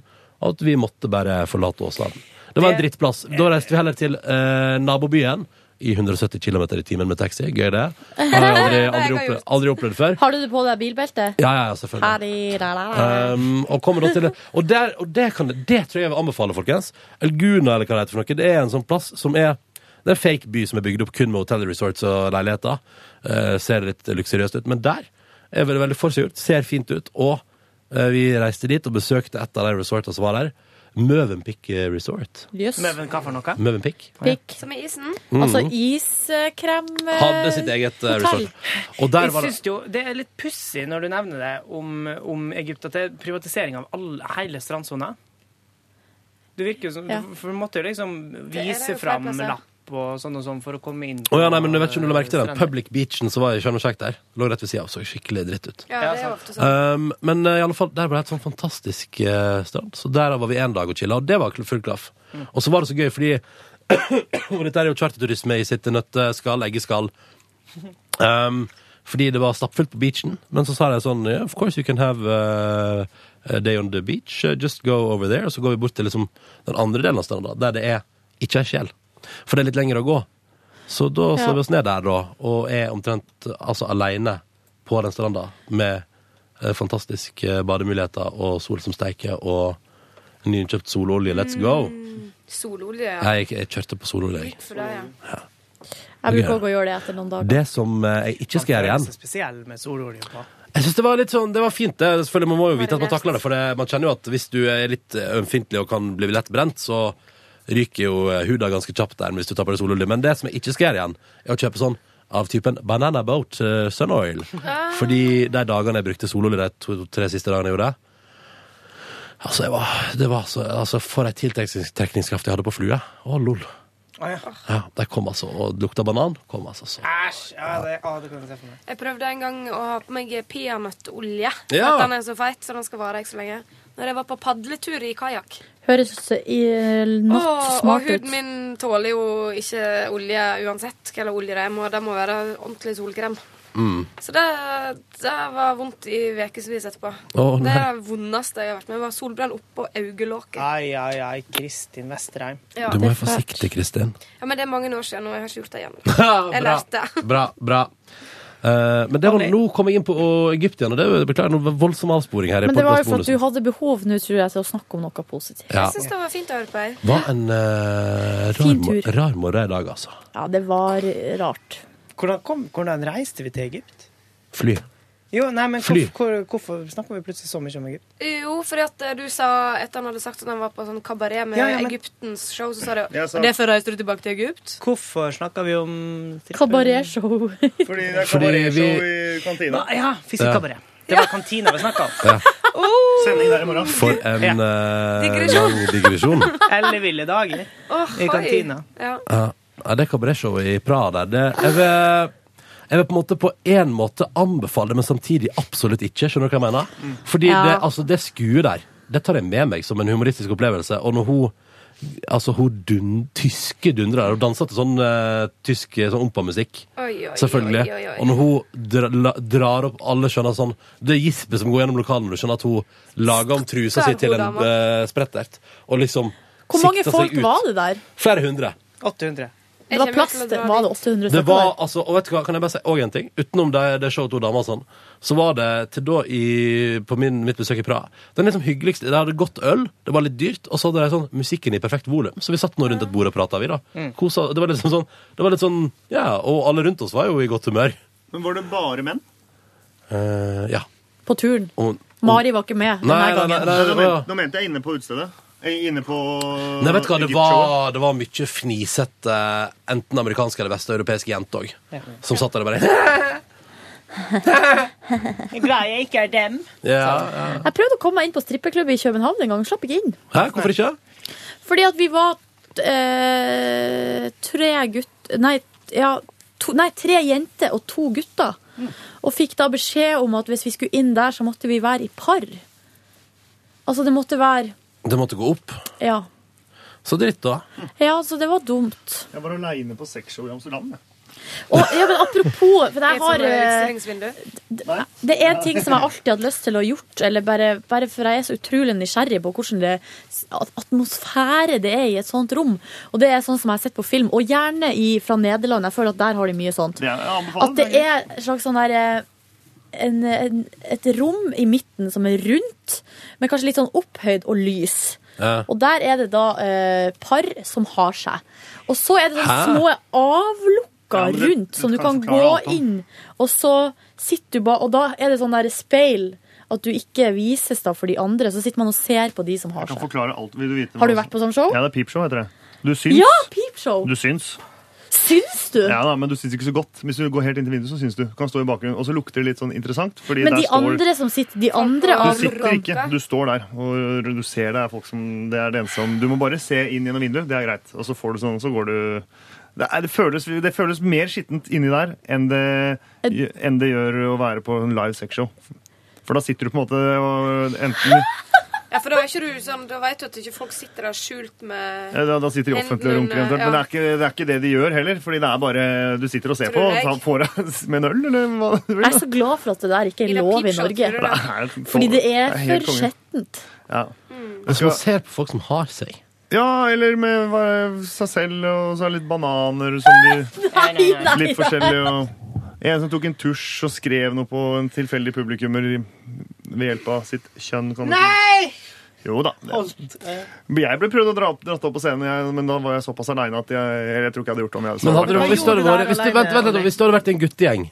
S1: At vi måtte bare forlate Åsland. Det var en
S5: Det-
S1: drittplass. Da reiste vi heller til eh, nabobyen i 170 km i timen med taxi. Gøy, det. Har jeg
S11: Det har
S1: aldri,
S11: jeg
S1: aldri, opplevd, aldri opplevd før.
S11: Har du det på deg bilbeltet?
S1: Ja, ja, ja, selvfølgelig. Um, og kommer da til det Og, der, og det, kan, det tror jeg jeg vil anbefale, folkens. Elguna, eller hva det heter for noe. Det er en sånn plass som er Det er en fake by som er bygd opp kun med hotell, resorts og leiligheter. Eh, ser litt luksuriøst ut. Men der er det veldig forseggjort. Ser fint ut. Og eh, vi reiste dit og besøkte et av de resortene som var der. Møvenpick Resort.
S11: Jøss.
S2: Møven, hva for noe?
S1: Møvenpick.
S13: Som er isen?
S1: Mhm.
S11: Altså iskrem eh,
S1: Hadde sitt eget eh,
S11: hotell.
S1: resort. Og der
S2: jeg
S1: var det
S2: synes jo Det er litt pussig når du nevner det om, om Egypt, at det er privatisering av all, hele strandsona. Det virker jo som
S11: Ja.
S2: du- For du måtte jo liksom
S11: er
S2: vise
S11: jo flere
S2: fram
S11: plasser.
S2: lapp og sånn og sånn for å komme inn.
S1: Å ja, nei, men jeg vet ikke om du la merke til den.
S2: Strender.
S1: Public Beachen som var i Sharm el Sheikh der. Lå rett ved sida av, så skikkelig dritt ut.
S2: Ja, det er jo ofte sånn.
S1: Um, men eh, i alle fall, der var det et sånn fantastisk eh, strand. Så der var vi en dag og chilla, og det var kl- full klaff. Og så var det så gøy, fordi og Dette er jo charterturisme i sitt nøtteskall, eggeskall. Um, fordi det var stappfullt på beachen. Men så sa de sånn yeah, Of course you can have eh, a day on the beach. eh, Just go over there. Og så går vi bort til liksom den andre delen av stranda, der det er ikke ei sjel. for det er litt lenger å gå. Så da
S3: Ja.
S1: slår vi oss ned der, da, og er omtrent altså, aleine på den stranda med eh, fantastiske bademuligheter og sol som steiker og nyinnkjøpt sololje. Let's go!
S2: Mm,
S13: Sololje, ja.
S1: Jeg, jeg kjørte på sololje. jeg.
S13: For det, ja.
S3: Jeg bruker også å gjøre det etter noen dager.
S1: Det som eh, jeg ikke skal gjøre
S2: Det er
S1: igjen
S2: så spesiell med sololje på.
S1: Jeg synes det var litt sånn, det var fint det. Selvfølgelig man må jo vite at man
S2: Marinert.
S1: takler det, for det, man kjenner jo at hvis du er litt eh, ømfintlig og kan bli lett brent, så ryker jo eh, huda ganske kjapt der hvis du tar på deg sololje. Men det som jeg ikke skal gjøre igjen, er å kjøpe sånn av typen Banana Boat eh, Sun Oil.
S13: Ah.
S1: Fordi de dagene jeg brukte sololje, de to-tre siste dagene jeg gjorde det, altså, jeg var, det var så, altså for ei tiltrekningskraft jeg hadde på flue. Å, lol. Ja, de kom altså, og lukta banan kom altså så.
S13: Ah.
S2: Æsj! Ja, det, å, det kan jeg se for meg.
S13: Jeg prøvde en gang å ha på meg peanøttolje. For
S3: Ja.
S13: at Den er så feit, så den skal vare ikke så lenge. Når jeg var på padletur i kajakk.
S3: Høres så i, not
S13: Og
S3: smart ut.
S13: huden min tåler jo ikke olje uansett hva slags olje det er. Må- Det må være ordentlig solkrem.
S1: Mm.
S13: Så det, det var vondt i ukevis etterpå.
S1: Å,
S13: det
S1: nei.
S13: er det vondeste jeg har vært med. Det var solbrann oppå øyelokket.
S2: Ai, ai, ai. Kristin Vesterheim.
S13: Ja,
S1: Du må
S13: det er
S1: være forsiktig, Kristin.
S13: Ja, men det er mange år siden, og jeg har ikke gjort det igjen.
S1: Bra.
S13: Jeg lærte.
S1: Bra, bra. Eh, men det var, nå kom jeg inn på å, Egypt igjen, og det er jo- beklager noe voldsom avsporing her. i
S3: Men det var jo for at
S1: podcastbonusen.
S3: du hadde behov nå, tror jeg, til å snakke om noe positivt.
S1: Ja.
S13: Jeg syns det var fint å høre på. jeg.
S1: Var en eh, rar,
S3: Fin
S1: mo-
S3: tur.
S1: rar morgen i dag, altså.
S3: Ja, det var rart.
S2: Hvordan, kom, hvordan reiste vi til Egypt?
S1: Fly.
S2: Jo, nei, men
S1: Fly.
S2: hvorfor, hvor, hvorfor snakker vi plutselig så mye om Egypt?
S13: Jo, fordi at eh, du sa etter han hadde sagt at han var på sånn kabaret med
S2: Ja, ja, men-
S13: Egyptens show, så sa du
S2: Ja, så-
S13: Og derfor reiste du tilbake til Egypt?
S2: Hvorfor snakker vi om
S3: Kabaretshow.
S2: Fordi
S8: det er kabaretshow i kantina.
S2: Ja, fiskekabaret. Det var kantina vi snakka om.
S1: Ja.
S13: Oh.
S2: Sending der i morgen.
S1: For en
S2: Ja.
S1: eh,
S2: Digresjon.
S1: lang digresjon.
S2: Eller ville dager.
S13: Åh,
S2: I
S13: oi.
S2: kantina.
S13: Ja.
S1: Ja, ja, det kabaretshowet i Praha der, det jeg vil, jeg vil på en måte på en måte anbefale det, men samtidig absolutt ikke. Skjønner du hva jeg mener?
S5: Mm.
S1: Fordi
S5: Ja.
S1: det, altså, det skuet der, det tar jeg med meg som en humoristisk opplevelse. Og når hun Altså, hun dun, tyske dundrer der. Hun danser til sånn eh, tysk eh, sånn ompa-musikk.
S5: Oi, oi,
S1: Selvfølgelig.
S5: oi, oi, oi.
S1: Og når hun dra, la, drar opp Alle skjønner sånn Det er gispet som går gjennom lokalet når du skjønner at hun lager om trusa si
S3: Stakkars
S1: til en
S3: dama.
S1: eh, sprettert. Og liksom
S3: Hvor mange
S1: sikter seg
S3: folk
S1: ut.
S3: var det der?
S1: Flere hundre.
S2: 800.
S3: Det var plass til Var det 800
S1: Det
S3: stykker
S1: var
S3: der?
S1: altså, og vet du hva, kan jeg bare si også en ting? Utenom det, det showet to damer og sånn, så var det til da i, på min, mitt besøk i Praha Den liksom hyggeligste Det hadde godt øl, det var litt dyrt, og så hadde de sånn musikken i perfekt volum. Så vi satt nå rundt et bord og prata, vi, da. Kosa, det var liksom sånn Det var litt sånn Ja, og alle rundt oss var jo i godt humør.
S8: Men var det bare menn?
S1: Eh, ja.
S3: På turen.
S1: Og,
S3: Mari var ikke med denne
S1: Nei, nei,
S3: gangen.
S1: nei, nei, det
S8: Nå,
S1: var-
S8: men, nå mente jeg inne på utestedet. Eh, Inne på
S1: Nei, vet du hva, det
S8: Egyptshowet.
S1: var, det var mye fnisete, eh, enten amerikanske eller vesteuropeiske jenter òg,
S2: Ja.
S1: som satt der og bare
S2: Jeg er glad jeg ikke er dem.
S1: Ja, ja.
S3: Jeg prøvde å komme meg inn på strippeklubb i København en gang, slapp ikke inn.
S1: Hæ, hvorfor ikke?
S3: Fordi at vi var eh, tre gutt... Nei, ja, to, nei, tre jenter og to gutter. Og fikk da beskjed om at hvis vi skulle inn der, så måtte vi være i par. Altså, det måtte være
S1: Det måtte gå opp.
S3: Ja.
S1: Så dritt, da.
S3: Ja, så det var dumt.
S8: Jeg var aleine på sexshow i Amsterdam. jeg.
S3: Og, ja, men apropos, for jeg har eh,
S8: Nei.
S3: Det er en ting som jeg alltid hadde lyst til å ha gjort, eller bare, bare for jeg er så utrolig nysgjerrig på hvordan det at- atmosfære det er i et sånt rom. Og det er sånn som jeg har sett på film, og gjerne i, fra Nederland. Jeg føler at der har de mye sånt.
S8: Det er, jeg anbefaler
S3: At det er en slags sånn der eh, en, en, et rom i midten som er rundt, men kanskje litt sånn opphøyd og lys.
S1: Ja.
S3: Og der er det da eh, par som har seg. Og så er det
S1: Hæ?
S3: sånne små avlukker
S1: Ja, men det-
S3: rundt,
S1: det
S3: som du
S1: kan
S3: kan
S1: forklare
S3: gå
S1: alt, da.
S3: inn, og så sitter du bare Og da er det sånn der speil at du ikke vises da for de andre. Så sitter man og ser på de som har
S8: Jeg kan
S3: seg.
S8: forklare alt. Vil du vite
S3: Har du
S8: hva
S3: vært på sånn show?
S8: Ja, det er peepshow, heter det. Du syns.
S3: Ja, peepshow!
S8: Du syns.
S3: Syns du?
S8: Ja da, men du syns ikke så godt. Hvis du går helt inn til vinduet, så syns du. Du Kan stå i bakgrunnen, og så lukter det litt sånn interessant. Fordi
S3: Men
S8: der
S3: de
S8: står...
S3: andre som sitter De andre
S8: Du sitter ikke,
S3: avlukkene
S8: du står der, og du ser det er folk som Det er det eneste som Du må bare se inn gjennom vinduet, det er greit. Og så får du sånn, så går du Det, er, det, føles, det føles mer skittent inni der enn det, enn det gjør å være på en live sexshow. For da sitter du på en måte og enten
S13: Ja, for da er ikke du sånn Da vet du at ikke folk sitter der skjult med
S8: Ja, Da, da sitter de offentlig og
S13: Enten,
S8: runker eventuelt. Men det
S13: ja.
S8: er, ikke, det er ikke det de gjør heller. Fordi det er bare Du sitter og ser
S13: Tror
S8: på og
S13: jeg.
S8: tar- får deg med en øl, eller hva det blir.
S3: Jeg er så glad for at det der ikke er lov i Norge.
S8: Det er-
S3: Fordi det er
S8: helt
S3: for
S8: konge.
S3: skjettent.
S8: Ja.
S1: Mm. Altså, man ser på folk som har seg.
S8: Ja, eller med hva- seg selv, og så er det litt bananer som de
S11: Nei, nei, nei.
S8: Litt forskjellig. Og en som tok en tusj og skrev noe på en tilfeldig publikummer i- ved hjelp av sitt kjønn. Kan du si.
S14: Nei!
S8: Jo da.
S14: Holdt. eh,
S8: Men Jeg ble prøvd å dra opp, dratt opp på scenen, jeg, men da var jeg såpass aleine at jeg, eller jeg tror ikke jeg hadde gjort det om jeg
S1: Men hadde du, hvis, du hadde vært, hvis, du, vent, vent, litt, hvis du hadde vært i en guttegjeng,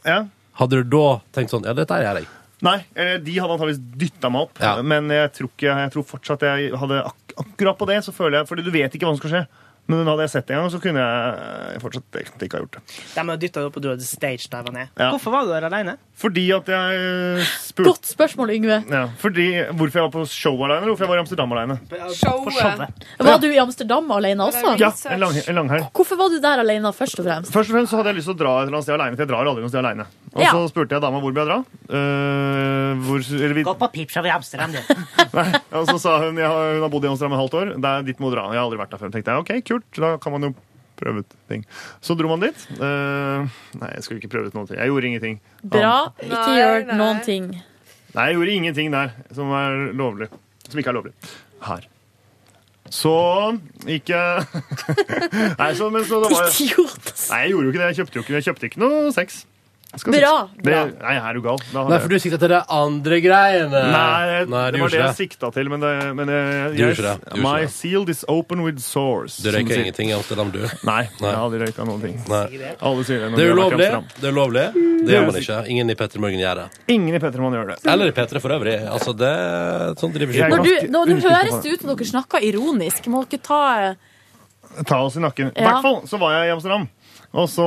S1: hadde du da tenkt sånn Ja, dette er jeg.
S8: Nei, eh, de hadde antakeligvis dytta meg opp, men jeg tror, ikke, jeg tror fortsatt jeg hadde ak akkurat på det. så føler jeg, fordi du vet ikke hva som skal skje. Men hadde jeg sett det en gang, så kunne jeg fortsatt egentlig ikke ha gjort det.
S2: De dytta deg opp, og du hadde stagediva ned.
S8: Ja.
S2: Hvorfor var du der alene?
S8: Fordi at jeg eh, spurte
S11: Godt spørsmål, Yngve.
S8: ja, fordi, Hvorfor jeg var på show aleine, eller hvorfor jeg var i Amsterdam aleine?
S11: Var du i Amsterdam alene også?
S8: Ja, en, lang, en langhelg.
S11: Hvorfor var du der alene, først og fremst?
S8: Først og fremst så hadde jeg lyst til å dra et eller annet sted alene, for jeg drar aldri noe sted alene. Og
S11: Ja.
S8: så spurte jeg dama hvor bør jeg dra. Eh, hvor, eller vi,
S14: Gå på pipshow i Amsterdam, du.
S8: Nei, og så sa hun jeg har, hun har bodd i Amsterdam et halvt år. Det er dit må du dra. Jeg har aldri vært der før. tenkte jeg, ok, kult, da kan man jo prøve ut ting. Så dro man dit. Eh, nei, jeg skulle ikke prøve ut noen ting. Jeg gjorde ingenting.
S11: Bra.
S8: Annet-
S11: Ikke gjør noen ting.
S8: Nei, jeg gjorde ingenting der som er lovlig. Som ikke er lovlig. Her. Så gikk jeg Nei, så, men så det var
S11: Idiot!
S8: Nei, jeg gjorde jo ikke det. Jeg kjøpte jo ikke, jeg kjøpte ikke noe sex. Jeg skal
S1: Bra,
S8: si-
S1: bra.
S8: Det, nei, er du gal. Da hadde
S1: Nei,
S8: jeg-
S1: for du sikter til de andre greiene.
S8: Ah, Nei, det,
S1: du gjorde
S8: var det
S1: ikke
S8: jeg sikta til, men, det, men jeg,
S1: Du gjorde ikke det, du gjorde
S8: My
S1: ikke det.
S8: seal is open with sores.
S1: Du røyker ingenting i Amsterdam, du?
S8: Nei, jeg har aldri røyka noen ting. Alle sier det
S1: Det er
S8: når de har vært i
S1: ulovlig.
S8: Amsterdam.
S1: Det er ulovlig.
S8: Det
S1: Det gjør man
S8: gjøres
S1: ikke. Ingen i P3 Morgen gjør det.
S8: Ingen i Petermann gjør det.
S1: Eller i P3 for øvrig. Altså, det Sånn driver ikke
S11: Når du, når du høres det ut som dere snakker ironisk. Må dere ta eh,
S8: Ta oss i nakken. I
S11: Ja.
S8: hvert fall så var jeg i Amsterdam. Og så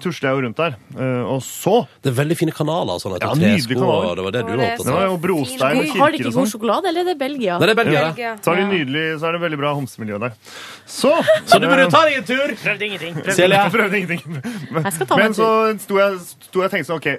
S8: tusla jeg jo rundt der. Eh, Og så
S1: Det er veldig fine kanaler og sånn.
S8: Ja,
S1: Ja, Tresko,
S8: nydelige kanaler.
S1: og det var det du var
S8: Og det er
S1: opptatt
S8: så
S1: av.
S8: Ja, og brostein og
S11: Har de
S8: kirker
S11: ikke
S8: og
S11: god
S8: sånn.
S11: sjokolade, eller er det Belgia?
S8: Nei, det er Belgia. Ja. Så er det nydelig, så er det veldig bra homsemiljø der. Så
S1: Så du burde ta deg en tur!
S2: Prøvde ingenting.
S8: Selja. Prøvde ingenting. Men,
S2: Jeg skal ta meg
S8: men
S2: en
S8: så sto jeg, sto jeg og tenkte sånn, ok,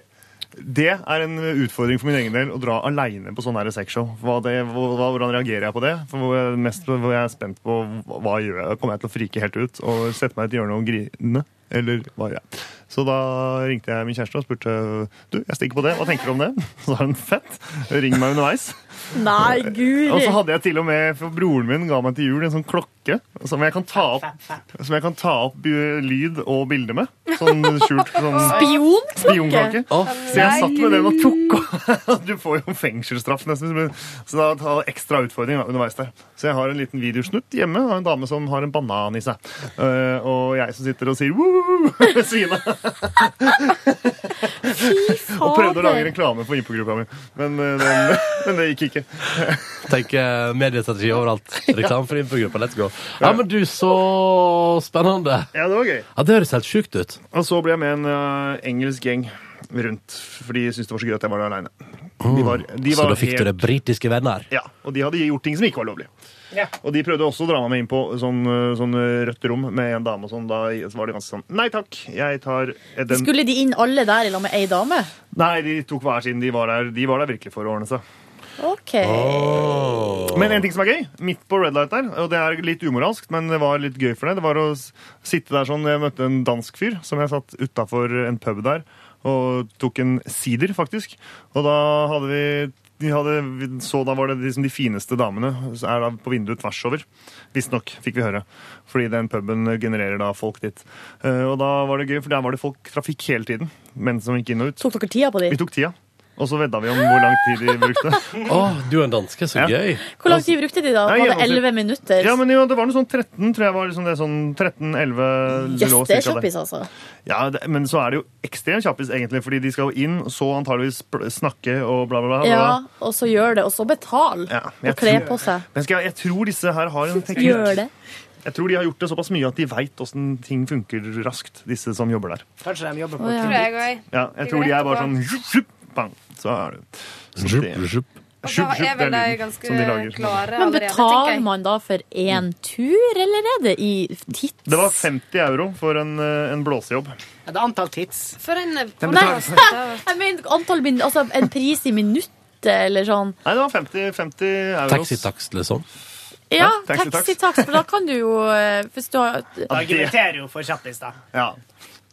S8: det er en utfordring for min egen del å dra aleine på sånn her sexshow. Hva det, hvor- hva, hvordan reagerer jeg på det? For hvor jeg, mest hvor jeg er spent på hva hva gjør jeg? Kommer jeg til å frike helt ut og sette meg i et hjørne og grine? Eller hva gjør jeg? Så da ringte jeg min kjæreste og spurte du, jeg stikker på det. Hva tenker du om det. Så sa hun fett. Ring meg underveis.
S11: Nei, guri!
S8: Og så hadde jeg til og med, for broren min ga meg til jul en sånn klokke som jeg kan ta opp, som jeg kan ta opp eh, lyd og bilde med. Sånn skjult sånn
S11: Spionklokke?
S8: Spionklokke.
S11: Å,
S8: Så jeg satt med den og tok av. Du får jo fengselsstraff nesten. men- Så da tar jeg ekstra utfordring da, underveis der. Så jeg har en liten videosnutt hjemme av en dame som har en banan i seg. Eh, og jeg som sitter og sier woo ved siden av. Og prøvde å lage reklame for impogruppa mi, men, eh, den, men det gikk ikke.
S1: Tenk eh, mediestrategi overalt. Reklame for infogruppa. Let's go. Ja,
S8: Ja.
S1: men du, så spennende.
S8: Ja, det var gøy.
S1: Ja, Det høres helt sjukt ut.
S8: Og så ble jeg med en eh, engelsk gjeng rundt, for de syntes det var så gøy at jeg var der aleine. De var, de
S1: så
S8: var
S1: da fikk du
S8: helt-
S1: det britiske venner.
S8: Ja, og de hadde gjort ting som ikke var lovlig. Og de prøvde også å dra meg med inn på sånn, eh, sånn eh, rødt rom med en dame og sånn. Da var det ganske sånn Nei takk, jeg tar eh, den
S11: Skulle de inn alle der i lag med ei dame?
S8: Nei, de tok hver sin. De var der, de var der virkelig for å ordne seg.
S11: OK.
S8: Men en ting som er gøy, midt på red light der, og det er litt umoralsk, men det var litt gøy for det, det var å s- sitte der sånn, jeg møtte en dansk fyr som jeg satt utenfor en pub der, og tok en sider faktisk, og da hadde vi de hadde, vi så da var det liksom de fineste damene så er da på vinduet tvers over Visst nok, fikk vi høre Fordi den puben genererer da folk dit Eh, Og da var det gøy, for der var det folk trafikk hele tiden Menn som gikk inn og ut
S11: Tok dere tida på dem?
S8: Vi tok tida Og så vedda vi om hvor lang tid de brukte
S1: Åh, du er en danske, så gøy
S11: Hvor lang tid brukte de da?
S8: Nei,
S11: Var det
S8: gjennomsnitt.
S11: 11 minutter?
S8: Ja, men jo, det var noe sånn 13, tror jeg var liksom det sånn 13-11
S11: Yes,
S8: lå
S11: det er
S8: cirka der.
S11: kjappis, altså.
S8: Ja, det, men så er det jo ekstremt kjappis egentlig, fordi de skal jo inn, så antageligvis pl- snakke og bla bla bla. bla.
S11: Ja, og så gjør det, og så betal.
S8: Ja,
S11: og kle på seg.
S8: Men skal, jeg- jeg tror disse her har en teknikk.
S11: Gjør det.
S8: Jeg tror de har gjort det såpass mye at de veit åssen ting funker raskt, disse som jobber der.
S2: Kanskje de jobber
S11: Å, ja.
S2: på et
S11: Tror jeg
S2: kredit.
S8: Ja, jeg tror de er bare sånn zhup, zhup, bang, så er det. Så det- Zhup,
S13: Da er
S8: zhup, det
S13: vel de
S8: lyden som de
S13: ganske
S8: lager.
S13: klare
S11: Men
S13: allerede, tenker
S11: betaler
S13: jeg.
S11: man da for én tur, eller er det i titt?
S8: Det var 50 euro for en, eh, en blåsejobb.
S2: Ja, det er antall tids.
S13: For en
S8: Den
S11: Nei,
S8: betaler
S11: jeg mener antall min, altså en pris i minuttet, eller sånn.
S8: Nei, det var 50, 50 euro.
S1: Taxitakst, liksom.
S11: Ja,
S8: Ja, taxi, tax.
S11: taxitakst, for da kan du jo eh, Hvis du har
S2: Argumenterer jo for kjappis, da.
S8: Ja.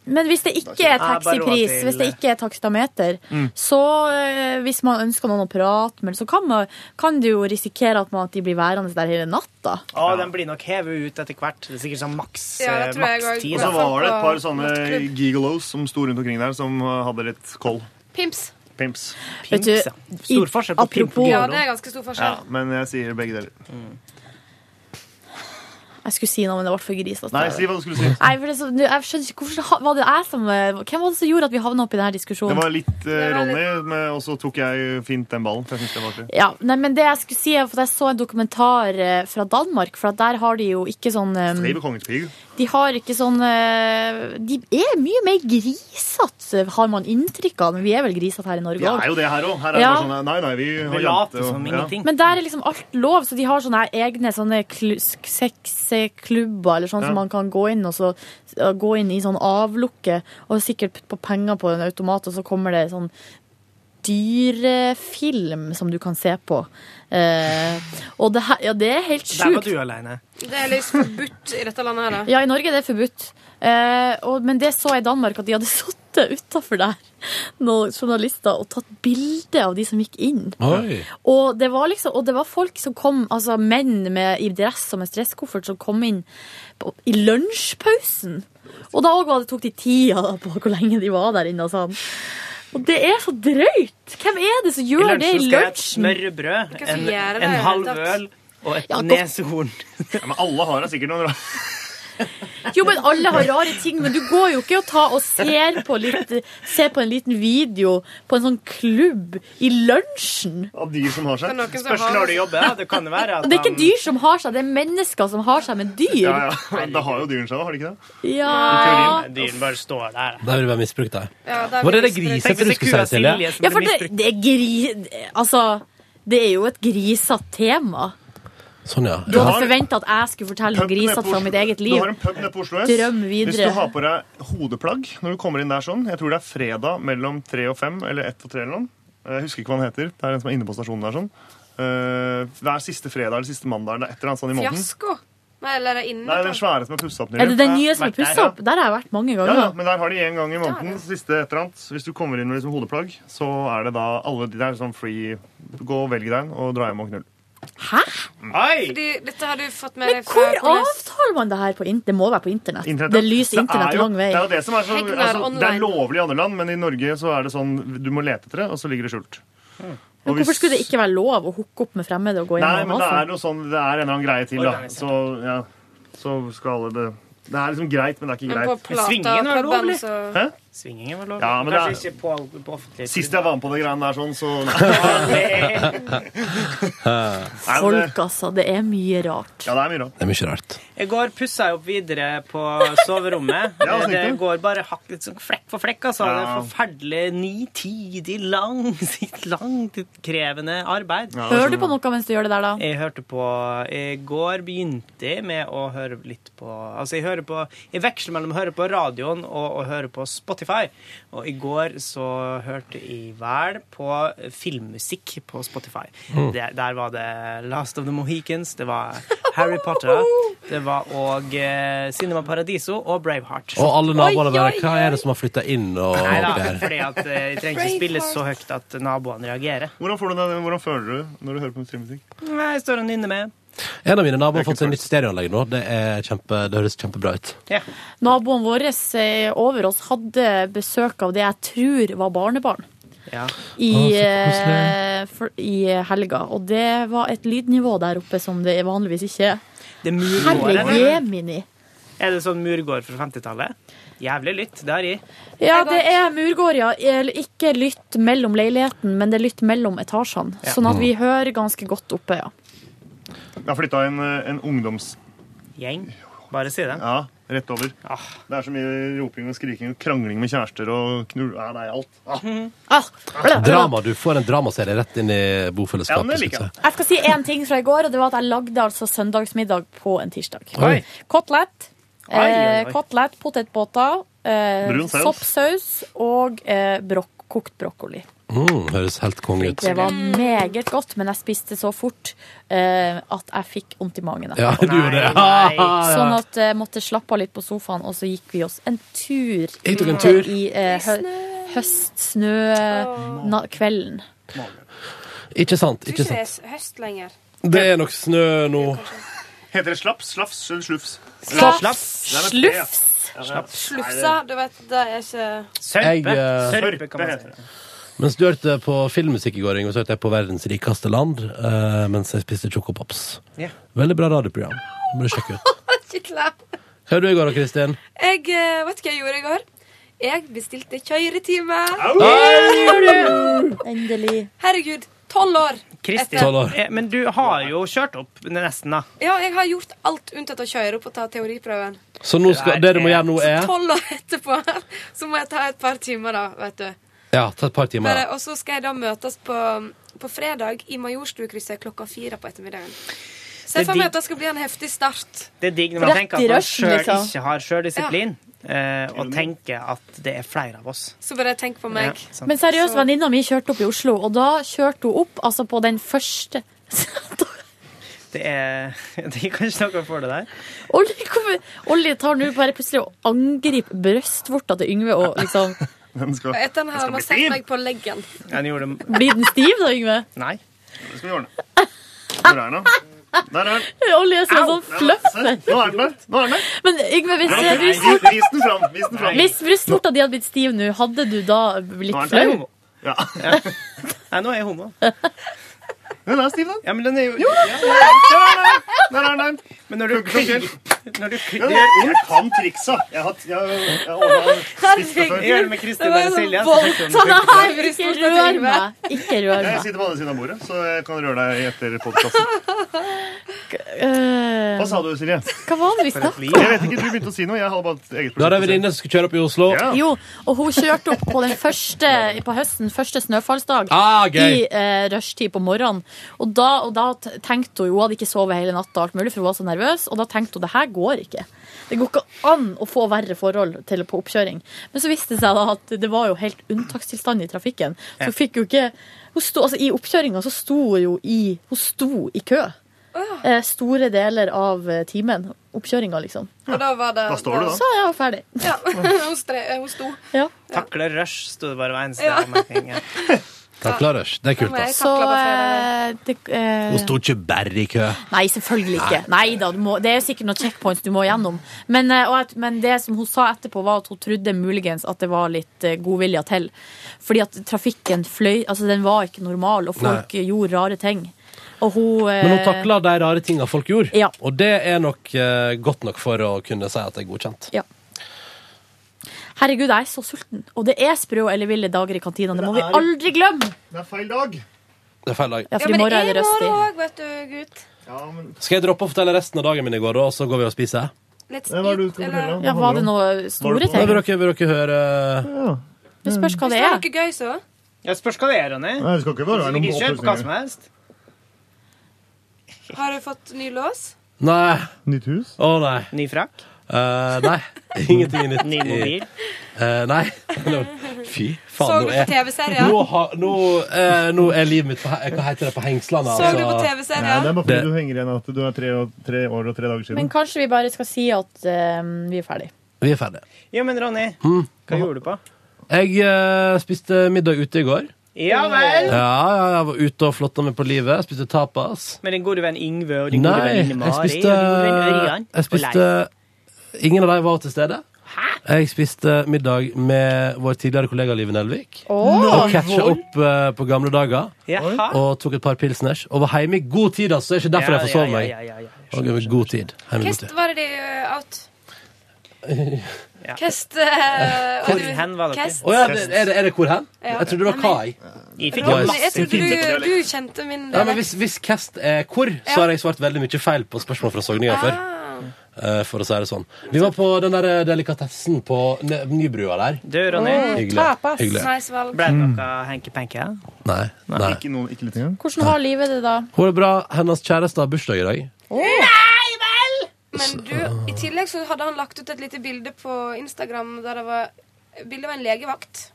S3: Men hvis det ikke er
S5: Ja, bare råd
S3: taxipris,
S5: til-
S3: hvis det ikke er takstameter,
S5: Mm.
S3: så eh, hvis man ønsker noen å prate med, så kan, man, kan du jo risikere at, man, at de blir værende der hele natta.
S2: Å, den blir nok hevet ut etter hvert. Det er sikkert sånn maks
S3: Ja, det tror jeg
S2: maks
S3: går-
S2: tid.
S8: Og så var det et par sånne gigolos som sto rundt omkring der, som hadde litt koll.
S13: Pimps.
S8: Pimps.
S3: Vet du,
S8: Stor forskjell på pimp og
S13: Ja,
S8: gigolo.
S13: det er ganske stor
S8: Ja,
S13: forskjell.
S8: men jeg sier begge deler.
S3: Jeg skulle si noe, men det ble for grisete.
S8: Nei, si hva du skulle si.
S3: Nei, for det er så, jeg skjønner ikke, hvorfor ha- var det jeg som, eh, Hvem var det som gjorde at vi havna opp i denne diskusjonen?
S8: Det var litt eh, Ronny, men- og så tok jeg fint den ballen. For jeg synes det var artig.
S3: Ja, nei, men det jeg skulle si er for at jeg så en dokumentar eh, fra Danmark, for at der har de jo ikke sånn eh,
S8: Driver kongens pigg.
S3: De har ikke sånn eh, De er mye mer grisete, har man inntrykk av. Men vi er vel grisete her i Norge
S8: Vi er
S3: også.
S8: jo det her òg. Her er det
S3: Ja.
S8: bare sånn Nei, nei, vi har
S2: Vi later
S8: jente og-
S2: som
S8: ja.
S2: ingenting.
S3: Men der er liksom alt lov, så de har sånne her egne sånne kl sexklubber eller sånn
S8: Ja.
S3: som man kan gå inn og så og gå inn i sånn avlukke og sikkert putte på penger på en automat, og så kommer det sånn dyrefilm som du kan se på. Eh, og det her, ja, det er helt
S2: Der var
S3: sjukt.
S2: du alene.
S13: Det er litt forbudt i dette landet her, da.
S3: Ja, i Norge er det forbudt. Eh, og, men det så jeg i Danmark, at de hadde sittet utafor der, noen journalister, og tatt bilde av de som gikk inn.
S1: Oi.
S3: Og det var liksom, og det var folk som kom, altså menn med, i dress og med stresskoffert som kom inn på, i lunsjpausen. Og da også var det, tok de tida da på hvor lenge de var der inne. Og sånn. Og det er så drøyt! Hvem er det som gjør
S2: skal
S3: det i
S2: jeg ha et
S3: lunsjen?
S2: smørbrød,
S3: Hva skal
S2: en,
S3: jeg gjøre det
S2: en
S3: i
S2: halv
S3: det hele
S2: øl og et
S3: Ja, godt.
S2: neshorn.
S8: men alle har da sikkert noen
S3: Jo, men alle har rare ting, men du går jo ikke og, tar og ser, på litt, ser på en liten video på en sånn klubb i lunsjen.
S8: av de som har seg.
S3: Det er noen som
S2: Spørs
S3: har-
S2: når du jobber. Ja, det kan jo være at
S3: Og det er ikke
S2: han-
S3: dyr som har seg, det er mennesker som har seg med dyr.
S8: Ja, ja. Da har jo dyrene seg, har de ikke det?
S3: Ja.
S2: Nei, Dyren bare står der.
S1: Der vil det være misbrukt, der.
S3: Ja,
S1: der Var det det blir det grisete misbrukt. du skulle si, Silje?
S3: Ja, for det, det er gri... Altså, det er jo et grisete tema.
S1: Sånn, ja.
S3: Du hadde forventa at jeg skulle fortelle noe grisete fra mitt eget
S8: Du
S3: liv.
S8: har en pub nede på Oslo S.
S3: Drøm videre.
S8: Hvis du har på deg hodeplagg når du kommer inn der sånn, jeg tror det er fredag mellom tre og fem, eller ett og tre eller noe. eh, Jeg husker ikke hva han heter. Det er en som er inne på stasjonen der sånn. Eh, hver siste fredag eller siste mandag eller et eller annet sånn i måneden.
S13: Fiasko. Nei, eller er det inne?
S8: Nei, den svære som er pussa opp nylig.
S3: Er det den nye som er pussa opp? Der har jeg vært mange
S8: Ja,
S3: ganger.
S8: ja, men der har de en gang i måneden. siste et eller annet. Hvis du kommer inn med liksom hodeplagg, så er det da alle de der sånn free Gå og velg deg en, og dra hjem og knull. Mm.
S13: Fordi dette har du fått med
S3: Men
S13: deg
S3: hvor
S13: eh, fra
S3: avtaler man det her på internett? Det må være på internett.
S8: Internett,
S3: Det
S8: ja.
S3: lyser internett
S8: er jo-
S3: lang vei.
S8: Det er jo det som er så
S13: Hegnar
S8: altså, Det
S13: online.
S8: er lovlig i andre land, men i Norge så er det sånn du må lete etter det, og så ligger det skjult.
S3: Men hvorfor skulle det ikke være lov å altså. hooke opp med fremmede og gå inn
S8: Nei,
S3: og
S8: men det
S3: ha
S8: er
S3: seg?
S8: noe sånn Det er en eller annen greie til, da. Så, ja, så skal alle det Det er liksom greit, men det er ikke
S13: Men på
S8: greit.
S13: Plata Svingingen var klubben, lovlig. så-
S8: Hæ?
S2: Svingingen var lovlig.
S8: Ja, men det
S2: Kanskje
S8: er,
S2: ikke på, på offentlig
S8: sist jeg var med på det greiene der sånn, så Nei, men det-
S3: Folk, altså. Det er mye rart.
S8: Ja, det er mye rart.
S1: Det er mye rart.
S2: Jeg går pussa jeg opp videre på soverommet.
S8: Ja,
S2: det,
S8: snitt
S2: det
S8: det.
S2: går bare hakk, litt sånn flekk for flekk. Altså. Det
S8: Ja.
S2: er forferdelig nitidig, langt, langt krevende arbeid.
S8: altså-
S3: Hører
S8: sånn
S3: du på noe mens du gjør det der, da?
S2: Jeg hørte på I går begynte jeg med å høre litt på Altså, jeg hører på Jeg veksler mellom å høre på radioen og å høre på Spotify. Og i går så hørte jeg vel på filmmusikk på Spotify.
S5: Mm.
S2: Der, der var det Last of the Mohicans, det var Harry Potter, det var òg eh, Cinema Paradiso og Braveheart.
S1: Og alle naboene bare Hva er det som har flytta inn? Og,
S2: Nei da,
S1: opp her?
S2: fordi at eh, jeg trenger ikke spille så høyt at naboene reagerer.
S8: Hvordan, får du det, hvordan føler du det når du hører på streammusikk?
S2: Nei, Jeg står og nynner med.
S1: En av mine naboer har fått seg nytt stereoanlegg nå. Det, er kjempe, det høres kjempebra ut.
S3: Naboen vår eh, over oss hadde besøk av det jeg tror var barnebarn i,
S1: Å, så
S3: eh, for, i helga. Og det var et lydnivå der oppe som det vanligvis ikke er.
S2: Det er murgård,
S3: Herre
S2: eller?
S3: jemini.
S2: Er det sånn murgård fra 50-tallet? Jævlig lytt, det har jeg.
S3: Ja, det er murgård, ja. Eller Ikke lytt mellom leiligheten, men det er lytt mellom etasjene.
S8: Ja.
S3: Sånn
S1: Mm.
S3: at vi hører ganske godt oppe, ja.
S8: Jeg har flytta en, en ungdomsgjeng.
S2: Bare si det.
S8: Ja, rett over. Det er så mye roping og skriking og krangling med kjærester og knull... Ja, det er alt. Ah.
S1: Drama, Du får en dramaserie rett inn i
S3: Ja, men
S1: bofellesskapet.
S3: det liker
S1: synes jeg.
S3: Jeg skal si én ting fra i går, og det var at jeg lagde altså søndagsmiddag på en tirsdag.
S1: Oi.
S3: Kotelett,
S1: Oi, oi, oi.
S3: eh, kotelett, potetbåter, eh,
S1: Brun saus.
S3: soppsaus og eh, brok kokt brokkoli.
S1: Mm, høres helt konge ut.
S3: Det var meget godt, men jeg spiste så fort eh, at jeg fikk vondt i magen.
S1: Ja,
S3: etterpå.
S1: du gjorde det. Nei, nei.
S3: Sånn at jeg måtte slappe av litt på sofaen, og så gikk vi oss en tur.
S1: Jeg tok en
S3: ute
S1: tur.
S3: I eh, hø høstsnøkvelden.
S1: Ikke sant,
S13: Tror
S1: ikke
S13: ikke det
S1: sant.
S13: er høst lenger.
S1: Det er nok snø nå.
S8: Heter det slaps, slafs eller slufs?
S13: Slaps.
S8: Nei, men det, ja.
S13: Slufs.
S8: Ja, det er-
S13: Slufsa, du vet, det er ikke
S1: Jeg, eh,
S8: Sørpe, kan man si.
S1: Mens du hørte på filmmusikk i går, Inge, så hørte jeg på Verdens rikeste land eh, mens jeg spiste Chocopops.
S13: Ja.
S1: Veldig bra radioprogram. Det Må du sjekke ut.
S13: Ikke klar.
S1: Hva gjorde du i går, da, Kristin?
S13: Jeg eh, vet du hva jeg gjorde i går. Jeg bestilte kjøretime.
S3: Endelig.
S13: Herregud, tolv år.
S2: Kristin,
S13: etter-
S2: eh, men du har jo kjørt opp nesten, da.
S13: Ja, jeg har gjort alt unntatt å kjøre opp og ta teoriprøven.
S1: Så nå skal, det du må gjøre nå, er
S13: Tolv år etterpå så må jeg ta et par timer, da, vet du.
S1: Ja, ta et par timer.
S13: Bare,
S1: da.
S13: og så skal jeg da møtes på, på fredag i Majorstukrysset klokka fire på ettermiddagen. Se
S2: Det er
S13: for meg
S2: digg.
S13: at det skal bli en heftig start.
S2: Det er digg når man
S13: Rett
S2: tenker
S13: i
S2: at man
S13: rushen,
S2: sjøl
S13: liksom.
S2: ikke har sjøldisiplin, eh, og tenker at det er flere av oss.
S13: Så bare tenk på meg.
S2: Ja, sant.
S3: Men seriøst,
S13: Så-
S3: venninna mi kjørte opp i Oslo, og da kjørte hun opp altså på den første
S2: Det er, det er kanskje noe for det der.
S3: Olli, kommer- Olli tar nå bare plutselig og angriper brystvorta til Yngve og liksom
S13: Etter den har massert meg på leggen.
S2: Han gjorde det
S3: Blir den stiv da, Yngve?
S2: Nei.
S8: Det skal vi ordne. Hvor er den, da? Der er den.
S3: Olje som en sånn fløffen.
S8: Nå er den der. Nå er den der.
S3: Men Yngve, hvis,
S8: Nei, nei,
S3: hvis,
S8: vis, vis den fram. Vis den fram.
S3: hvis brystvorta di hadde blitt stiv nå, hadde du da blitt
S2: Jeg er homo.
S3: flau?
S2: Nei, nå er jeg homo. Den er stiv, da. Ja, men den er jo Ja. Men når du klipper Når du klipper
S8: Jeg kan triksa. Jeg har, jeg, jeg, har spist det før.
S2: Jeg gjør det med Kristin og Silje. så tenker
S3: Sånn
S2: hun-
S3: her, ikke rør meg! Ikke rør
S8: Jeg
S3: meg.
S8: sitter på andre siden av bordet, så jeg kan røre deg etter podkasten.
S3: Eh,
S8: Hva sa du, Silje?
S3: Hva var det vi
S8: Jeg
S3: snakket om?
S8: vet ikke, Du begynte å si noe. Jeg hadde bare et eget
S1: Da er det en venninne som skal kjøre opp i Oslo.
S3: Jo, og hun kjørte opp på den første på høsten, første snøfallsdag
S1: Ah,
S3: i
S1: gøy.
S3: eh, rushtid på morgenen. Og da, og da t- tenkte hun, hun hadde ikke sovet hele natta, og alt mulig, for hun var så nervøs, og da tenkte hun det her går ikke. Det går ikke an å få verre forhold til på oppkjøring. Men så viste det seg da at det var jo helt unntakstilstand i trafikken. Så hun fikk jo ikke hun sto, altså, I oppkjøringa så sto hun jo i Hun sto i kø. Eh, store deler av eh, timen. Oppkjøringa, liksom.
S13: Og da var det
S3: Så er jeg ferdig.
S13: Ja, hun, stre, hun sto.
S2: Takle rush, sto det bare hver eneste
S13: Ja.
S2: anmerkning. Ja.
S1: Takla rush. Det er kult,
S3: Nei,
S1: ass.
S3: Så eh, det, eh,
S1: Hun sto ikke bare i kø.
S3: Nei, selvfølgelig ikke. Nei da, du må, Det er sikkert noen checkpoints du må gjennom. Men, eh, og at, men det som hun sa etterpå, var at hun trodde muligens at det var litt eh, godvilja til. Fordi at trafikken fløy Altså, den var ikke normal, og folk eh, gjorde rare ting. Og hun eh,
S1: Men hun takla de rare tinga folk gjorde,
S3: Ja.
S1: og det er nok eh, godt nok for å kunne si at det er godkjent.
S3: Ja. Herregud, jeg er så sulten. Og det er sprø og elleville dager i kantina. Det må vi aldri glemme!
S8: Det er feil dag.
S1: Det er feil dag.
S3: Ja, for i morgen er det røstig.
S13: òg, vet du, gutt.
S1: Skal jeg droppe å fortelle resten av dagen min i går, da, og så går vi og spiser?
S13: Let's
S8: Hva er det du
S13: eat,
S8: skal
S13: eller-
S8: fortelle om?
S3: Ja, var det noe store ting?
S1: Vil dere, vil dere høre
S3: Det spørs
S13: Hvis
S3: hva det
S13: det
S3: er.
S13: er noe gøy, så.
S2: Jeg spørs hva det er, Ronny.
S8: Nei, det skal ikke bare være noen
S2: Ikke kjør på hva som helst.
S13: Har du fått ny lås?
S1: Nei.
S8: Nytt hus?
S1: Å, nei. Eh,
S2: Ny frakk?
S1: nei. Ingenting nytt.
S2: Ny mobil?
S1: Eh, nei. Fy
S13: Så
S1: faen.
S13: du
S1: nå
S13: på
S1: er-
S13: TV-serier?
S1: Nå, har- nå, eh, nå er livet mitt på, he- Hva heter det på hengslene? altså.
S13: Så du på TV-serier?
S8: Nei, det er bare fordi
S1: Det-
S8: du henger igjen at du er tre, og, tre år og tre dager siden.
S3: Men kanskje vi bare skal si at eh, vi er ferdig.
S1: Vi er ferdige. Hm.
S2: Ja, men Ronny, hva gjorde du på?
S1: Jeg eh, spiste middag ute i går.
S2: Ja vel!
S1: Ja, ja, jeg var ute og flotta meg på livet. Spiste tapas.
S2: Med din gode venn Yngve og din gode
S1: Nei,
S2: venninne
S1: jeg
S2: Mari. og din
S1: spiste,
S2: gode venn
S1: jeg
S2: Ørjan, og
S1: spiste Ingen av dem var til stede. Jeg spiste middag med vår tidligere kollega Live Nelvik.
S2: Åh!
S1: og catcha opp eh, på gamle dager.
S2: Jaha.
S1: Og tok et par pilsners. Og var hjemme i god tid, altså. Det er ikke derfor
S2: Ja,
S1: jeg forsov
S2: ja,
S1: meg.
S2: ja, ja, ja, ja.
S1: Og jeg var i god tid. Hjemme i god
S13: Hvordan
S1: tid.
S13: var det de uh, out?
S2: Ja.
S13: Hvordan eh,
S2: Hvor
S13: du-
S2: hen var dere?
S13: Kest?
S1: Å ja, det- er, det- er det hvor hen?
S13: Ja.
S1: Jeg trodde det var Kai.
S2: Jeg fikk
S1: Nice.
S13: Ronny, jeg trodde du, du kjente min
S1: Ja, men hvis, hvis Kest er hvor, så har jeg svart veldig mye feil på spørsmål fra Sogninga før.
S13: Ah.
S1: eh, For å si det sånn. Vi var på den der eh, delikatessen på Ne- Nybrua der.
S2: Du, Ronny.
S1: Hyggelig. Hyggelig.
S13: Nice valg.
S2: Ble det noe hanky-panky? ja?
S1: Nei. Nei.
S8: Ikke, noen, ikke litt engang.
S3: Hvordan var livet det da?
S1: Hun er bra. Hennes kjæreste har bursdag i dag.
S13: Men du, i tillegg så hadde han lagt ut et lite bilde på Instagram der det var Bildet var en legevakt.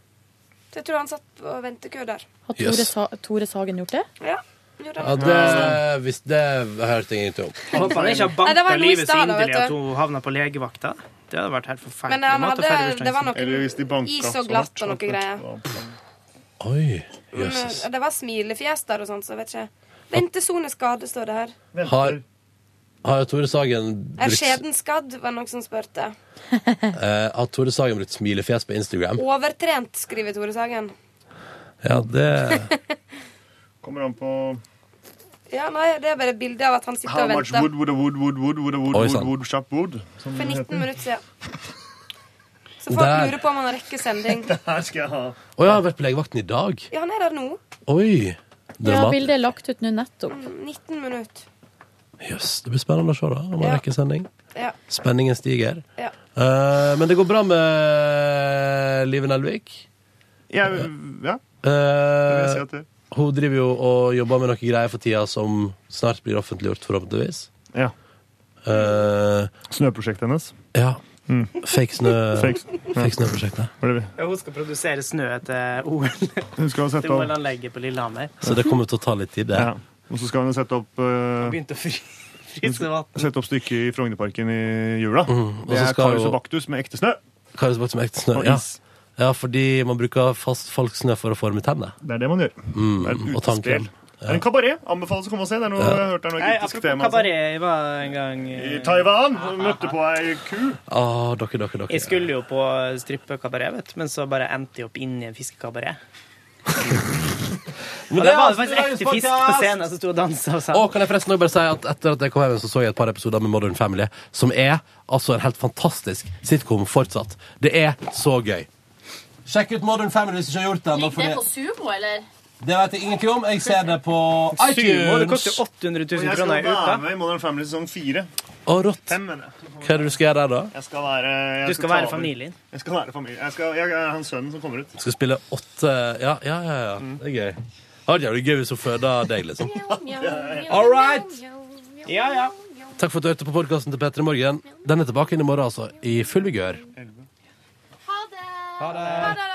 S13: Jeg tror han satt på ventekø der.
S3: Har Tore,
S1: Yes.
S3: Sa Tore Sagen gjort det?
S13: Ja. gjorde
S1: Ja,
S13: han.
S1: det, hvis det hørte jeg ingenting om.
S2: Håper han ikke har
S13: Nei, det var
S2: banka
S13: noe i
S2: livet så
S13: stad, da,
S2: inderlig
S13: vet
S2: at
S13: du.
S2: hun havna på legevakta. Det hadde vært helt forferdelig.
S13: Men han
S2: måte å
S13: hadde-
S2: feire bursdagen
S13: det var
S2: sin.
S13: noe Eller hvis de banka is og glatt og noe greier.
S1: Oi. Jøsses.
S13: Men Det var smilefjes der og sånt, så jeg vet ikke. Ventesoneskade, står det her.
S1: Har, har Tore Sagen
S13: Er
S1: brukt,
S13: skjeden skadd, var det noen som spurte.
S1: eh, har Tore Sagen brukt smilefjes på Instagram?
S13: Overtrent, skriver Tore Sagen.
S1: Ja, det
S8: Kommer an på
S13: Ja, nei, det er bare et bilde av at han sitter
S8: How
S13: og
S8: much
S13: venter.
S8: wood would a wood wood wood would a wood
S1: Oi,
S8: wood,
S1: sant.
S8: wood, chop wood? som
S13: For
S8: det
S13: 19
S8: heter.
S13: minutter siden. Så folk
S1: Der.
S13: lurer på om han rekker sending.
S1: Å ja, han har vært på legevakten i dag?
S13: Ja, han er der nå.
S1: Oi.
S3: Ja,
S1: Dramat.
S3: bildet er lagt ut nå nettopp.
S13: 19 Mm, minutter.
S1: Jøss, det blir spennende å se da, om han
S13: Ja.
S1: rekker sending.
S13: Ja.
S1: Spenningen stiger.
S13: Ja.
S1: Eh, men det går bra med eh, Live Nelvik.
S8: Ja, ja.
S1: Eh,
S8: vil si at det-
S1: hun driver jo og jobber med noen greier for tida som snart blir offentliggjort, forhåpentligvis.
S8: Ja.
S1: Eh,
S8: Snøprosjektet hennes. Mm.
S1: ja. Fake snø.
S8: Fake
S1: Fake,
S8: snø.
S1: snø-prosjektet.
S2: Ja, hun skal produsere snø til OL.
S8: Hun skal sette
S2: til
S8: opp-
S2: OL-anlegget på Lillehammer.
S1: Så det kommer til å ta litt tid, det.
S8: Ja. Og så skal hun sette opp eh,
S2: Begynte å fry-
S8: hun
S2: fryse
S8: skal
S2: vann.
S8: Sette opp stykket i Frognerparken i jula.
S1: Mhm. og
S8: Det
S1: så
S8: er
S1: skal
S8: Karius
S1: jo-
S8: og Baktus med ekte snø.
S1: Karius Baktus med ekte snø.
S8: Og
S1: Ja.
S8: is.
S1: ja, fordi man bruker fast folksnø for å forme tenner.
S8: Det er det man gjør.
S1: Mm,
S8: Det er et
S1: og tannkrem.
S8: utspill. Det er en kabaret. Anbefales å komme og se. Det er noe,
S1: Ja.
S8: jeg har hørt det er noe
S2: Nei,
S8: kritisk
S2: apropos
S8: tema. altså.
S2: kabaret, jeg var en gang eh,
S8: I Taiwan møtte på ei ku.
S1: Ah, dere, dere, dere.
S2: Jeg skulle jo på strippekabaret, vet du, men så bare endte jeg opp inn i en fiskekabaret.
S1: Men
S2: Og
S1: det
S2: der
S1: er altså
S2: var det faktisk
S1: Australias
S2: ekte fisk på
S1: podcast!
S2: scenen som sto og dansa og sa
S1: Og kan jeg forresten også bare si at etter at jeg kom hjem, så så jeg et par episoder med Modern Family, som er altså en helt fantastisk sitcom fortsatt. Det er så gøy. Sjekk ut Modern Family hvis du ikke har gjort det ennå.
S15: Ligger det på
S1: fordi-
S15: sumo, eller?
S1: Det vet jeg ingenting om. Jeg ser det på
S2: Sumo, det
S1: iTunes.
S2: koster 800
S8: Og
S2: 000
S8: jeg skal
S2: kroner i uka.
S8: være med i Modern Family sesong fire.
S1: Å, rått.
S8: Fem, mener jeg.
S1: Hva er det du skal gjøre der, da?
S8: Jeg skal være jeg
S2: Du skal
S8: ta
S2: være
S8: over.
S2: familien.
S8: Jeg skal være familien. Jeg, skal, jeg er han sønnen som kommer ut.
S1: Du skal spille åtte Ja, ja, ja. ja.
S2: Mm.
S1: Det er gøy. Det hadde vært gøy hvis hun føder deg, liksom. All right!
S2: Ja, ja.
S1: Takk for at du hørte på podkasten til Petter i morgen. Den er tilbake inn i morgen, altså. I full vigør.
S16: Ha det!